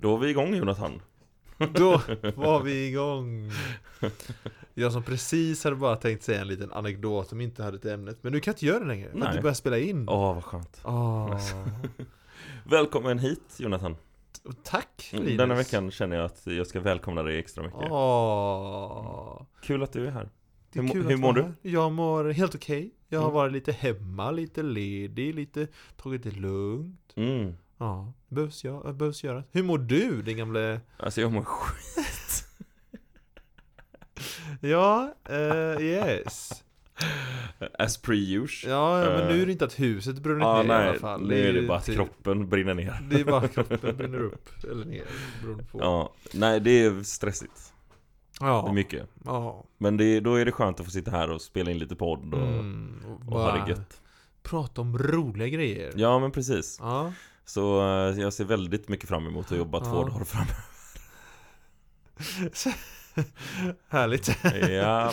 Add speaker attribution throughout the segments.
Speaker 1: Då var vi igång Jonathan.
Speaker 2: Då var vi igång! Jag som precis hade bara tänkt säga en liten anekdot som inte hade till ämnet Men nu kan jag inte göra det längre, för att
Speaker 1: Nej.
Speaker 2: du börjar spela in
Speaker 1: Åh, vad skönt.
Speaker 2: Ah.
Speaker 1: Välkommen hit Jonathan.
Speaker 2: Tack
Speaker 1: Mm,
Speaker 2: Linus!
Speaker 1: Denna veckan känner jag att jag ska välkomna dig extra mycket.
Speaker 2: Ah.
Speaker 1: Kul att du är här.
Speaker 2: Det är
Speaker 1: Mm. Hur må-
Speaker 2: kul
Speaker 1: hur
Speaker 2: att
Speaker 1: mår
Speaker 2: vara
Speaker 1: du?
Speaker 2: här. Jag mår helt okej Jag har
Speaker 1: Mm.
Speaker 2: varit lite hemma, lite ledig, lite tagit det lugnt
Speaker 1: Mm.
Speaker 2: Ja, det behövs, jag, det behövs göra Hur mår du din gamle?
Speaker 1: Alltså jag mår skit.
Speaker 2: Ja, eh, yes
Speaker 1: As per usual.
Speaker 2: Ja, ja, men
Speaker 1: Eh.
Speaker 2: nu är det inte att huset brinner
Speaker 1: ah,
Speaker 2: ner
Speaker 1: nej,
Speaker 2: i alla fall
Speaker 1: nu är det
Speaker 2: ju
Speaker 1: bara att
Speaker 2: typ-
Speaker 1: kroppen brinner ner.
Speaker 2: Det är bara kroppen brinner upp eller ner beroende på.
Speaker 1: Ja, nej det är stressigt. Det är
Speaker 2: ja.
Speaker 1: mycket.
Speaker 2: ja.
Speaker 1: Men det, då är det skönt att få sitta här och spela in lite podd och,
Speaker 2: Mm. Och
Speaker 1: och ha
Speaker 2: bara
Speaker 1: det gött.
Speaker 2: prata om roliga grejer.
Speaker 1: Ja men precis.
Speaker 2: Ja.
Speaker 1: Så eh, jag ser väldigt mycket fram emot att jobba två
Speaker 2: Ja.
Speaker 1: dagar fram.
Speaker 2: Härligt.
Speaker 1: Ja,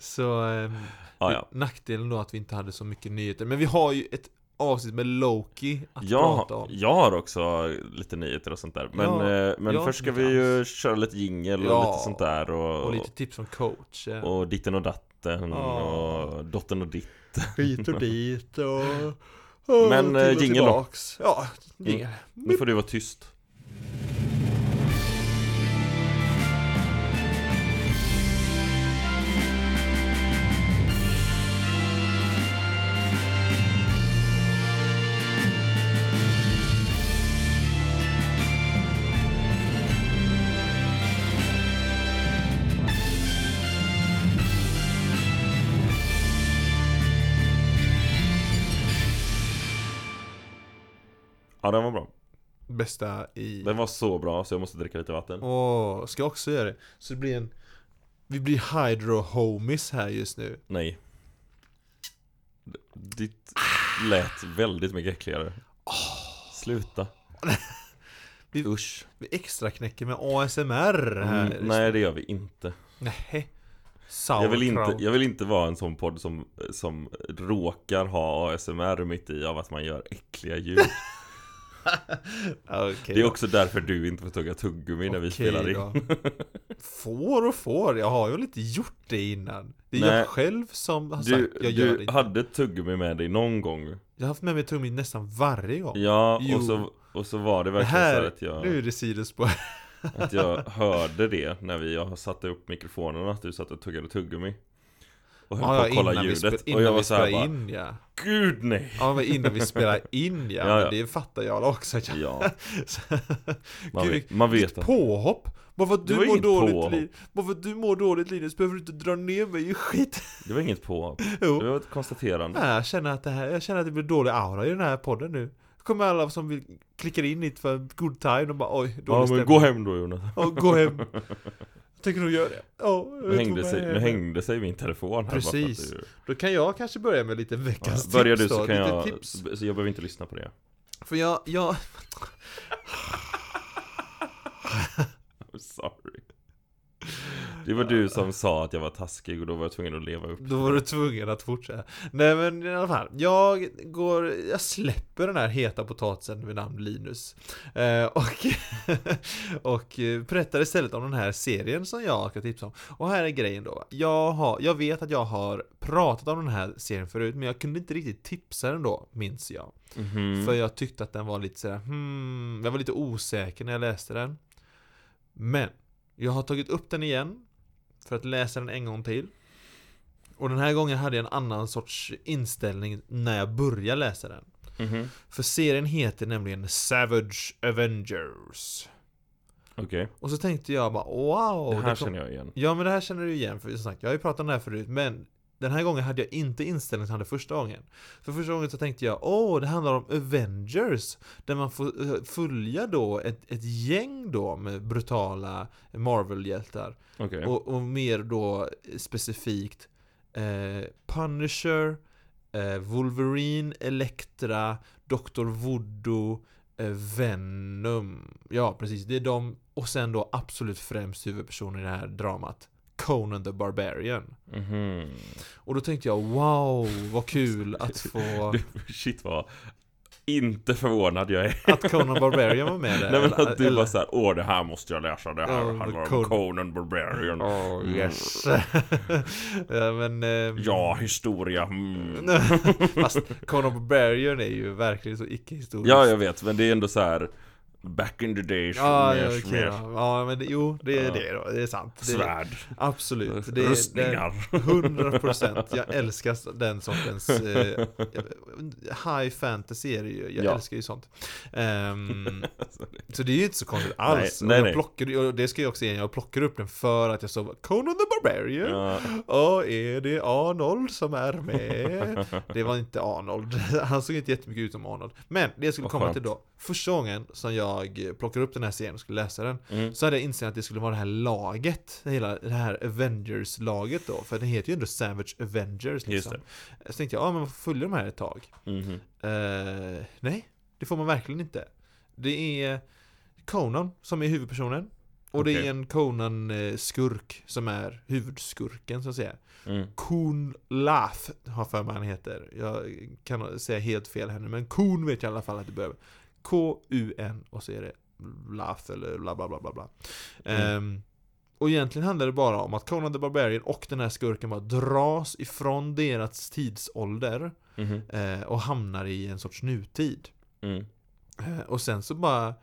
Speaker 2: Så ehm,
Speaker 1: ja, ja.
Speaker 2: nackdelen då att vi inte hade så mycket nyheter. Men vi har ju ett avsnitt med Loki att prata
Speaker 1: Jag,
Speaker 2: om.
Speaker 1: jag har också lite nyheter och sånt där Men,
Speaker 2: Ja,
Speaker 1: eh, men
Speaker 2: jag
Speaker 1: först ska
Speaker 2: inte
Speaker 1: vi ju köra lite jingel och
Speaker 2: Ja,
Speaker 1: lite sånt där och,
Speaker 2: Och lite tips från coach.
Speaker 1: och ditten och datten
Speaker 2: Ja.
Speaker 1: och dottern och ditt
Speaker 2: Hit och dit och... och
Speaker 1: Men,
Speaker 2: till
Speaker 1: eh, jingle
Speaker 2: och
Speaker 1: då. Mm.
Speaker 2: tillbaks. Ja, jingel.
Speaker 1: Nu får du vara tyst Ja den var bra
Speaker 2: Bästa i...
Speaker 1: Den var så bra så jag måste dricka lite vatten
Speaker 2: Åh, ska jag också göra det? Så det blir en... Vi blir hydro-homies här just nu
Speaker 1: Nej D- Ditt lät väldigt mycket äckligare Sluta
Speaker 2: Vi-
Speaker 1: Usch
Speaker 2: Vi extra knäcker med ASMR här
Speaker 1: Mm, Nej det gör vi inte
Speaker 2: Nej.
Speaker 1: jag vill, inte, jag vill inte vara en sån podd som, som råkar ha ASMR mitt i av att man gör äckliga ljud
Speaker 2: Okej
Speaker 1: Det är också därför du inte får tugga tuggummi när vi
Speaker 2: Okej
Speaker 1: spelar in
Speaker 2: då. Får och får, jag har ju inte gjort det innan Det är
Speaker 1: Nej.
Speaker 2: jag själv som har
Speaker 1: Du,
Speaker 2: sagt jag gör det
Speaker 1: du
Speaker 2: inte.
Speaker 1: hade tuggummi med dig någon gång
Speaker 2: Jag har haft med mig tuggummi nästan varje gång
Speaker 1: Ja,
Speaker 2: Jo.
Speaker 1: och så, och så var det
Speaker 2: Det
Speaker 1: verkligen så här
Speaker 2: här,
Speaker 1: att jag,
Speaker 2: nu är det sidospår
Speaker 1: att jag hörde det när vi, jag satte upp mikrofonen att du satt och tuggade tuggummi Och höll
Speaker 2: Ja,
Speaker 1: på att kolla
Speaker 2: innan vi spe-
Speaker 1: ljudet Och
Speaker 2: Innan
Speaker 1: jag var
Speaker 2: vi
Speaker 1: så här
Speaker 2: spelar
Speaker 1: bara,
Speaker 2: in ja
Speaker 1: Gud nej!
Speaker 2: Ja men innan vi spelar in ja,
Speaker 1: Ja,
Speaker 2: men
Speaker 1: ja.
Speaker 2: det fattar jag också
Speaker 1: Ja, man
Speaker 2: Gud,
Speaker 1: vet, man vet
Speaker 2: Ett
Speaker 1: att
Speaker 2: påhopp? Bara för att
Speaker 1: Det
Speaker 2: du
Speaker 1: var
Speaker 2: mår
Speaker 1: inget
Speaker 2: dåligt
Speaker 1: påhopp.
Speaker 2: Linus, bara för att du mår dåligt Linus behöver du inte dra ner mig i skit
Speaker 1: det var inget på Det
Speaker 2: Jo,
Speaker 1: var ett konstaterande
Speaker 2: Nej, jag känner att det här, jag känner att det blir dålig aura i den här podden nu Kommer alla som vill klicka in hit för good time och bara oj, dålig
Speaker 1: Ja men
Speaker 2: stämning
Speaker 1: gå hem då Jonas
Speaker 2: Ja, gå hem Jag tänker nog göra det Ja, jag
Speaker 1: Nu
Speaker 2: vet
Speaker 1: hängde,
Speaker 2: vad
Speaker 1: sig,
Speaker 2: jag
Speaker 1: nu
Speaker 2: är.
Speaker 1: hängde sig min telefon här bara för att
Speaker 2: Precis.
Speaker 1: du-
Speaker 2: Då kan jag kanske börja med lite
Speaker 1: Ja,
Speaker 2: veckans
Speaker 1: Börjar du
Speaker 2: tips
Speaker 1: så
Speaker 2: då,
Speaker 1: kan
Speaker 2: lite
Speaker 1: jag,
Speaker 2: tips
Speaker 1: så så jag behöver inte lyssna på det
Speaker 2: För jag, jag,
Speaker 1: I'm sorry Det var du som sa att jag var taskig och då var jag tvungen att leva upp
Speaker 2: Då var du tvungen att fortsätta. Nej men i alla fall, jag går, jag släpper den här heta potatisen vid namn Linus. Eh, och, och eh, berättar istället om den här serien som jag ska tipsa om. Och här är grejen då. Jag, har, jag vet att jag har pratat om den här serien förut, men jag kunde inte riktigt tipsa den då, minns jag.
Speaker 1: Mhm.
Speaker 2: Mm-hmm. För jag tyckte att den var lite sådär, hmm, jag var lite osäker när jag läste den. Men, jag har tagit upp den igen. För att läsa den en gång till. Och den här gången hade jag en annan sorts inställning när jag började läsa den.
Speaker 1: Mhm.
Speaker 2: För serien heter nämligen Savage Avengers.
Speaker 1: Okej,
Speaker 2: Och så tänkte jag bara wow.
Speaker 1: det här
Speaker 2: kom-
Speaker 1: känner jag igen
Speaker 2: Ja men det här känner du igen för som sagt, jag har ju pratat om det här förut men den här gången hade jag inte inställningen som jag hade första gången. För första gången så tänkte jag, åh, det handlar om Avengers! Där man får eh, följa då ett, ett gäng då med brutala Marvel-hjältar.
Speaker 1: Okej,
Speaker 2: Och, och mer då specifikt eh, Punisher, eh, Wolverine, Elektra, Dr. Voodoo, eh, Venom. Ja, precis. Det är de. Och sen då absolut främst huvudpersonen i det här dramat. Conan the Barbarian.
Speaker 1: Mhm.
Speaker 2: Och då tänkte jag wow, vad kul att få...
Speaker 1: Shit vad inte förvånad jag är.
Speaker 2: Att Conan Barbarian var med där?
Speaker 1: Nej men
Speaker 2: eller-
Speaker 1: att du
Speaker 2: eller-
Speaker 1: bara såhär, åh det här måste jag läsa, det här
Speaker 2: Ja,
Speaker 1: handlar om
Speaker 2: Con-
Speaker 1: Conan Barbarian.
Speaker 2: Oh yes. ja men... ehm,
Speaker 1: Ja, historia. Mm.
Speaker 2: Fast Conan Barbarian är ju verkligen så icke-historiskt.
Speaker 1: Ja, jag vet, men det är ändå så här back in the days,
Speaker 2: Ja,
Speaker 1: mer,
Speaker 2: ja, okej
Speaker 1: mer
Speaker 2: då. ja, men det, jo, det är
Speaker 1: Ja.
Speaker 2: det då. Det är sant. Det,
Speaker 1: svärd,
Speaker 2: Absolut. Det, är-
Speaker 1: rustningar.
Speaker 2: det är 100%. Jag älskar den sortens... Eh, high fantasy är det ju. Jag
Speaker 1: Ja.
Speaker 2: älskar ju sånt. Ehm, så det är ju inte så konstigt alls.
Speaker 1: nej,
Speaker 2: och, jag
Speaker 1: nej.
Speaker 2: Plockar, och det ska jag också ge Jag plockar upp den för att jag såg Conan the Barbarian.
Speaker 1: Ja,
Speaker 2: Ja, är det Arnold som är med? Det var inte Arnold. Han såg inte jättemycket ut som Arnold. Men det jag skulle
Speaker 1: Vad
Speaker 2: komma
Speaker 1: skönt.
Speaker 2: till då. Första gången som jag plockade upp den här serien och skulle läsa den.
Speaker 1: Mm.
Speaker 2: Så hade jag insett att det skulle vara det här laget. det Hela det här Avengers-laget då. För den heter ju ändå Savage Avengers
Speaker 1: Just
Speaker 2: liksom. Så tänkte jag, ja men följer de här ett tag?
Speaker 1: mhm.
Speaker 2: Eh, nej, det får man verkligen inte. Det är Conan som är huvudpersonen. Och det
Speaker 1: Okej.
Speaker 2: är en Conan-skurk som är huvudskurken så att säga.
Speaker 1: mm.
Speaker 2: Koon Lath har för mig han heter. Jag kan säga helt fel här nu, men Koon vet jag i alla fall att det behöver. K-U-N och så är det Lath eller bla bla bla bla bla.
Speaker 1: Mm.
Speaker 2: Ehm, och egentligen handlar det bara om att Conan the Barbarian och den här skurken bara dras ifrån deras tidsålder
Speaker 1: mhm,
Speaker 2: eh, och hamnar i en sorts nutid.
Speaker 1: Mm.
Speaker 2: Eh, Och sen så bara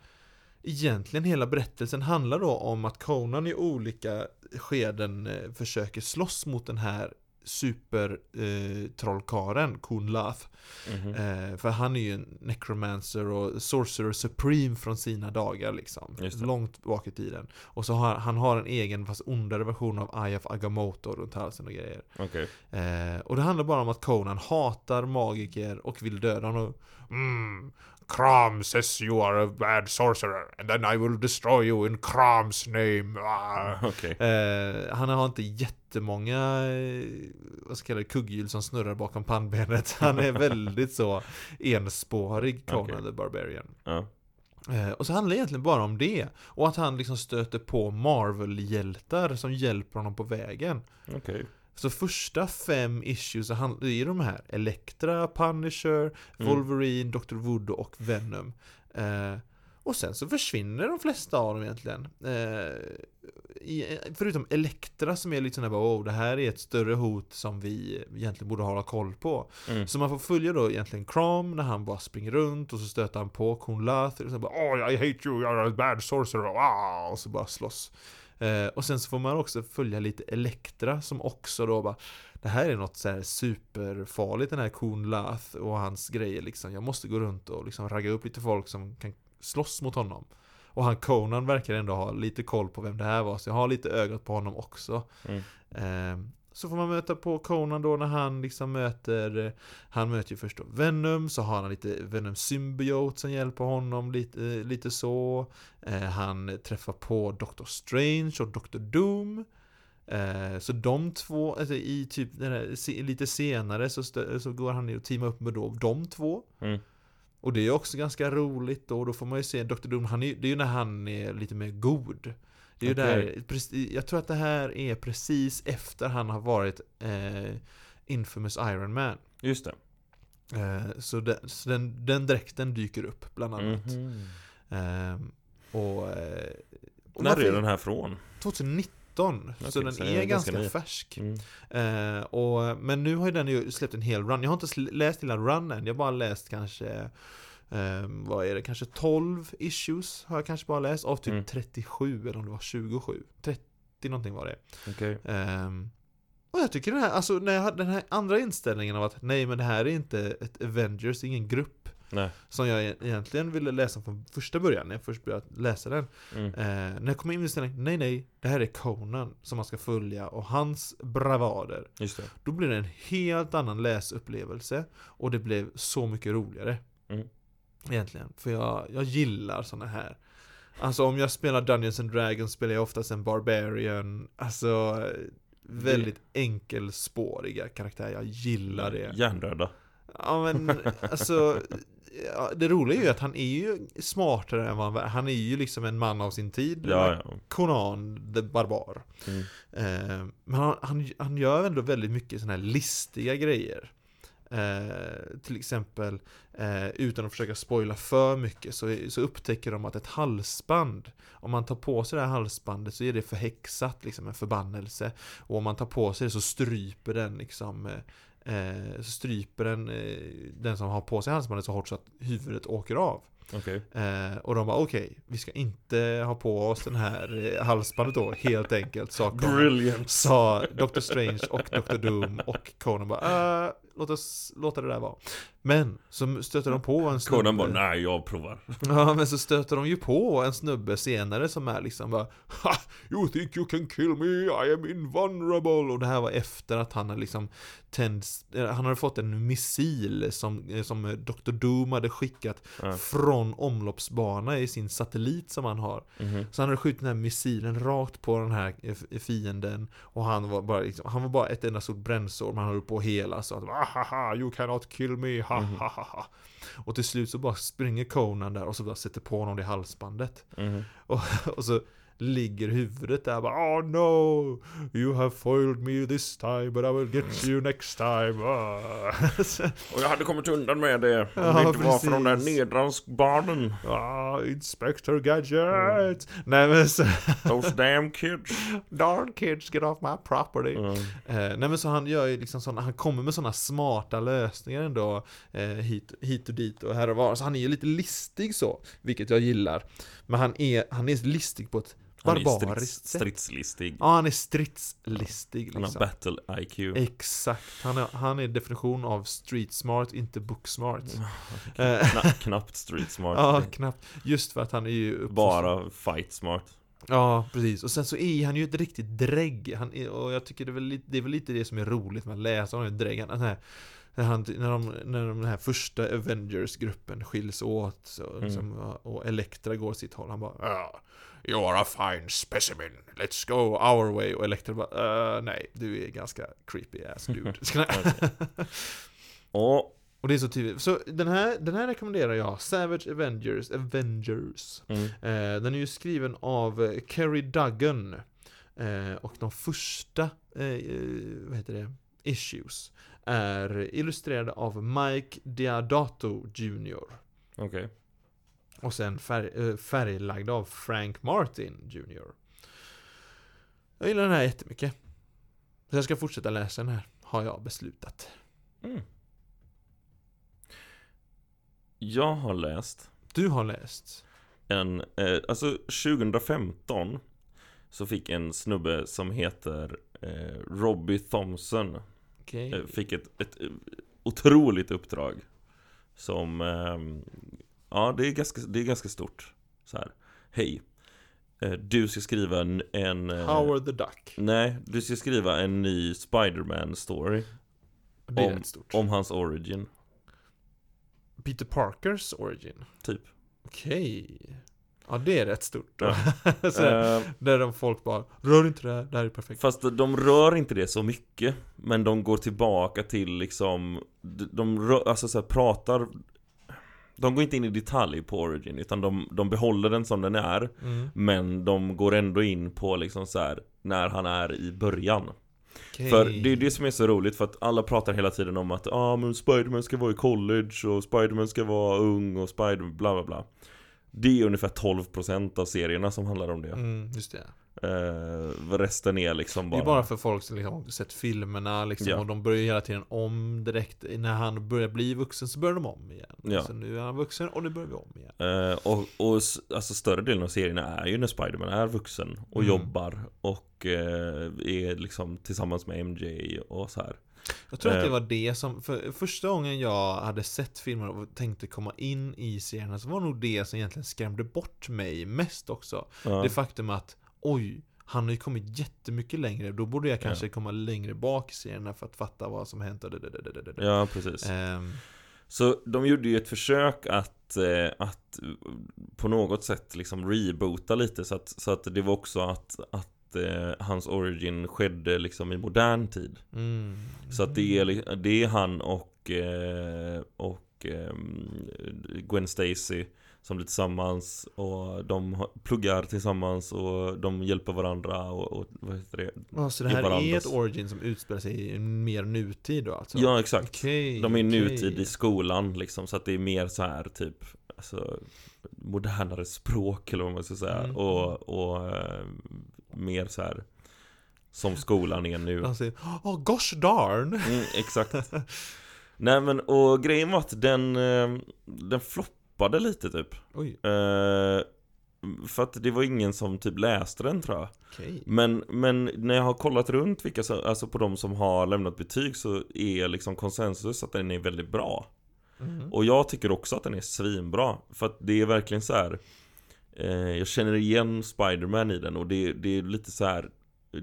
Speaker 2: Egentligen hela berättelsen handlar då om att Conan i olika skeden eh, försöker slåss mot den här supertrollkaren, Kun Lath.
Speaker 1: mhm.
Speaker 2: Eh, för han är ju en necromancer och sorcerer supreme från sina dagar liksom.
Speaker 1: Just det.
Speaker 2: Långt bak i tiden. Och så har han har en egen fast ondare version av Eye of Agamotto runt halsen och grejer.
Speaker 1: Okej.
Speaker 2: Eh, och det handlar bara om att Conan hatar magiker och vill döda honom. Mm. Kram says you are a bad sorcerer and then I will destroy you in Krams name. Ah.
Speaker 1: Okej.
Speaker 2: Eh, han har inte jättemånga eh, vad ska jag kalla det, kugghjul som snurrar bakom pannbenet. Han är väldigt så enspårig, Conan
Speaker 1: Okej.
Speaker 2: the Barbarian.
Speaker 1: Ja.
Speaker 2: Eh, Och så handlar det egentligen bara om det. Och att han liksom stöter på Marvel-hjältar som hjälper honom på vägen.
Speaker 1: Okej.
Speaker 2: Så första fem issues han- det är de här Elektra, Punisher,
Speaker 1: Mm.
Speaker 2: Wolverine, Dr. Voodoo och Venom. Eh, och sen så försvinner de flesta av dem egentligen. Eh, i, förutom Elektra som är lite sån här bara oh, det här är ett större hot som vi egentligen borde hålla koll på.
Speaker 1: Mm.
Speaker 2: Så man får följa då egentligen Crom när han bara springer runt och så stöter han på Kun Lath och så bara oh, I hate you, you're a bad sorcerer, ah! och så bara slåss. Eh, och sen så får man också följa lite Elektra som också då bara Det här är något så här superfarligt den här Kun Lath och hans grejer liksom Jag måste gå runt och liksom ragga upp lite folk som kan slåss mot honom Och han Conan verkar ändå ha lite koll på vem det här var så jag har lite ögat på honom också
Speaker 1: Mm.
Speaker 2: Ehm, så får man möta på Conan då när han liksom möter eh, Han möter ju först då Venom, så har han lite Venom Symbiote som hjälper honom lite, eh, lite så Eh, Han träffar på Doctor Strange och Doctor Doom Eh, Så de två, alltså i typ den här, se- lite senare så, stö- så går han ju och teamar upp med då de två
Speaker 1: Mm.
Speaker 2: Och det är också ganska roligt då, då får man ju se Dr. Doom, han är, ju- det är ju när han är lite mer god Det är ju där,
Speaker 1: Okej.
Speaker 2: precis- jag tror att det här är precis efter han har varit eh, Infamous Iron Man
Speaker 1: Just det.
Speaker 2: eh, Så, den, så den, den dräkten dyker upp bland annat
Speaker 1: Mhm.
Speaker 2: Ehm, Och... Eh, och
Speaker 1: När
Speaker 2: varför-
Speaker 1: är den här från?
Speaker 2: 2019, så
Speaker 1: Okej,
Speaker 2: den
Speaker 1: så den
Speaker 2: är,
Speaker 1: är ganska
Speaker 2: ganska,
Speaker 1: ny.
Speaker 2: färsk.
Speaker 1: Mm.
Speaker 2: Eh, och, men nu har ju den ju släppt en hel run. Jag har inte sl- läst hela runnen, jag har bara läst kanske eh, vad är det? Kanske 12 issues har jag kanske bara läst av typ
Speaker 1: Mm.
Speaker 2: 37 eller om det var 27. 30 någonting var det.
Speaker 1: Okej.
Speaker 2: Ehm, och jag tycker den här, alltså när jag hade den här andra inställningen av att nej men det här är inte ett Avengers, det är ingen grupp.
Speaker 1: Nej.
Speaker 2: Som jag e- egentligen ville läsa från första början, när jag först började läsa den.
Speaker 1: Mm.
Speaker 2: Eh, när jag kom in i ställningen, nej nej, det här är Conan som man ska följa och hans bravader.
Speaker 1: Just det.
Speaker 2: Då blir det en helt annan läsupplevelse och det blev så mycket roligare.
Speaker 1: Mm.
Speaker 2: Egentligen, för jag, jag gillar såna här. Alltså om jag spelar Dungeons and Dragons spelar jag oftast en Barbarian, alltså eh, väldigt enkelspåriga karaktärer, jag gillar det.
Speaker 1: Hjärndöda.
Speaker 2: Ja men alltså ja, Det roliga är ju att han är ju smartare än vad han var. Han är ju liksom en man av sin tid
Speaker 1: Ja, ja.
Speaker 2: Conan the Barbar
Speaker 1: Mm.
Speaker 2: eh, Men han, han, han gör ändå väldigt mycket sådana här listiga grejer eh, Eh, till exempel, eh, utan att försöka spoila för mycket, så, så upptäcker de att ett halsband, om man tar på sig det här halsbandet så är det förhäxat, liksom en förbannelse. Och om man tar på sig det så stryper den liksom eh, eh, så stryper den, eh, den som har på sig halsbandet så hårt så att huvudet åker av.
Speaker 1: Okej.
Speaker 2: Eh, och de bara okej, vi ska inte ha på oss den här eh, halsbandet då helt enkelt. Sa Conan.
Speaker 1: Brilliant.
Speaker 2: Sa Dr. Strange och Dr. Doom och Conan bara äh, låt oss låta det där vara. Men så stöter de på en snubbe.
Speaker 1: Conan bara, nej jag provar.
Speaker 2: Ja men så stöter de ju på en snubbe senare som är liksom bara ha, You think you can kill me, I am invulnerable Och det här var efter att han hade liksom tänds, eh, Han hade fått en missil som, eh, som eh, Dr. Doom hade skickat
Speaker 1: Ja.
Speaker 2: Från omloppsbana i sin satellit som han har
Speaker 1: Mhm.
Speaker 2: Så han hade skjutit den här missilen rakt på den här eh, f- fienden Och han var bara, liksom, han var bara ett enda stort brännsår Man höll på hela så att ah, ha, ha, You cannot kill me, ha,
Speaker 1: Mhm.
Speaker 2: ha, ha, ha. Och till slut så bara springer Conan där och så bara sätter på honom det halsbandet.
Speaker 1: Mhm.
Speaker 2: Och, och så ligger huvudet där bara Oh no! You have foiled me this time but I will get you next time. Ah. Så,
Speaker 1: Och jag hade kommit undan med det om
Speaker 2: Ja,
Speaker 1: det inte var för de där
Speaker 2: precis.
Speaker 1: nedransbarnen.
Speaker 2: ah, Inspector Gadget! Nej men så,
Speaker 1: Those damn kids.
Speaker 2: Darn kids get off my property. Eh, nej men så han gör ju liksom såna, han kommer med sådana smarta lösningar ändå eh, hit, hit och dit och här och var. Så han är ju lite listig så, vilket jag gillar. Men han är, han är listig på ett
Speaker 1: Han är ju
Speaker 2: barbariskt
Speaker 1: strids,
Speaker 2: sätt.
Speaker 1: stridslistig.
Speaker 2: Ja, han är stridslistig
Speaker 1: Han har
Speaker 2: liksom.
Speaker 1: battle IQ.
Speaker 2: Exakt, han är, han är definition av street smart, inte book smart. Eh,
Speaker 1: Kna, knappt street smart.
Speaker 2: Ja, knappt. Just för att han är ju uppfostrad-
Speaker 1: Bara fight smart.
Speaker 2: Ja, precis. Och sen så är han ju ett riktigt drägg. Han är, och jag tycker det är, väl lite, det är väl lite det som är roligt med att läsa om den här dräggen. Att den här- När, han, när, de, när de, den här första Avengers-gruppen skiljs åt så, liksom, och Elektra går sitt håll. Han bara "Ah, You are a fine specimen. Let's go our way. Och Elektra bara "Eh, nej, du är ganska creepy ass dude.
Speaker 1: Och,
Speaker 2: och det är så tydligt. Så den här, den här rekommenderar jag. Savage Avengers. Avengers.
Speaker 1: mm,
Speaker 2: Eh, den är ju skriven av eh, Kerry Duggan. Eh, och de första, eh, eh, vad heter det, issues är illustrerade av Mike Diadato Jr.
Speaker 1: okej.
Speaker 2: Och sen färg, eh, färglagda av Frank Martin Jr. Jag gillar den här jättemycket. Så jag ska fortsätta läsa den här, har jag beslutat.
Speaker 1: Mm. Jag har läst
Speaker 2: Du har läst?
Speaker 1: en, eh, alltså 2015 så fick en snubbe som heter eh, Robbie Thompson
Speaker 2: Okej.
Speaker 1: eh, Fick ett, ett eh, otroligt uppdrag Som, ehm, ja det är ganska, det är ganska stort så här. Hej eh, Du ska skriva en, en eh,
Speaker 2: Howard the Duck.
Speaker 1: Nej, du ska skriva en ny Spider-Man story
Speaker 2: Det är rätt stort.
Speaker 1: Om hans origin,
Speaker 2: Peter Parkers origin.
Speaker 1: typ
Speaker 2: Okej. Ja, det är rätt stort.
Speaker 1: Ja.
Speaker 2: så där,
Speaker 1: Eh,
Speaker 2: där de folk bara Rör inte det här, det här är perfekt.
Speaker 1: Fast de rör inte det så mycket Men de går tillbaka till liksom De, de rör, alltså så här, pratar De går inte in i detalj på origin Utan de, de behåller den som den är
Speaker 2: Mm.
Speaker 1: Men de går ändå in på liksom så här När han är i början
Speaker 2: Okej.
Speaker 1: För det är det som är så roligt för att alla pratar hela tiden om att ah, men Spiderman ska vara i college och Spiderman ska vara ung och Spider bla bla bla Det är ungefär 12% av serierna som handlar om det
Speaker 2: Mm, just det.
Speaker 1: eh, Resten är liksom
Speaker 2: Det
Speaker 1: bara,
Speaker 2: är bara för folk som liksom har sett filmerna liksom,
Speaker 1: Ja.
Speaker 2: och de börjar hela tiden om direkt. När han börjar bli vuxen så börjar de om igen.
Speaker 1: Ja.
Speaker 2: Så nu är han vuxen och nu börjar vi om igen.
Speaker 1: Eh, och, och s- alltså större delen av serierna är ju när Spiderman är vuxen och
Speaker 2: Mm.
Speaker 1: jobbar och eh, är liksom tillsammans med MJ och så här.
Speaker 2: Jag tror att det
Speaker 1: Eh.
Speaker 2: var det som, för första gången jag hade sett filmer och tänkte komma in i serierna så var nog det som egentligen skrämde bort mig mest också.
Speaker 1: Ja.
Speaker 2: Det faktum att oj, han har ju kommit jättemycket längre. Då borde jag kanske komma längre bak i serierna för att fatta vad som hänt. Och det, det, det, det, det, det.
Speaker 1: ja, precis.
Speaker 2: Ehm,
Speaker 1: Så de gjorde ju ett försök att, eh, att på något sätt liksom reboota lite så att, så att det var också att, att eh, hans origin skedde liksom i modern tid.
Speaker 2: mm.
Speaker 1: Så att det är, li- det är han och, eh, och eh, ehm, Gwen Stacy som blir tillsammans och de har- pluggar tillsammans och de hjälper varandra och, och vad heter det?
Speaker 2: Ja, så det
Speaker 1: i
Speaker 2: här är
Speaker 1: varandras-
Speaker 2: ett origin som utspelar sig i en mer nutid då alltså?
Speaker 1: Ja, exakt.
Speaker 2: Okej,
Speaker 1: De är i
Speaker 2: okej.
Speaker 1: nutid i skolan liksom, så att det är mer så här typ Alltså modernare språk eller vad man ska säga
Speaker 2: Mm.
Speaker 1: och, och eh, mer så här som skolan är nu.
Speaker 2: Han säger oh, gosh darn!
Speaker 1: Mm, exakt. Nej men och grejen var att den, eh, den floppade lite typ.
Speaker 2: Oj,
Speaker 1: Eh, För att det var ingen som typ läste den tror jag.
Speaker 2: okej.
Speaker 1: Men, men när jag har kollat runt vilka som, alltså på de som har lämnat betyg så är liksom konsensus att den är väldigt bra.
Speaker 2: Mhm.
Speaker 1: Och jag tycker också att den är svinbra. För att det är verkligen så här. Eh, jag känner igen Spider-Man i den och det, det är lite så här.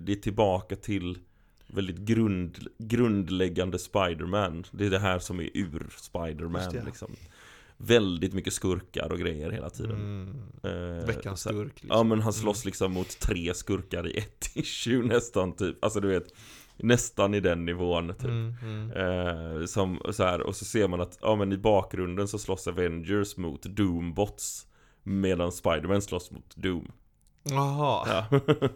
Speaker 1: Det är tillbaka till väldigt grund, grundläggande Spider-Man. Det är det här som är ur
Speaker 2: Just
Speaker 1: Spider-Man
Speaker 2: det, ja.
Speaker 1: liksom. Väldigt mycket skurkar och grejer hela tiden.
Speaker 2: Mm.
Speaker 1: Eh,
Speaker 2: Veckans
Speaker 1: så här-
Speaker 2: skurk liksom.
Speaker 1: Ja men han slåss liksom mot tre skurkar i ett issue nästan typ. Alltså du vet. Nästan i den nivån typ.
Speaker 2: Mm, mm.
Speaker 1: Eh, som så här, och så ser man att ja, men i bakgrunden så slåss Avengers mot Doombots Medan Spiderman slåss mot Doom
Speaker 2: Jaha,
Speaker 1: ja. Liksom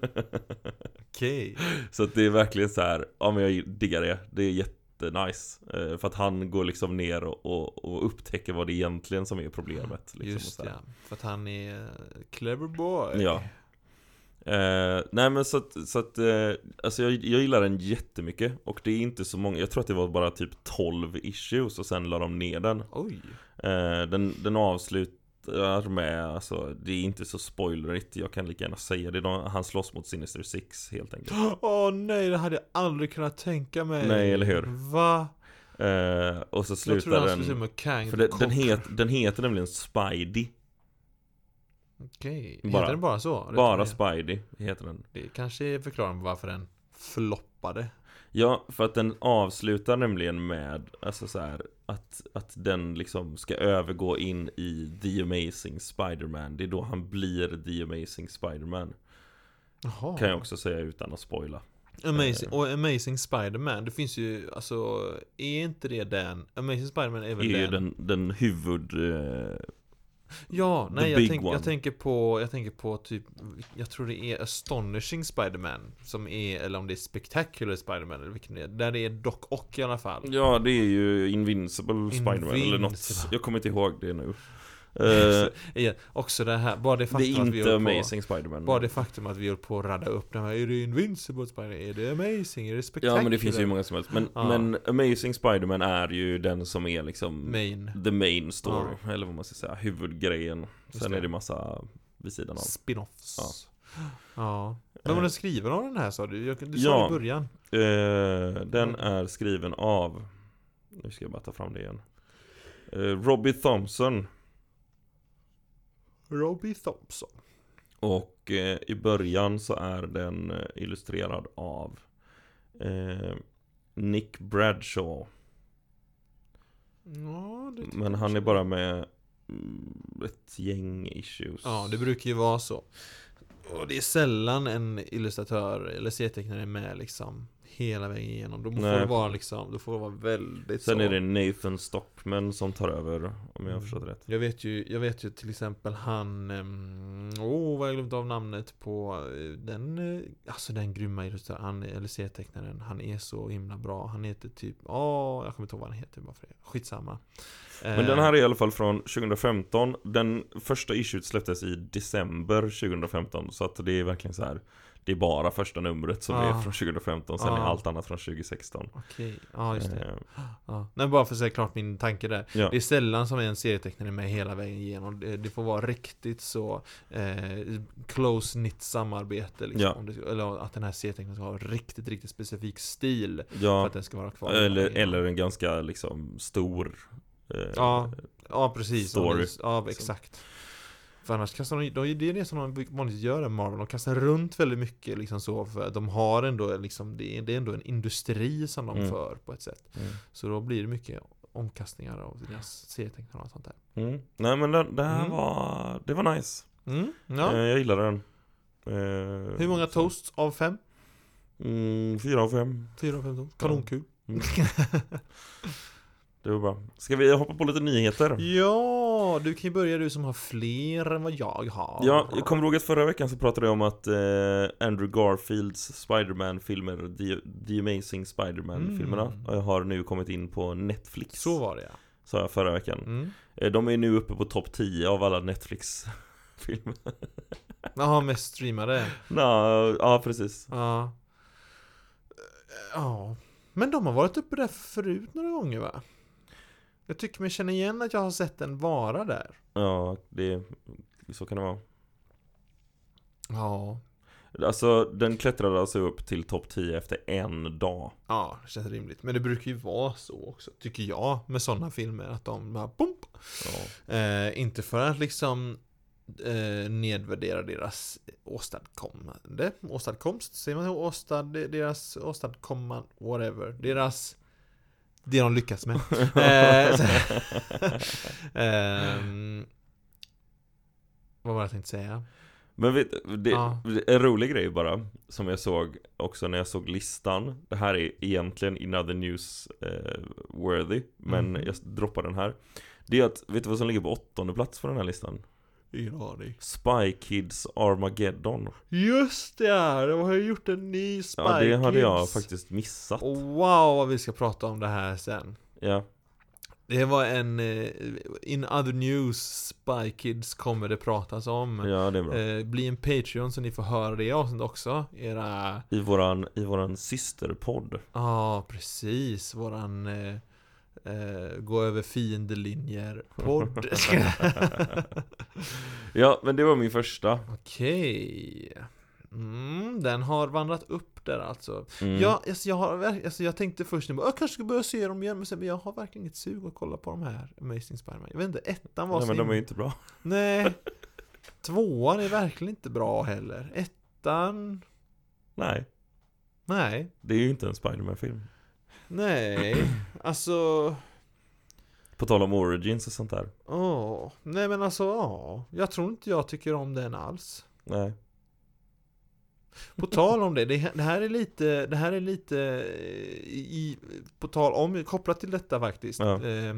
Speaker 2: okej.
Speaker 1: Så att det är verkligen så här, ja men jag diggar det, det är jättenice eh, För att han går liksom ner och, och, och upptäcker vad det egentligen som är problemet liksom, och
Speaker 2: Just
Speaker 1: så här.
Speaker 2: ja, för att han är clever boy.
Speaker 1: Ja. Eh, nej men så att, så att eh, alltså jag, jag gillar den jättemycket Och det är inte så många, jag tror att det var bara typ 12 issues och sen la de ner den
Speaker 2: Oj.
Speaker 1: Eh, den, den avslutar med, alltså det är inte så spoilerigt, jag kan lika gärna säga det. De, han slåss mot Sinister Six helt enkelt.
Speaker 2: Åh nej, det hade jag aldrig kunnat tänka mig.
Speaker 1: Nej, eller hur?
Speaker 2: Va?
Speaker 1: Eh, och så
Speaker 2: Jag trodde
Speaker 1: slutar
Speaker 2: han skulle säga
Speaker 1: den...
Speaker 2: med Kang
Speaker 1: För
Speaker 2: the
Speaker 1: den, den,
Speaker 2: Conqueror.
Speaker 1: het, den heter nämligen Spidey.
Speaker 2: Okej,
Speaker 1: Bara.
Speaker 2: heter den bara så? Rätt
Speaker 1: Bara
Speaker 2: upp och ner.
Speaker 1: Spidey heter den.
Speaker 2: Det kanske förklarar varför den floppade.
Speaker 1: Ja, för att den avslutar nämligen med, alltså så här, att, att den liksom ska övergå in i The Amazing Spider-Man. Det är då han blir The Amazing Spider-Man.
Speaker 2: Jaha.
Speaker 1: Kan jag också säga utan att spoila.
Speaker 2: Amazing, och Amazing Spider-Man, det finns ju, alltså, är inte det den? Amazing Spider-Man är
Speaker 1: Det
Speaker 2: väl
Speaker 1: är ju
Speaker 2: den?
Speaker 1: den, den huvud... eh,
Speaker 2: Ja, nej
Speaker 1: The
Speaker 2: jag,
Speaker 1: big
Speaker 2: tänk,
Speaker 1: one.
Speaker 2: jag tänker på, jag tänker på typ, jag tror det är Astonishing Spider-Man som är, eller om det är Spectacular Spider-Man eller vilken det är. Där det är dock och i alla fall.
Speaker 1: Ja, det är ju Invincible Spider-Man eller något.
Speaker 2: Invincible.
Speaker 1: Jag kommer inte ihåg det nu. Eh,
Speaker 2: Igen, också det här, bara det
Speaker 1: det
Speaker 2: faktum
Speaker 1: är
Speaker 2: att vi
Speaker 1: inte
Speaker 2: höll på,
Speaker 1: Amazing Spider-Man.
Speaker 2: bara det faktum att vi höll på att radda upp den här, är det Invincible Spider-Man? Är det Amazing? Är det Spectacular?
Speaker 1: Ja, men det finns ju hur många som helst. Men,
Speaker 2: Ja.
Speaker 1: men Amazing Spider-Man är ju den som är liksom
Speaker 2: Main.
Speaker 1: the main story. Eller vad man ska säga, huvudgrejen.
Speaker 2: Just
Speaker 1: Sen
Speaker 2: det.
Speaker 1: är det massa vid sidan av.
Speaker 2: Spin-offs.
Speaker 1: Ja. Eh.
Speaker 2: Ja. Men var den skriven av den här sa du? Jag, du sa
Speaker 1: Ja.
Speaker 2: det i början.
Speaker 1: Eh, den
Speaker 2: Mm.
Speaker 1: är skriven av, nu ska jag bara ta fram det igen. Eh, Robbie Thompson.
Speaker 2: Robbie Thompson.
Speaker 1: Och eh, i början så är den eh, illustrerad av eh, Nick Bradshaw.
Speaker 2: Ja, det
Speaker 1: Men han är bara med mm, ett gäng issues.
Speaker 2: Ja, det brukar ju vara så. Och det är sällan en illustratör eller serietecknare är med liksom hela vägen igenom. Då får
Speaker 1: Nej.
Speaker 2: det vara liksom, då får det vara väldigt
Speaker 1: Sen
Speaker 2: så.
Speaker 1: är det Nathan Stockman som tar över, om jag har
Speaker 2: Mm.
Speaker 1: förstått rätt.
Speaker 2: Jag vet ju, jag vet ju till exempel han, ehm, åh oh, vad jag glömt av namnet på eh, den, eh, alltså den grymma illustratören, han, eller serietecknaren, han är så himla bra. Han heter typ, åh, jag kommer inte ihåg vad han heter bara för det. Skitsamma. Eh.
Speaker 1: Men den här är i alla fall från 2015. Den första issuet släpptes i december 2015. Så att det är verkligen så här. Det är bara första numret som är
Speaker 2: Ah.
Speaker 1: från 2015. Sen är
Speaker 2: Ah.
Speaker 1: allt annat från 2016.
Speaker 2: Eh, Okej, ja just det.
Speaker 1: Eh,
Speaker 2: Ja. Nej, bara för att säga klart min tanke där.
Speaker 1: Ja.
Speaker 2: Det är sällan som en serietecknare är med hela vägen igenom. Det, det får vara riktigt så eh, close knit samarbete. Liksom.
Speaker 1: Ja.
Speaker 2: Om det, eller att den här serietecknaren ska ha en riktigt, riktigt specifik stil. För
Speaker 1: ja.
Speaker 2: att den ska vara kvar. hela
Speaker 1: Eller,
Speaker 2: vägen igenom.
Speaker 1: eller en ganska liksom stor eh,
Speaker 2: Ja, ja precis.
Speaker 1: Story. liksom.
Speaker 2: Story. Ja, exakt. För annars kastar de, de, det är det som de vanligtvis gör i Marvel, de kastar runt väldigt mycket liksom så, för att de har ändå liksom, det är, det är ändå en industri som de
Speaker 1: Mm.
Speaker 2: för på ett sätt. Så då blir det mycket omkastningar av deras serietecknare och sånt där.
Speaker 1: Mm. Nej men det, det här
Speaker 2: Mm.
Speaker 1: var, det var nice
Speaker 2: Mm, ja.
Speaker 1: eh, Jag gillade den eh,
Speaker 2: Hur många
Speaker 1: så-
Speaker 2: toasts av fem?
Speaker 1: Mm, fyra av fem Mm.
Speaker 2: Fyra av fem toasts. Kanonkul.
Speaker 1: Det var bra Ska vi hoppa på lite nyheter?
Speaker 2: Ja, Ja, du kan ju börja du som har fler än vad jag har.
Speaker 1: Ja, jag kommer ihåg att förra veckan så pratade jag om att eh, Andrew Garfields Spider-Man-filmer, The, The Amazing Spider-Man-filmerna,
Speaker 2: Mm.
Speaker 1: har nu kommit in på Netflix.
Speaker 2: Så var det ja.
Speaker 1: Sa jag förra veckan.
Speaker 2: Mm.
Speaker 1: Eh, De är nu uppe på topp 10 av alla Netflix-filmer.
Speaker 2: Jaha, mest streamade.
Speaker 1: Nå, ja, precis.
Speaker 2: Ja. Eh, Ja. Men de har varit uppe där förut några gånger va? Jag tycker mig känna igen att jag har sett den vara där.
Speaker 1: Ja, det, så kan det vara.
Speaker 2: Ja.
Speaker 1: Alltså, den klättrade alltså upp till topp 10 efter en dag.
Speaker 2: Ja, det känns rimligt. Men det brukar ju vara så också, tycker jag, med sådana filmer att de bara boom.
Speaker 1: Ja.
Speaker 2: Eh, inte för att liksom eh, nedvärdera deras åstadkommande, åstadkomst, säger man åstad, deras åstadkomman, whatever, deras det de lyckas med. eh, så, Ehm, vad var det jag tänkte säga?
Speaker 1: Men vet, det,
Speaker 2: Ja.
Speaker 1: en rolig grej bara Som jag såg också när jag såg listan Det här är egentligen in other news eh, worthy Men
Speaker 2: Mhm.
Speaker 1: jag droppar den här Det är att, vet du vad som ligger på åttonde plats på den här listan?
Speaker 2: Ingen aning.
Speaker 1: Spy Kids Armageddon
Speaker 2: Just det! ja, De har ju gjort en ny Spy
Speaker 1: Ja det hade jag
Speaker 2: Kids. Oh.
Speaker 1: faktiskt missat
Speaker 2: Och wow vad vi ska prata om det här sen.
Speaker 1: Ja,
Speaker 2: Det var en eh, In other news Spy Kids kommer det pratas om
Speaker 1: ja det är bra
Speaker 2: eh, Bli en Patreon så ni får höra det avsnittet också Era
Speaker 1: I våran, i våran systerpodd
Speaker 2: Ja precis Våran eh, eh, Gå över fiendelinjer Podd
Speaker 1: Ja men det var min första
Speaker 2: Okej mm, Den har vandrat upp där alltså
Speaker 1: Mm.
Speaker 2: Ja, alltså jag, har, verk- alltså jag tänkte först nu, bara, jag kanske ska börja se dem igen, men sen, men jag har verkligen inget sug att kolla på de här Amazing Spiderman. Jag vet inte, ettan var
Speaker 1: Nej
Speaker 2: så
Speaker 1: men de är
Speaker 2: himla-
Speaker 1: ju inte bra
Speaker 2: Nej. Tvåan är verkligen inte bra heller. Ettan...
Speaker 1: Nej,
Speaker 2: Nej.
Speaker 1: det är ju inte en Spiderman-film
Speaker 2: Nej. Alltså...
Speaker 1: På tal om origins och sånt där
Speaker 2: Åh. Nej men alltså, ja. Jag tror inte jag tycker om den alls.
Speaker 1: Nej
Speaker 2: På tal om det, det, det här är lite, det här är lite eh, i, på tal om, kopplat till detta faktiskt.
Speaker 1: Ja.
Speaker 2: Eh, eh,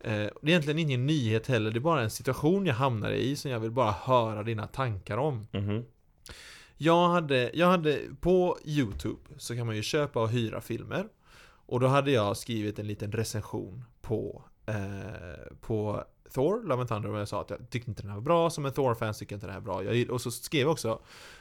Speaker 2: det är egentligen ingen nyhet heller, det är bara en situation jag hamnade i som jag vill bara höra dina tankar om.
Speaker 1: Mhm
Speaker 2: Jag hade, jag hade, på YouTube så kan man ju köpa och hyra filmer. Och då hade jag skrivit en liten recension på, eh, på Thor, Love and Thunder, och jag sa att jag tyckte inte den här var bra, som en Thor-fan tycker jag inte den här är bra. Jag, gill- och så skrev jag också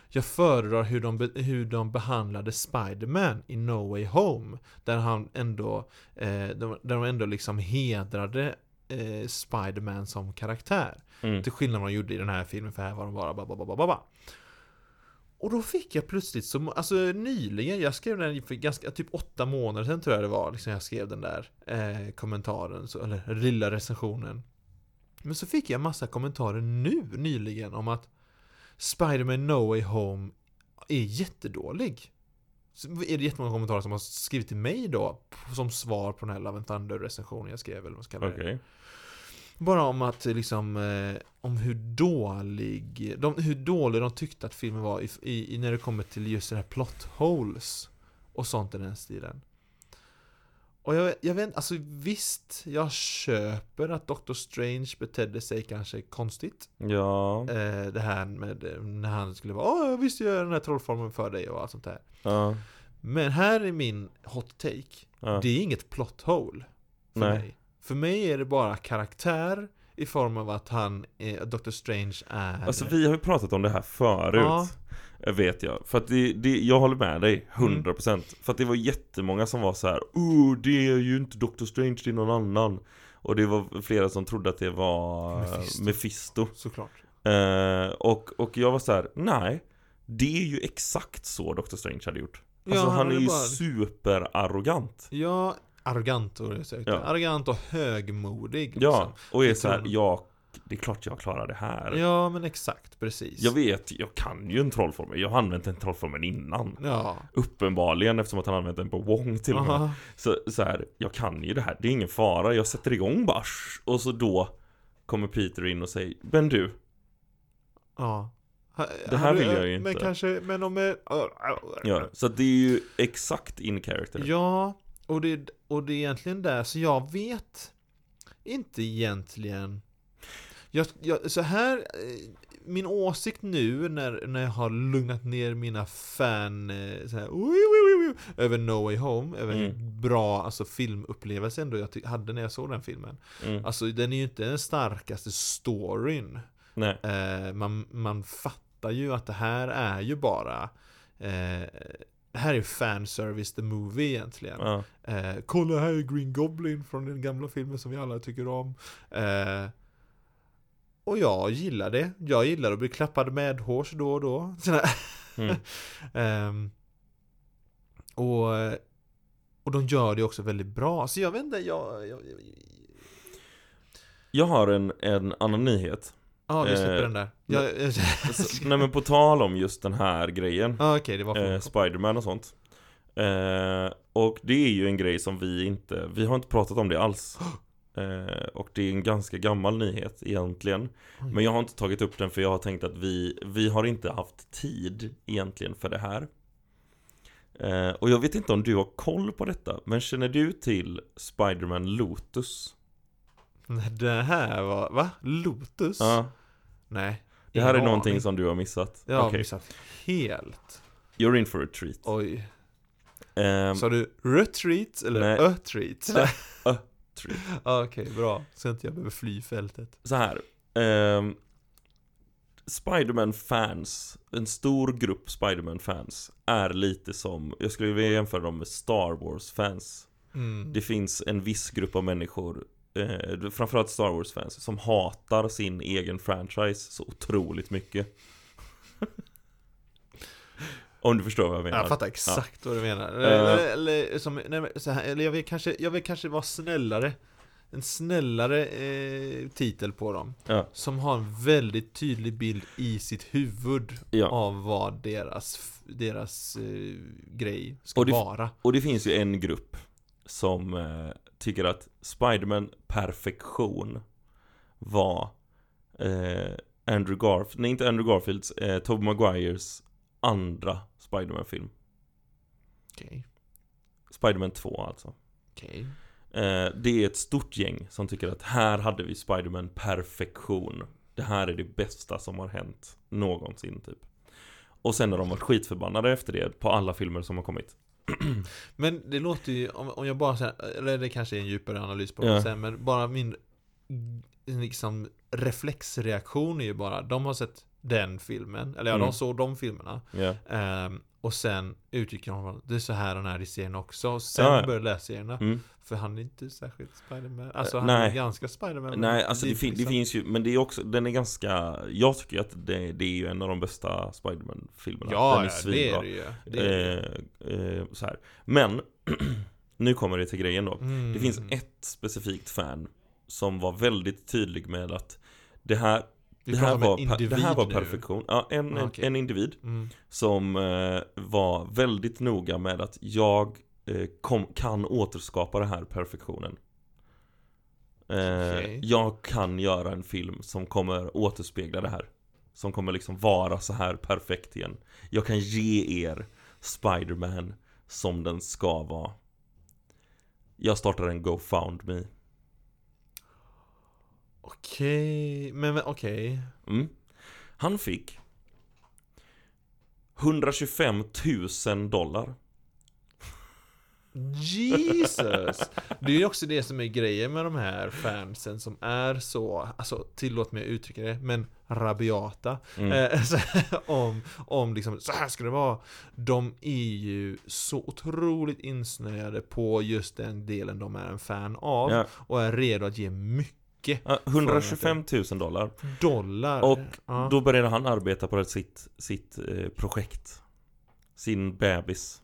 Speaker 2: Jag föredrar hur de, be- hur de behandlade Spider-Man i No Way Home. Där han ändå, eh, de, där de ändå liksom hedrade eh, Spider-Man som karaktär.
Speaker 1: Mm.
Speaker 2: Till skillnad från vad de gjorde i den här filmen, för här var de bara ba, ba, ba, ba, ba, ba. Och då fick jag plötsligt, så, alltså nyligen, jag skrev den för ganska, typ åtta månader sedan tror jag det var, liksom jag skrev den där eh, kommentaren, så, eller den lilla recensionen. Men så fick jag massa kommentarer nu, nyligen, om att Spider-Man No Way Home är jättedålig. Så är det jättemånga kommentarer som har skrivit till mig då, som svar på den här Love and Thunder-recensionen jag skrev, eller vad man ska kalla
Speaker 1: Okej
Speaker 2: det. Bara om att liksom, eh, om hur dålig, de, hur dålig de tyckte att filmen var i, i, i- när det kommer till just det här plot holes och sånt i den stilen. Och jag, jag vet alltså visst, jag köper att Doctor Strange betedde sig kanske konstigt.
Speaker 1: Ja,
Speaker 2: Eh, det här med eh, när han skulle vara Åh, visst gör jag den här trollformen för dig och allt sånt där.
Speaker 1: ja,
Speaker 2: Men här är min hot take.
Speaker 1: ja.
Speaker 2: Det är inget plot hole för
Speaker 1: Nej.
Speaker 2: mig. För mig är det bara karaktär i form av att han, eh, Dr. Strange är...
Speaker 1: Alltså vi har ju pratat om det här förut
Speaker 2: Ja. Mm.
Speaker 1: Eh, Vet jag, för att det, det, jag håller med dig 100% För att det var jättemånga som var så här: Oh, det är ju inte Doctor Strange, det är någon annan Och det var flera som trodde att det var
Speaker 2: Mephisto.
Speaker 1: Mephisto,
Speaker 2: Såklart.
Speaker 1: Eh, och, och jag var så här: nej Det är ju exakt så Doctor Strange hade gjort Alltså
Speaker 2: Ja,
Speaker 1: han, är
Speaker 2: hade
Speaker 1: ju
Speaker 2: bara-
Speaker 1: superarrogant
Speaker 2: Ja, arrogant och det
Speaker 1: Ja.
Speaker 2: Arrogant och högmodig.
Speaker 1: Ja, och är
Speaker 2: Det
Speaker 1: så här,
Speaker 2: tror
Speaker 1: ja, det är klart jag klarar det här
Speaker 2: Liksom. Ja, men exakt. Precis.
Speaker 1: Jag vet, jag kan ju en trollformel. Jag har använt den trollformeln innan.
Speaker 2: Ja.
Speaker 1: Uppenbarligen eftersom att han använt den på Wong till och med.
Speaker 2: Aha.
Speaker 1: Så, så här, jag kan ju det här. Det är ingen fara. Jag sätter igång bara. sh- Och så då kommer Peter in och säger Men du,
Speaker 2: Ja. Ha-
Speaker 1: Det här
Speaker 2: hade-
Speaker 1: vill jag
Speaker 2: eh,
Speaker 1: ju
Speaker 2: Men
Speaker 1: inte.
Speaker 2: kanske, men om... eh,
Speaker 1: ja. Så att det är ju exakt in character.
Speaker 2: Ja, och det, och det är egentligen där, så jag vet inte egentligen Jag, jag, så här, eh, min åsikt nu när, när jag har lugnat ner mina fan, eh, så här, oj, oj, oj, oj, över No Way Home, över
Speaker 1: Mm.
Speaker 2: hur bra alltså, filmupplevelse ändå jag ty- hade när jag såg den filmen.
Speaker 1: Mm.
Speaker 2: Alltså den är ju inte den starkaste storyn.
Speaker 1: Nej.
Speaker 2: Eh, man, man fattar ju att det här är ju bara eh, det här är fanservice the movie egentligen.
Speaker 1: Ja.
Speaker 2: Eh, kolla här är Green Goblin från den gamla filmen som vi alla tycker om. Eh, och jag gillar det. Jag gillar att bli klappad med hårs då och då. Sådär.
Speaker 1: Mm.
Speaker 2: Ehm, och, och de gör det också väldigt bra. Så jag vet inte, jag... jag, jag
Speaker 1: Jag har en, en annan nyhet.
Speaker 2: ja, vi släpper
Speaker 1: Eh,
Speaker 2: den där. Jag, jag,
Speaker 1: Så, nej men på tal om just den här grejen.
Speaker 2: ja, okej, det var för
Speaker 1: eh, Spiderman och sånt. Eh, och det är ju en grej som vi inte, vi har inte pratat om det alls. Eh, och det är en ganska gammal nyhet egentligen.
Speaker 2: Oj.
Speaker 1: Men jag har inte tagit upp den för jag har tänkt att vi, vi har inte haft tid egentligen för det här. Eh, och jag vet inte om du har koll på detta, men känner du till Spiderman Lotus?
Speaker 2: Nej, Det här var, va? Lotus?
Speaker 1: Ja,
Speaker 2: Nej.
Speaker 1: det här är
Speaker 2: Ingen
Speaker 1: någonting
Speaker 2: aning.
Speaker 1: som du har missat.
Speaker 2: Jag har
Speaker 1: Okej,
Speaker 2: missat helt.
Speaker 1: You're in for a treat.
Speaker 2: Oj.
Speaker 1: Ehm,
Speaker 2: Sa du retreat
Speaker 1: Nej.
Speaker 2: eller ötreat?
Speaker 1: Ö- ötreat.
Speaker 2: Ja, Okej, bra. Så inte jag behöver fly fältet.
Speaker 1: så här. ehm, Spiderman-fans, en stor grupp Spiderman-fans är lite som, jag skulle vilja jämföra dem med Star Wars-fans.
Speaker 2: Mm.
Speaker 1: Det finns en viss grupp av människor, eh, framförallt Star Wars-fans, som hatar sin egen franchise så otroligt mycket. Om du förstår vad jag menar.
Speaker 2: Jag fattar exakt vad du menar. Eller,
Speaker 1: Eh.
Speaker 2: eller, eller, som, nej, men så här, eller jag vill kanske, jag vill kanske vara snällare. En snällare eh, titel på dem.
Speaker 1: Ja.
Speaker 2: Som har en väldigt tydlig bild i sitt huvud
Speaker 1: Ja.
Speaker 2: av vad deras, f- deras eh, grej ska
Speaker 1: Och det-
Speaker 2: vara.
Speaker 1: Och det finns ju en grupp som eh, tycker att Spiderman perfektion var eh, Andrew Garfield, nej inte Andrew Garfields, eh, Tobey Maguires andra Spiderman-film.
Speaker 2: Okej,
Speaker 1: Spiderman 2 alltså.
Speaker 2: okej.
Speaker 1: Eh, det är ett stort gäng som tycker att här hade vi Spiderman perfektion. Det här är det bästa som har hänt någonsin typ. Och sen har de varit skitförbannade efter det på alla filmer som har kommit.
Speaker 2: Men det låter ju, om, om jag bara så här, eller det kanske är en djupare analys på det
Speaker 1: Ja.
Speaker 2: sen, men bara min liksom reflexreaktion är ju bara, de har sett den filmen, eller ja,
Speaker 1: Mm.
Speaker 2: de såg de filmerna.
Speaker 1: Ja.
Speaker 2: ehm, och sen utgick de från, det är så här den här i serien också, och sen
Speaker 1: Ja, ja.
Speaker 2: började läsa serierna.
Speaker 1: Mm.
Speaker 2: För han är inte särskilt Spiderman, alltså
Speaker 1: Eh,
Speaker 2: han
Speaker 1: nej.
Speaker 2: är ganska Spiderman. men
Speaker 1: Nej, alltså det, fin- det
Speaker 2: liksom-
Speaker 1: finns ju, men det är också, den är ganska, jag tycker ju att det, det är ju en av de bästa Spiderman-filmerna.
Speaker 2: Ja,
Speaker 1: den
Speaker 2: ja, det är det ju. Det är det. ju.
Speaker 1: Eh, eh, så här. Men, nu kommer det till grejen då.
Speaker 2: Mm.
Speaker 1: Det finns ett specifikt fan som var väldigt tydlig med att det här,
Speaker 2: Vi
Speaker 1: det här,
Speaker 2: pratar om en
Speaker 1: var, per- det här
Speaker 2: individ
Speaker 1: var
Speaker 2: nu.
Speaker 1: perfektion. Ja, en,
Speaker 2: Ah, okej.
Speaker 1: en individ
Speaker 2: Mm.
Speaker 1: som eh, var väldigt noga med att jag eh, kom, kan återskapa den här perfektionen. Eh,
Speaker 2: Okej.
Speaker 1: Jag kan göra en film som kommer återspegla det här. Som kommer liksom vara så här perfekt igen. Jag kan ge er Spider-Man som den ska vara. Jag startar en GoFundMe.
Speaker 2: Okej, men men okej.
Speaker 1: Mm. Han fick 125 000 dollar.
Speaker 2: Jesus! Det är ju också det som är grejen med de här fansen som är så, alltså tillåt mig att uttrycka det, men rabiata.
Speaker 1: Mm.
Speaker 2: Eh, så, om, om liksom, så här ska det vara. De är ju så otroligt insnöade på just den delen de är en fan av.
Speaker 1: Ja.
Speaker 2: Och är redo att ge mycket
Speaker 1: Ja, 125 000 dollar.
Speaker 2: dollar.
Speaker 1: Och
Speaker 2: ja.
Speaker 1: Då började han arbeta på sitt, sitt eh, projekt. Sin bebis.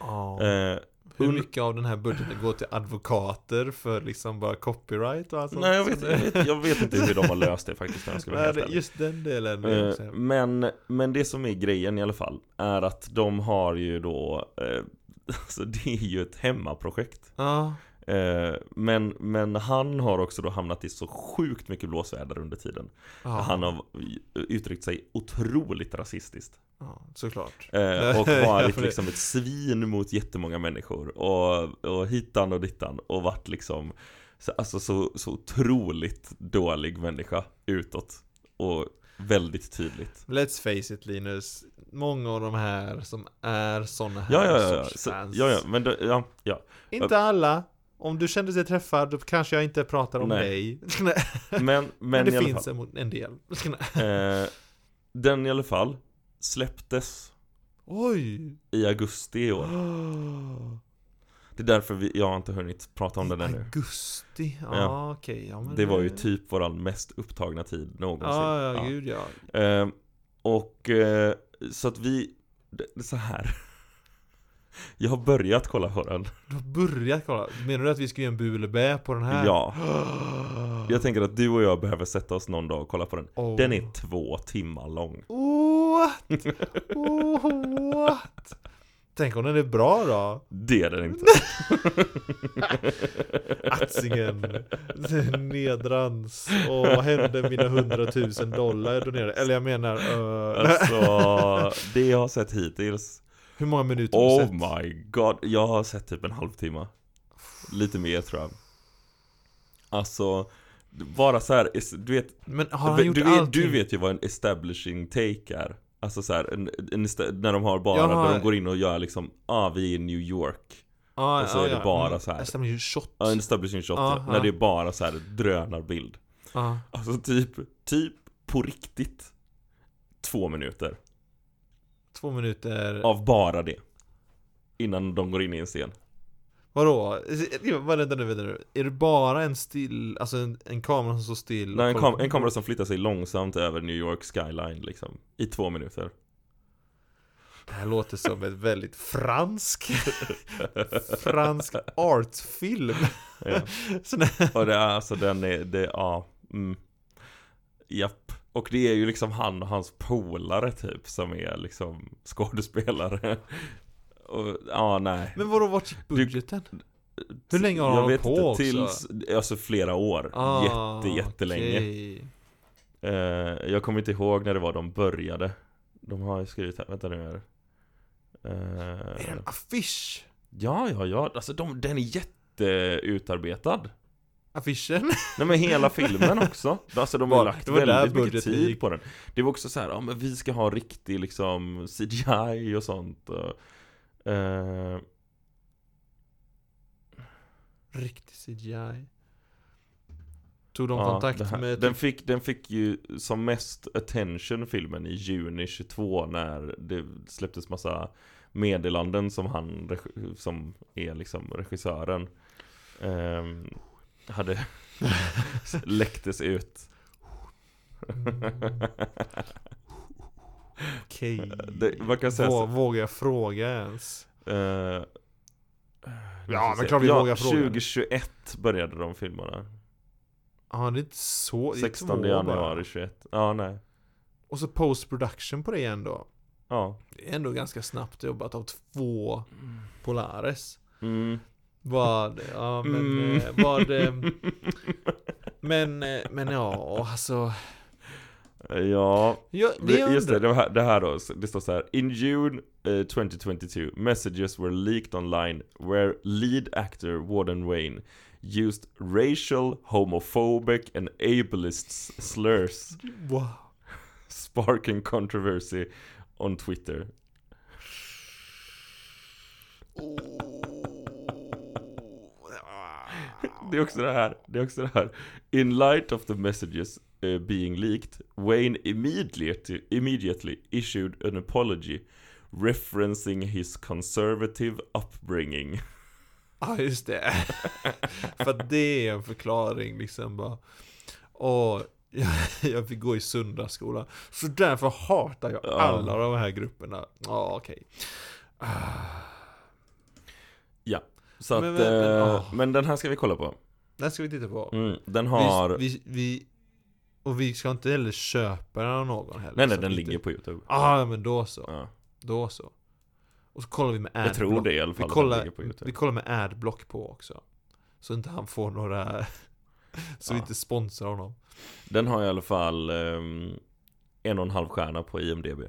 Speaker 2: Ja.
Speaker 1: Eh,
Speaker 2: Hur
Speaker 1: un-
Speaker 2: mycket av den här budgeten går till advokater för liksom bara copyright och allt sånt?
Speaker 1: nej, jag, vet, jag, vet, jag vet inte hur de har löst det faktiskt när jag ska vara
Speaker 2: Alltså, Nej,
Speaker 1: helt
Speaker 2: det,
Speaker 1: ärlig.
Speaker 2: just den delen. är också-
Speaker 1: Eh, men, men det som är grejen i alla fall är att de har ju då, eh, alltså det är ju ett hemmaprojekt.
Speaker 2: Ja,
Speaker 1: Eh, men, men han har också då hamnat i så sjukt mycket blåsväder under tiden.
Speaker 2: ja,
Speaker 1: Han har uttryckt sig otroligt rasistiskt.
Speaker 2: ja, såklart.
Speaker 1: Eh, och
Speaker 2: Ja,
Speaker 1: varit
Speaker 2: för det-
Speaker 1: liksom ett svin mot jättemånga människor och, och hittan och dittan och varit liksom så, alltså så, så otroligt dålig människa utåt. Och väldigt tydligt.
Speaker 2: Let's face it Linus, många av de här som är såna här
Speaker 1: Ja, ja, ja. ja.
Speaker 2: sorts
Speaker 1: Så,
Speaker 2: fans.
Speaker 1: ja, ja, men då, ja, ja.
Speaker 2: Inte alla. Om du kände dig träffad, då kanske jag inte pratar om
Speaker 1: Nej.
Speaker 2: dig. Men,
Speaker 1: Men, men i
Speaker 2: det
Speaker 1: alla
Speaker 2: finns en, en del.
Speaker 1: fall. Eh, den i alla fall släpptes
Speaker 2: Oj!
Speaker 1: i augusti i år. Det är därför vi, jag har inte hunnit prata om den ännu.
Speaker 2: Augusti, ja,
Speaker 1: Ja.
Speaker 2: okej. ja, men
Speaker 1: Det var ju typ våran mest upptagna tid någonsin.
Speaker 2: Ja, ja,
Speaker 1: Ja.
Speaker 2: gud ja.
Speaker 1: Eh, och eh, så att vi, det, det är så här. Jag har börjat kolla på den.
Speaker 2: Du har börjat kolla. Menar du att vi ska göra en bu eller bä på den här?
Speaker 1: Ja. Jag tänker att du och jag behöver sätta oss någon dag och kolla på den.
Speaker 2: Oh.
Speaker 1: Den är två timmar lång.
Speaker 2: What? Oh, what? Tänk om den är bra då?
Speaker 1: Det är den inte.
Speaker 2: Atsingen, nedrans, och vad hände med mina hundratusen dollar jag donerade? Eller jag menar, eh,
Speaker 1: Alltså, det jag har sett hittills.
Speaker 2: hur många minuter har du
Speaker 1: Oh
Speaker 2: sett?
Speaker 1: my god. Jag har sett typ en halvtimme. Lite mer tror jag. Alltså, bara så här, du vet,
Speaker 2: Men har han
Speaker 1: Men
Speaker 2: gjort
Speaker 1: du, vet,
Speaker 2: allting?
Speaker 1: du vet ju vad en establishing take är Alltså såhär, en, en, esta- när de har bara,
Speaker 2: Jaha.
Speaker 1: där de går in och gör liksom Ah, vi är i New York
Speaker 2: Ja,
Speaker 1: och så
Speaker 2: ja,
Speaker 1: är det
Speaker 2: ja.
Speaker 1: bara
Speaker 2: Mm.
Speaker 1: så här.
Speaker 2: Jag stämmer ju shot.
Speaker 1: Ja, en establishing shot
Speaker 2: Ja, ja.
Speaker 1: När det är bara så här drönarbild
Speaker 2: Ja.
Speaker 1: Alltså typ, typ på riktigt Två minuter
Speaker 2: Två minuter.
Speaker 1: av bara det Innan de går in i en scen
Speaker 2: Vadå? Vad- Vänta nu, vänta nu. Är det bara en still, alltså en, en kamera som står still? och
Speaker 1: Nej, en,
Speaker 2: kollar
Speaker 1: kam-
Speaker 2: på-
Speaker 1: en kamera som flyttar sig långsamt över New York skyline liksom I två minuter
Speaker 2: Det här låter som ett väldigt fransk, fransk artfilm.
Speaker 1: Ja.
Speaker 2: Så när-
Speaker 1: Och det är alltså den är, det, ja, mm. Japp. Och det är ju liksom han och hans polare typ som är liksom skådespelare. Och, ja, nej.
Speaker 2: Men vadå, vart gick budgeten? hur länge har
Speaker 1: Jag
Speaker 2: han hållit
Speaker 1: vet
Speaker 2: på också?
Speaker 1: tills, alltså flera år.
Speaker 2: Ah,
Speaker 1: Jätte, jättelänge.
Speaker 2: okej.
Speaker 1: Eh, jag kommer inte ihåg när det var de började. De har ju skrivit här, vänta nu här.
Speaker 2: Är det
Speaker 1: Eh,
Speaker 2: en affisch?
Speaker 1: ja, ja, ja. Alltså de, den är jätteutarbetad.
Speaker 2: Affischen?
Speaker 1: Nej men hela filmen också. Alltså de har
Speaker 2: Var-
Speaker 1: lagt
Speaker 2: det var där
Speaker 1: väldigt mycket
Speaker 2: budgeten
Speaker 1: tid
Speaker 2: gick.
Speaker 1: på den. Det var också så här, ja men vi ska ha riktig liksom CGI och sånt. Och, eh,
Speaker 2: Riktig CGI. Tog de
Speaker 1: ja,
Speaker 2: kontakt
Speaker 1: det här-
Speaker 2: med... typ-
Speaker 1: den, fick, den fick ju som mest attention filmen i juni 22 när det släpptes massa meddelanden som han, reg- som är liksom regissören, ehm, hade läcktes ut.
Speaker 2: Mm, Okej.
Speaker 1: Det, man kan säga så,
Speaker 2: Vå, vågar jag fråga ens?
Speaker 1: Eh, nu ska
Speaker 2: men
Speaker 1: se.
Speaker 2: klart vi vågar fråga.
Speaker 1: 2021 började de filmerna.
Speaker 2: Ja, det är inte så... det är
Speaker 1: 16
Speaker 2: två
Speaker 1: januari
Speaker 2: bara.
Speaker 1: 21. Ja, nej.
Speaker 2: Och så post production på det igen då.
Speaker 1: Ja.
Speaker 2: Det är ändå ganska snabbt jobbat av två Polares.
Speaker 1: Mm.
Speaker 2: Vad, ja men,
Speaker 1: Mm.
Speaker 2: eh, vad, eh, men, eh, men ja, alltså.
Speaker 1: Eh, Ja,
Speaker 2: Ja, det jag
Speaker 1: just det,
Speaker 2: undrar.
Speaker 1: det, här, det här då, det står så här. In June eh, 2022, messages were leaked online where lead actor Warden Wayne used racial, homophobic and ableist s- slurs
Speaker 2: Wow.
Speaker 1: sparking controversy on Twitter.
Speaker 2: Ah,
Speaker 1: Det är också det här, det är också det här. In light of the messages eh, being leaked, Wayne immediately, immediately issued an apology referencing his conservative upbringing.
Speaker 2: Ja, ah, just det. För att det är en förklaring liksom bara. Åh, jag, jag fick gå i söndagsskola. Så därför hatar jag
Speaker 1: Ja.
Speaker 2: alla de här grupperna. Ja, okej.
Speaker 1: Så att,
Speaker 2: Men-
Speaker 1: men,
Speaker 2: men- men, åh.
Speaker 1: men den här ska vi kolla på.
Speaker 2: Det här ska vi titta på.
Speaker 1: Mm, den har,
Speaker 2: Vi, vi, vi, och vi ska inte heller köpa den av någon heller.
Speaker 1: nej nej
Speaker 2: så
Speaker 1: den
Speaker 2: att vi
Speaker 1: ligger
Speaker 2: inte-
Speaker 1: på youtube.
Speaker 2: Ah, men då så.
Speaker 1: Ja.
Speaker 2: Då så. Och så kollar vi med adblock.
Speaker 1: Jag tror det i alla fall.
Speaker 2: Äh, Vi
Speaker 1: att den
Speaker 2: kollar,
Speaker 1: ligger på YouTube.
Speaker 2: vi kollar med adblock på också. Så inte han får några... så vi
Speaker 1: Ja.
Speaker 2: inte sponsrar honom.
Speaker 1: Den har i alla fall ehm, en och en halv stjärna på IMDB.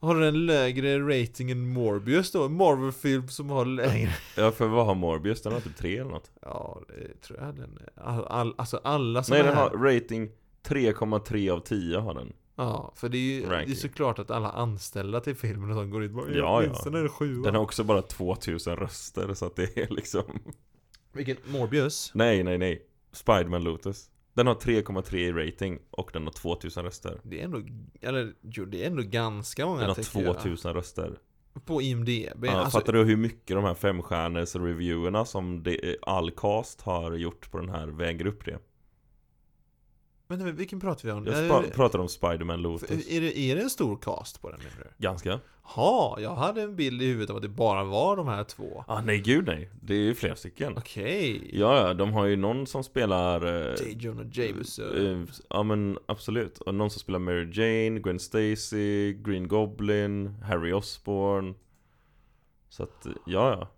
Speaker 2: Har den en lägre rating än Morbius då? En Marvel-film som har lägre...
Speaker 1: Ja, för vad har Morbius? Den har typ 3 eller något.
Speaker 2: Ja, det tror jag den... All, all, alltså alla som
Speaker 1: Nej,
Speaker 2: är
Speaker 1: den
Speaker 2: här-
Speaker 1: har rating 3,3 av 10 har den.
Speaker 2: Ja, för det är ju det är
Speaker 1: Ranking.
Speaker 2: såklart att alla anställda till filmen och de går in och bara
Speaker 1: Ja, ja.
Speaker 2: ja, minst är det sjua.
Speaker 1: Den har också bara 2000 röster, så att det är liksom...
Speaker 2: Vilken? Morbius?
Speaker 1: Nej, nej, nej. Spiderman Lotus. Den har 3,3 i rating och den har 2000 röster.
Speaker 2: Det är ändå, eller jo, det är ändå ganska många
Speaker 1: Den har
Speaker 2: tycker
Speaker 1: 2000 röster.
Speaker 2: jag. På IMDB.
Speaker 1: Ja,
Speaker 2: alltså,
Speaker 1: fattar du hur mycket de här femstjärnors reviewerna som det, all cast har gjort på den här väger upp det?
Speaker 2: vänta, men vilken pratar vi om?
Speaker 1: Jag
Speaker 2: Är
Speaker 1: spa-
Speaker 2: det-
Speaker 1: pratar om Spiderman Lotus.
Speaker 2: Är det, är det en stor cast på den menar du?
Speaker 1: Ganska.
Speaker 2: Ja, jag hade en bild i huvudet av att det bara var de här två.
Speaker 1: Ah, nej, gud nej. Det är ju flera stycken.
Speaker 2: Okej.
Speaker 1: Ja, ja, de har ju någon som spelar... eh,
Speaker 2: J. Jonah Jameson.
Speaker 1: eh, Ja men absolut, och någon som spelar Mary Jane, Gwen Stacy, Green Goblin, Harry Osborn Så att, eh, ja ja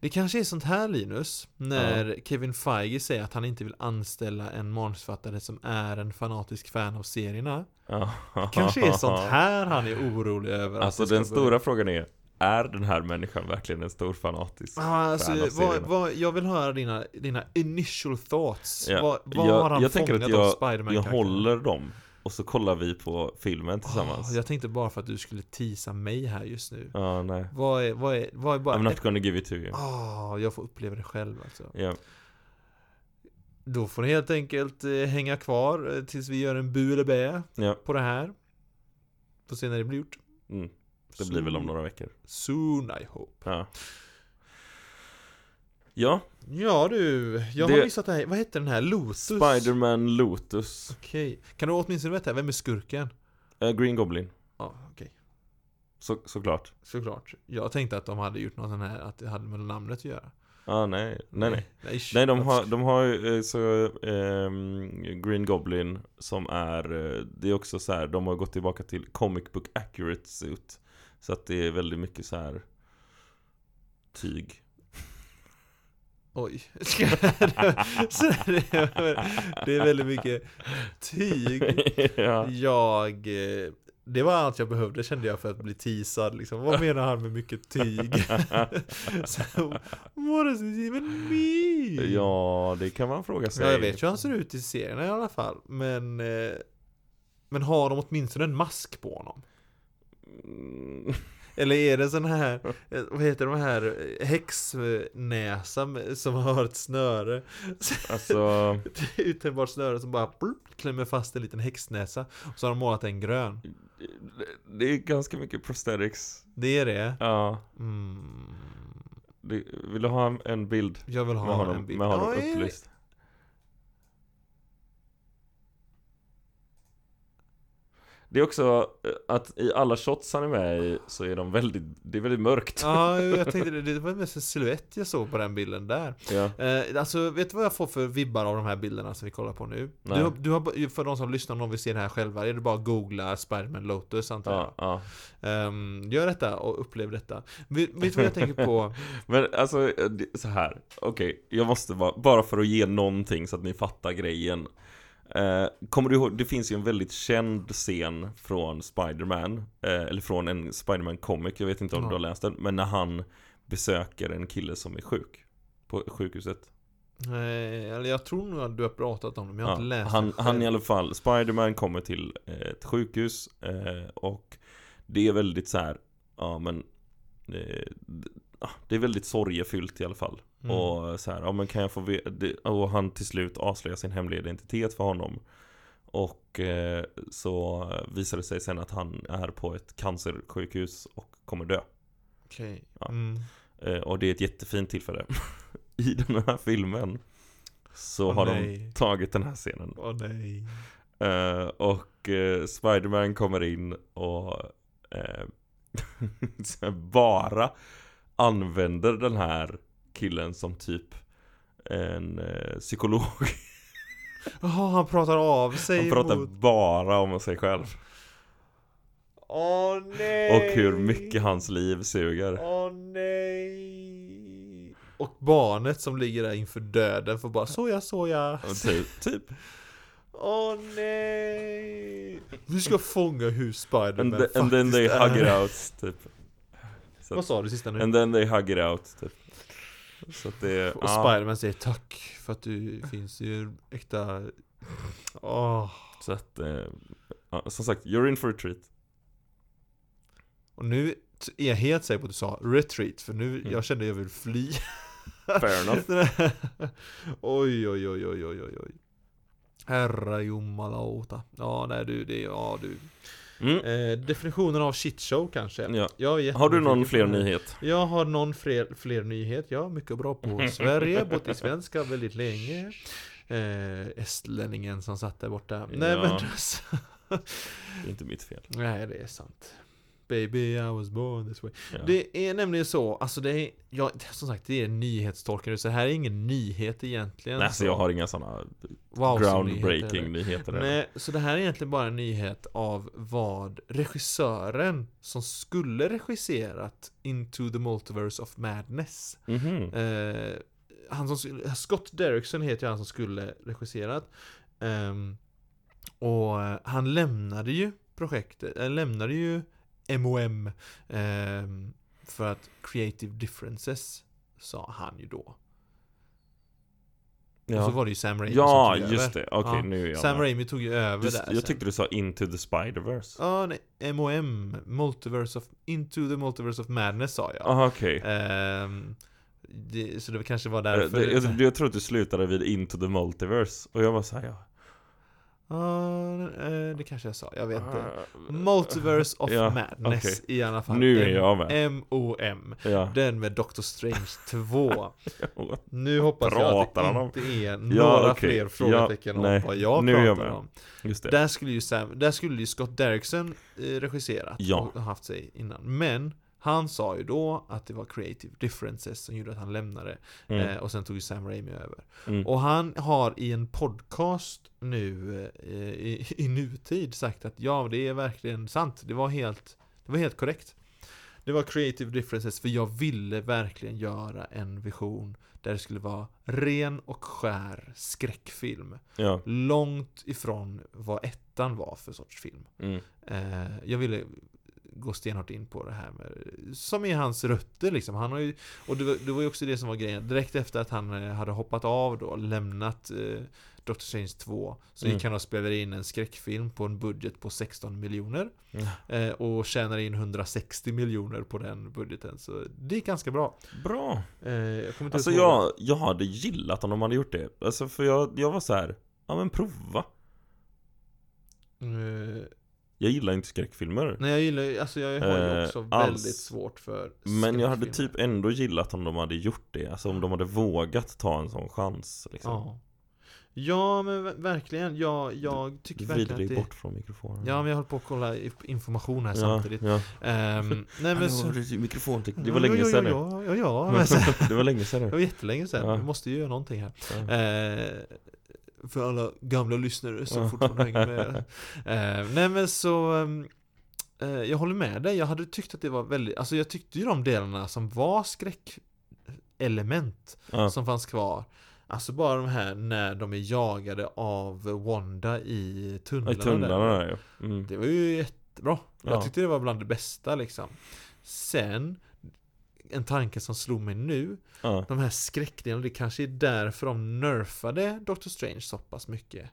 Speaker 2: Det kanske är sånt här Linus, när Kevin Feige säger att han inte vill anställa en manusförfattare som är en fanatisk fan av serierna.
Speaker 1: Ja.
Speaker 2: Kanske är sånt här han är orolig över. att
Speaker 1: Alltså
Speaker 2: det ska
Speaker 1: den
Speaker 2: börja.
Speaker 1: stora frågan är, är den här människan verkligen en stor fanatisk?
Speaker 2: Ja, alltså,
Speaker 1: fan av
Speaker 2: vad,
Speaker 1: serierna.
Speaker 2: vad, jag vill höra dina, dina initial thoughts.
Speaker 1: Ja,
Speaker 2: Vad, vad
Speaker 1: jag-
Speaker 2: har han
Speaker 1: jag tänker
Speaker 2: fångat
Speaker 1: att jag-
Speaker 2: av Spiderman?
Speaker 1: Jag håller dem, och så kollar vi på filmen tillsammans
Speaker 2: Ah, jag tänkte bara för att du skulle tisa mig här just nu.
Speaker 1: Ja, nej
Speaker 2: Vad är, vad är, vad är bara...
Speaker 1: I'm not gonna give it to you
Speaker 2: Ah, jag får uppleva det själv alltså.
Speaker 1: Ja,
Speaker 2: Då får ni helt enkelt eh, hänga kvar eh, tills vi gör en bu eller bä
Speaker 1: ja,
Speaker 2: på det här. Får se när det blir gjort.
Speaker 1: mm. det blir väl om några veckor
Speaker 2: Soon I hope.
Speaker 1: Ja Ja,
Speaker 2: Ja du, jag
Speaker 1: Det-
Speaker 2: har missat det här. Vad hette den här? Lotus?
Speaker 1: Spiderman Lotus
Speaker 2: Okej. Kan du åtminstone veta vem är skurken?
Speaker 1: Eh, Green Goblin,
Speaker 2: Ja, okej.
Speaker 1: så, såklart.
Speaker 2: Såklart. Jag tänkte att de hade gjort någon sån här, att det hade med namnet att göra.
Speaker 1: Ah, nej, nej, nej.
Speaker 2: Nej,
Speaker 1: Nej, de har, de har ju, eh, så, ehm, Green Goblin som är, eh, det är också så här, de har gått tillbaka till comic book accurate suit. Så att det är väldigt mycket så här tyg.
Speaker 2: Oj. Ska- så det, är- det är väldigt mycket tyg.
Speaker 1: ja.
Speaker 2: Jag... eh, Det var allt jag behövde kände jag för att bli teasad liksom. Vad menar han med mycket tyg? Så, What does it even mean?
Speaker 1: ja, det kan man fråga sig.
Speaker 2: Ja, jag vet ju hur han ser ut i serierna i alla fall. Men... eh, Men har de åtminstone en mask på honom?
Speaker 1: Mm,
Speaker 2: Eller är det sån här, eh, vad heter de här, eh, häxnäsa med- som har ett snöre?
Speaker 1: Alltså,
Speaker 2: Ett Uttänjbart snöre som bara plupp, klämmer fast en liten häxnäsa. Och så har de målat en grön.
Speaker 1: det- det är ganska mycket prosthetics.
Speaker 2: Det är det.
Speaker 1: Ja,
Speaker 2: Mm.
Speaker 1: det, vill du ha en- en bild
Speaker 2: Jag vill
Speaker 1: med
Speaker 2: ha
Speaker 1: honom,
Speaker 2: en bild.
Speaker 1: med honom
Speaker 2: Ja, är det-
Speaker 1: upplyst? Det är också eh, att i alla shots han är med i så är de väldigt, det är väldigt mörkt.
Speaker 2: Ja, jag tänkte det. Det var mest en silhuett jag såg på den bilden där.
Speaker 1: Ja.
Speaker 2: Eh, alltså, vet du vad jag får för vibbar av de här bilderna som vi kollar på nu?
Speaker 1: Nej.
Speaker 2: Du har, du har, ba- för de som lyssnar, om de vill se det här själva, är det bara att googla Spiderman Lotus antar jag.
Speaker 1: Ja, ja.
Speaker 2: Ehm, gör detta och upplev detta. Vet, vet du vad jag tänker på?
Speaker 1: Men alltså, eh, det- så här. Okej, jag måste bara, bara för att ge någonting så att ni fattar grejen. Eh, kommer du ihåg, det finns ju en väldigt känd scen från Spider-Man, eh, eller från en Spider-Man comic, jag vet inte om
Speaker 2: Ja.
Speaker 1: du har läst den, men när han besöker en kille som är sjuk. På sjukhuset.
Speaker 2: Eh, eller jag tror nog att du har pratat om det, men jag har
Speaker 1: Ja,
Speaker 2: inte läst
Speaker 1: han,
Speaker 2: det själv.
Speaker 1: han i alla fall, Spiderman kommer till eh, ett sjukhus eh, och det är väldigt så här, ja men eh, d- ah, det är väldigt sorgefyllt i alla fall.
Speaker 2: Mm.
Speaker 1: Och så här, ja men kan jag få ve- det, Och han till slut avslöjar sin hemliga identitet för honom. Och eh, så visar det sig sen att han är på ett cancersjukhus och kommer dö.
Speaker 2: Okej.
Speaker 1: Ja.
Speaker 2: Mm.
Speaker 1: Eh, och det är ett jättefint tillfälle. I den här filmen så
Speaker 2: Åh,
Speaker 1: har de
Speaker 2: nej.
Speaker 1: tagit den här scenen.
Speaker 2: Åh nej.
Speaker 1: Eh, och eh, Spiderman kommer in och eh, så här bara använder den här killen som typ en eh, psykolog.
Speaker 2: Jaha, han pratar av sig
Speaker 1: Han pratar
Speaker 2: mot...
Speaker 1: bara om sig själv.
Speaker 2: Åh nej!
Speaker 1: Och hur mycket hans liv suger.
Speaker 2: Åh nej! Och barnet som ligger där inför döden får bara såja, såja.
Speaker 1: Och Typ, typ.
Speaker 2: Åh nej! Vi ska fånga hur Spiderman
Speaker 1: And,
Speaker 2: faktiskt
Speaker 1: the, and then they
Speaker 2: är.
Speaker 1: hug it out, typ. Så
Speaker 2: Vad
Speaker 1: att,
Speaker 2: sa du sista nu?
Speaker 1: and then they hug it out, typ. Så att det...
Speaker 2: Och
Speaker 1: Ja,
Speaker 2: Spiderman säger tack för att du finns i en äkta... Åh.
Speaker 1: så att... eh, Ja, som sagt, you're in for a treat.
Speaker 2: Och nu t- är jag helt säker på att du sa retreat, för nu,
Speaker 1: Mm.
Speaker 2: jag kände att jag vill fly.
Speaker 1: Fair enough.
Speaker 2: oj, oj, oj, oj, oj, oj, oj. Herra jummalauta. Ja, nej du, det, ja du.
Speaker 1: Mm.
Speaker 2: Eh, definitionen av shitshow kanske.
Speaker 1: Ja.
Speaker 2: Jag är
Speaker 1: Har du någon
Speaker 2: jättenyfiken
Speaker 1: fler
Speaker 2: på det här.
Speaker 1: nyhet?
Speaker 2: Jag har någon fler, fler nyhet. Jag är mycket bra på Sverige, bott i svenska väldigt länge. Eh, estlänningen som satt där borta. Nej
Speaker 1: Ja.
Speaker 2: men alltså,
Speaker 1: Det är inte mitt fel.
Speaker 2: Nej, det är sant. Baby I was born this way.
Speaker 1: Ja.
Speaker 2: Det är nämligen så, alltså det är, ja, det- som sagt det är nyhetstolkande, så det här är ingen nyhet egentligen.
Speaker 1: Nej, alltså
Speaker 2: så-
Speaker 1: jag har inga sådana
Speaker 2: wow, som nyheter.
Speaker 1: groundbreaking nyheter. eller.
Speaker 2: Nej, så det här är egentligen bara en nyhet av vad regissören som skulle regisserat Into the Multiverse of Madness
Speaker 1: Mhm.
Speaker 2: Eh, han som, skulle- Scott Derrickson heter ju han som skulle regisserat. Ehm, och eh, han lämnade ju projektet, eller lämnade ju MOM ehm, för att Creative Differences sa han ju då. Och så
Speaker 1: Ja,
Speaker 2: var det ju Sam Raimi
Speaker 1: ja
Speaker 2: som tog
Speaker 1: just
Speaker 2: över.
Speaker 1: det. Okej,
Speaker 2: Ja.
Speaker 1: nu är jag
Speaker 2: Sam
Speaker 1: med.
Speaker 2: Raimi tog ju över
Speaker 1: Du,
Speaker 2: där sen.
Speaker 1: jag tyckte du sa Into the Spider-Verse.
Speaker 2: Ja, nej. MOM, Multiverse of, Into the Multiverse of Madness sa jag.
Speaker 1: Aha, okej.
Speaker 2: Ehm, det, så det kanske var
Speaker 1: Eh,
Speaker 2: därför.
Speaker 1: det- Jag, jag tror att du slutade vid Into the Multiverse, och jag var såhär ja.
Speaker 2: Ja, eh, det kanske jag sa, jag vet inte.
Speaker 1: Ah,
Speaker 2: Multiverse of
Speaker 1: Ja,
Speaker 2: Madness i alla fall.
Speaker 1: Nu är
Speaker 2: M-
Speaker 1: jag med.
Speaker 2: M.O.M.
Speaker 1: Ja.
Speaker 2: Den med Doctor Strange 2. Nu hoppas
Speaker 1: pratar
Speaker 2: jag
Speaker 1: han om?
Speaker 2: att det inte är några
Speaker 1: Ja, okej.
Speaker 2: fler
Speaker 1: Ja,
Speaker 2: frågetecken om
Speaker 1: nej.
Speaker 2: vad jag
Speaker 1: Nu är jag
Speaker 2: pratar
Speaker 1: med.
Speaker 2: om.
Speaker 1: Just det.
Speaker 2: Där skulle ju, Sam, där skulle ju Scott Derrickson eh, regisserat
Speaker 1: Ja.
Speaker 2: och haft sig innan. Men han sa ju då att det var creative differences som gjorde att han lämnade. Eh,
Speaker 1: Mm.
Speaker 2: och sen tog ju Sam Raimi över.
Speaker 1: Mm.
Speaker 2: Och han har i en podcast nu eh, i, i nutid sagt att ja, det är verkligen sant. Det var helt, det var helt korrekt. Det var creative differences för jag ville verkligen göra en vision där det skulle vara ren och skär skräckfilm.
Speaker 1: Ja.
Speaker 2: Långt ifrån vad ettan var för sorts film.
Speaker 1: Mm.
Speaker 2: Eh, jag ville gå stenhårt in på det här med, som är hans rötter liksom. Han har ju, och det var, det var ju också det som var grejen, direkt efter att han eh, hade hoppat av då, lämnat eh, Doctor Strange 2, så
Speaker 1: Mm.
Speaker 2: gick han och spelade in en skräckfilm på en budget på 16 miljoner.
Speaker 1: Mm.
Speaker 2: Eh, och tjänade in 160 miljoner på den budgeten, så det gick ganska bra.
Speaker 1: Bra.
Speaker 2: Eh, jag kommer inte
Speaker 1: Alltså
Speaker 2: ihåg-
Speaker 1: jag, jag hade gillat om de hade gjort det. Alltså för jag, jag var så här. ja men prova.
Speaker 2: Eh,
Speaker 1: Jag gillar inte skräckfilmer.
Speaker 2: nej jag gillar ju- alltså jag har ju
Speaker 1: Eh,
Speaker 2: också
Speaker 1: alls.
Speaker 2: väldigt svårt för
Speaker 1: Men jag hade
Speaker 2: skräckfilmer.
Speaker 1: typ ändå gillat om de hade gjort det. Alltså om de hade vågat ta en sån chans. Liksom.
Speaker 2: Ja. Ja men ver- verkligen, jag, jag tycker
Speaker 1: Vrider
Speaker 2: verkligen
Speaker 1: dig
Speaker 2: att det
Speaker 1: bort från mikrofonen.
Speaker 2: Ja men jag håller på att kolla i- information här samtidigt
Speaker 1: Ja,
Speaker 2: Ehm, Nej men så
Speaker 1: ja. Mikrofonteknik. Det var länge sedan nu.
Speaker 2: Ja, ja, ja, ja, men så-
Speaker 1: Det var länge sedan
Speaker 2: det
Speaker 1: nu.
Speaker 2: var jättelänge sedan,
Speaker 1: Ja.
Speaker 2: vi måste ju göra någonting här
Speaker 1: Ja.
Speaker 2: Eh, För alla gamla lyssnare som
Speaker 1: Ja.
Speaker 2: fortfarande hänger med Eh, Nej men så ehm, eh, Jag håller med dig, jag hade tyckt att det var väldigt Alltså jag tyckte ju de delarna som var skräckelement
Speaker 1: Ja.
Speaker 2: som fanns kvar. Alltså bara de här när de är jagade av Wanda i
Speaker 1: I
Speaker 2: tunnlarna.
Speaker 1: tunnlarna
Speaker 2: där.
Speaker 1: där ja. Mm.
Speaker 2: Det var ju jättebra.
Speaker 1: Ja.
Speaker 2: Jag tyckte det var bland det bästa liksom. Sen, en tanke som slog mig nu.
Speaker 1: Ja.
Speaker 2: De här skräckdelarna, det kanske är därför de nerfade Doctor Strange så pass mycket.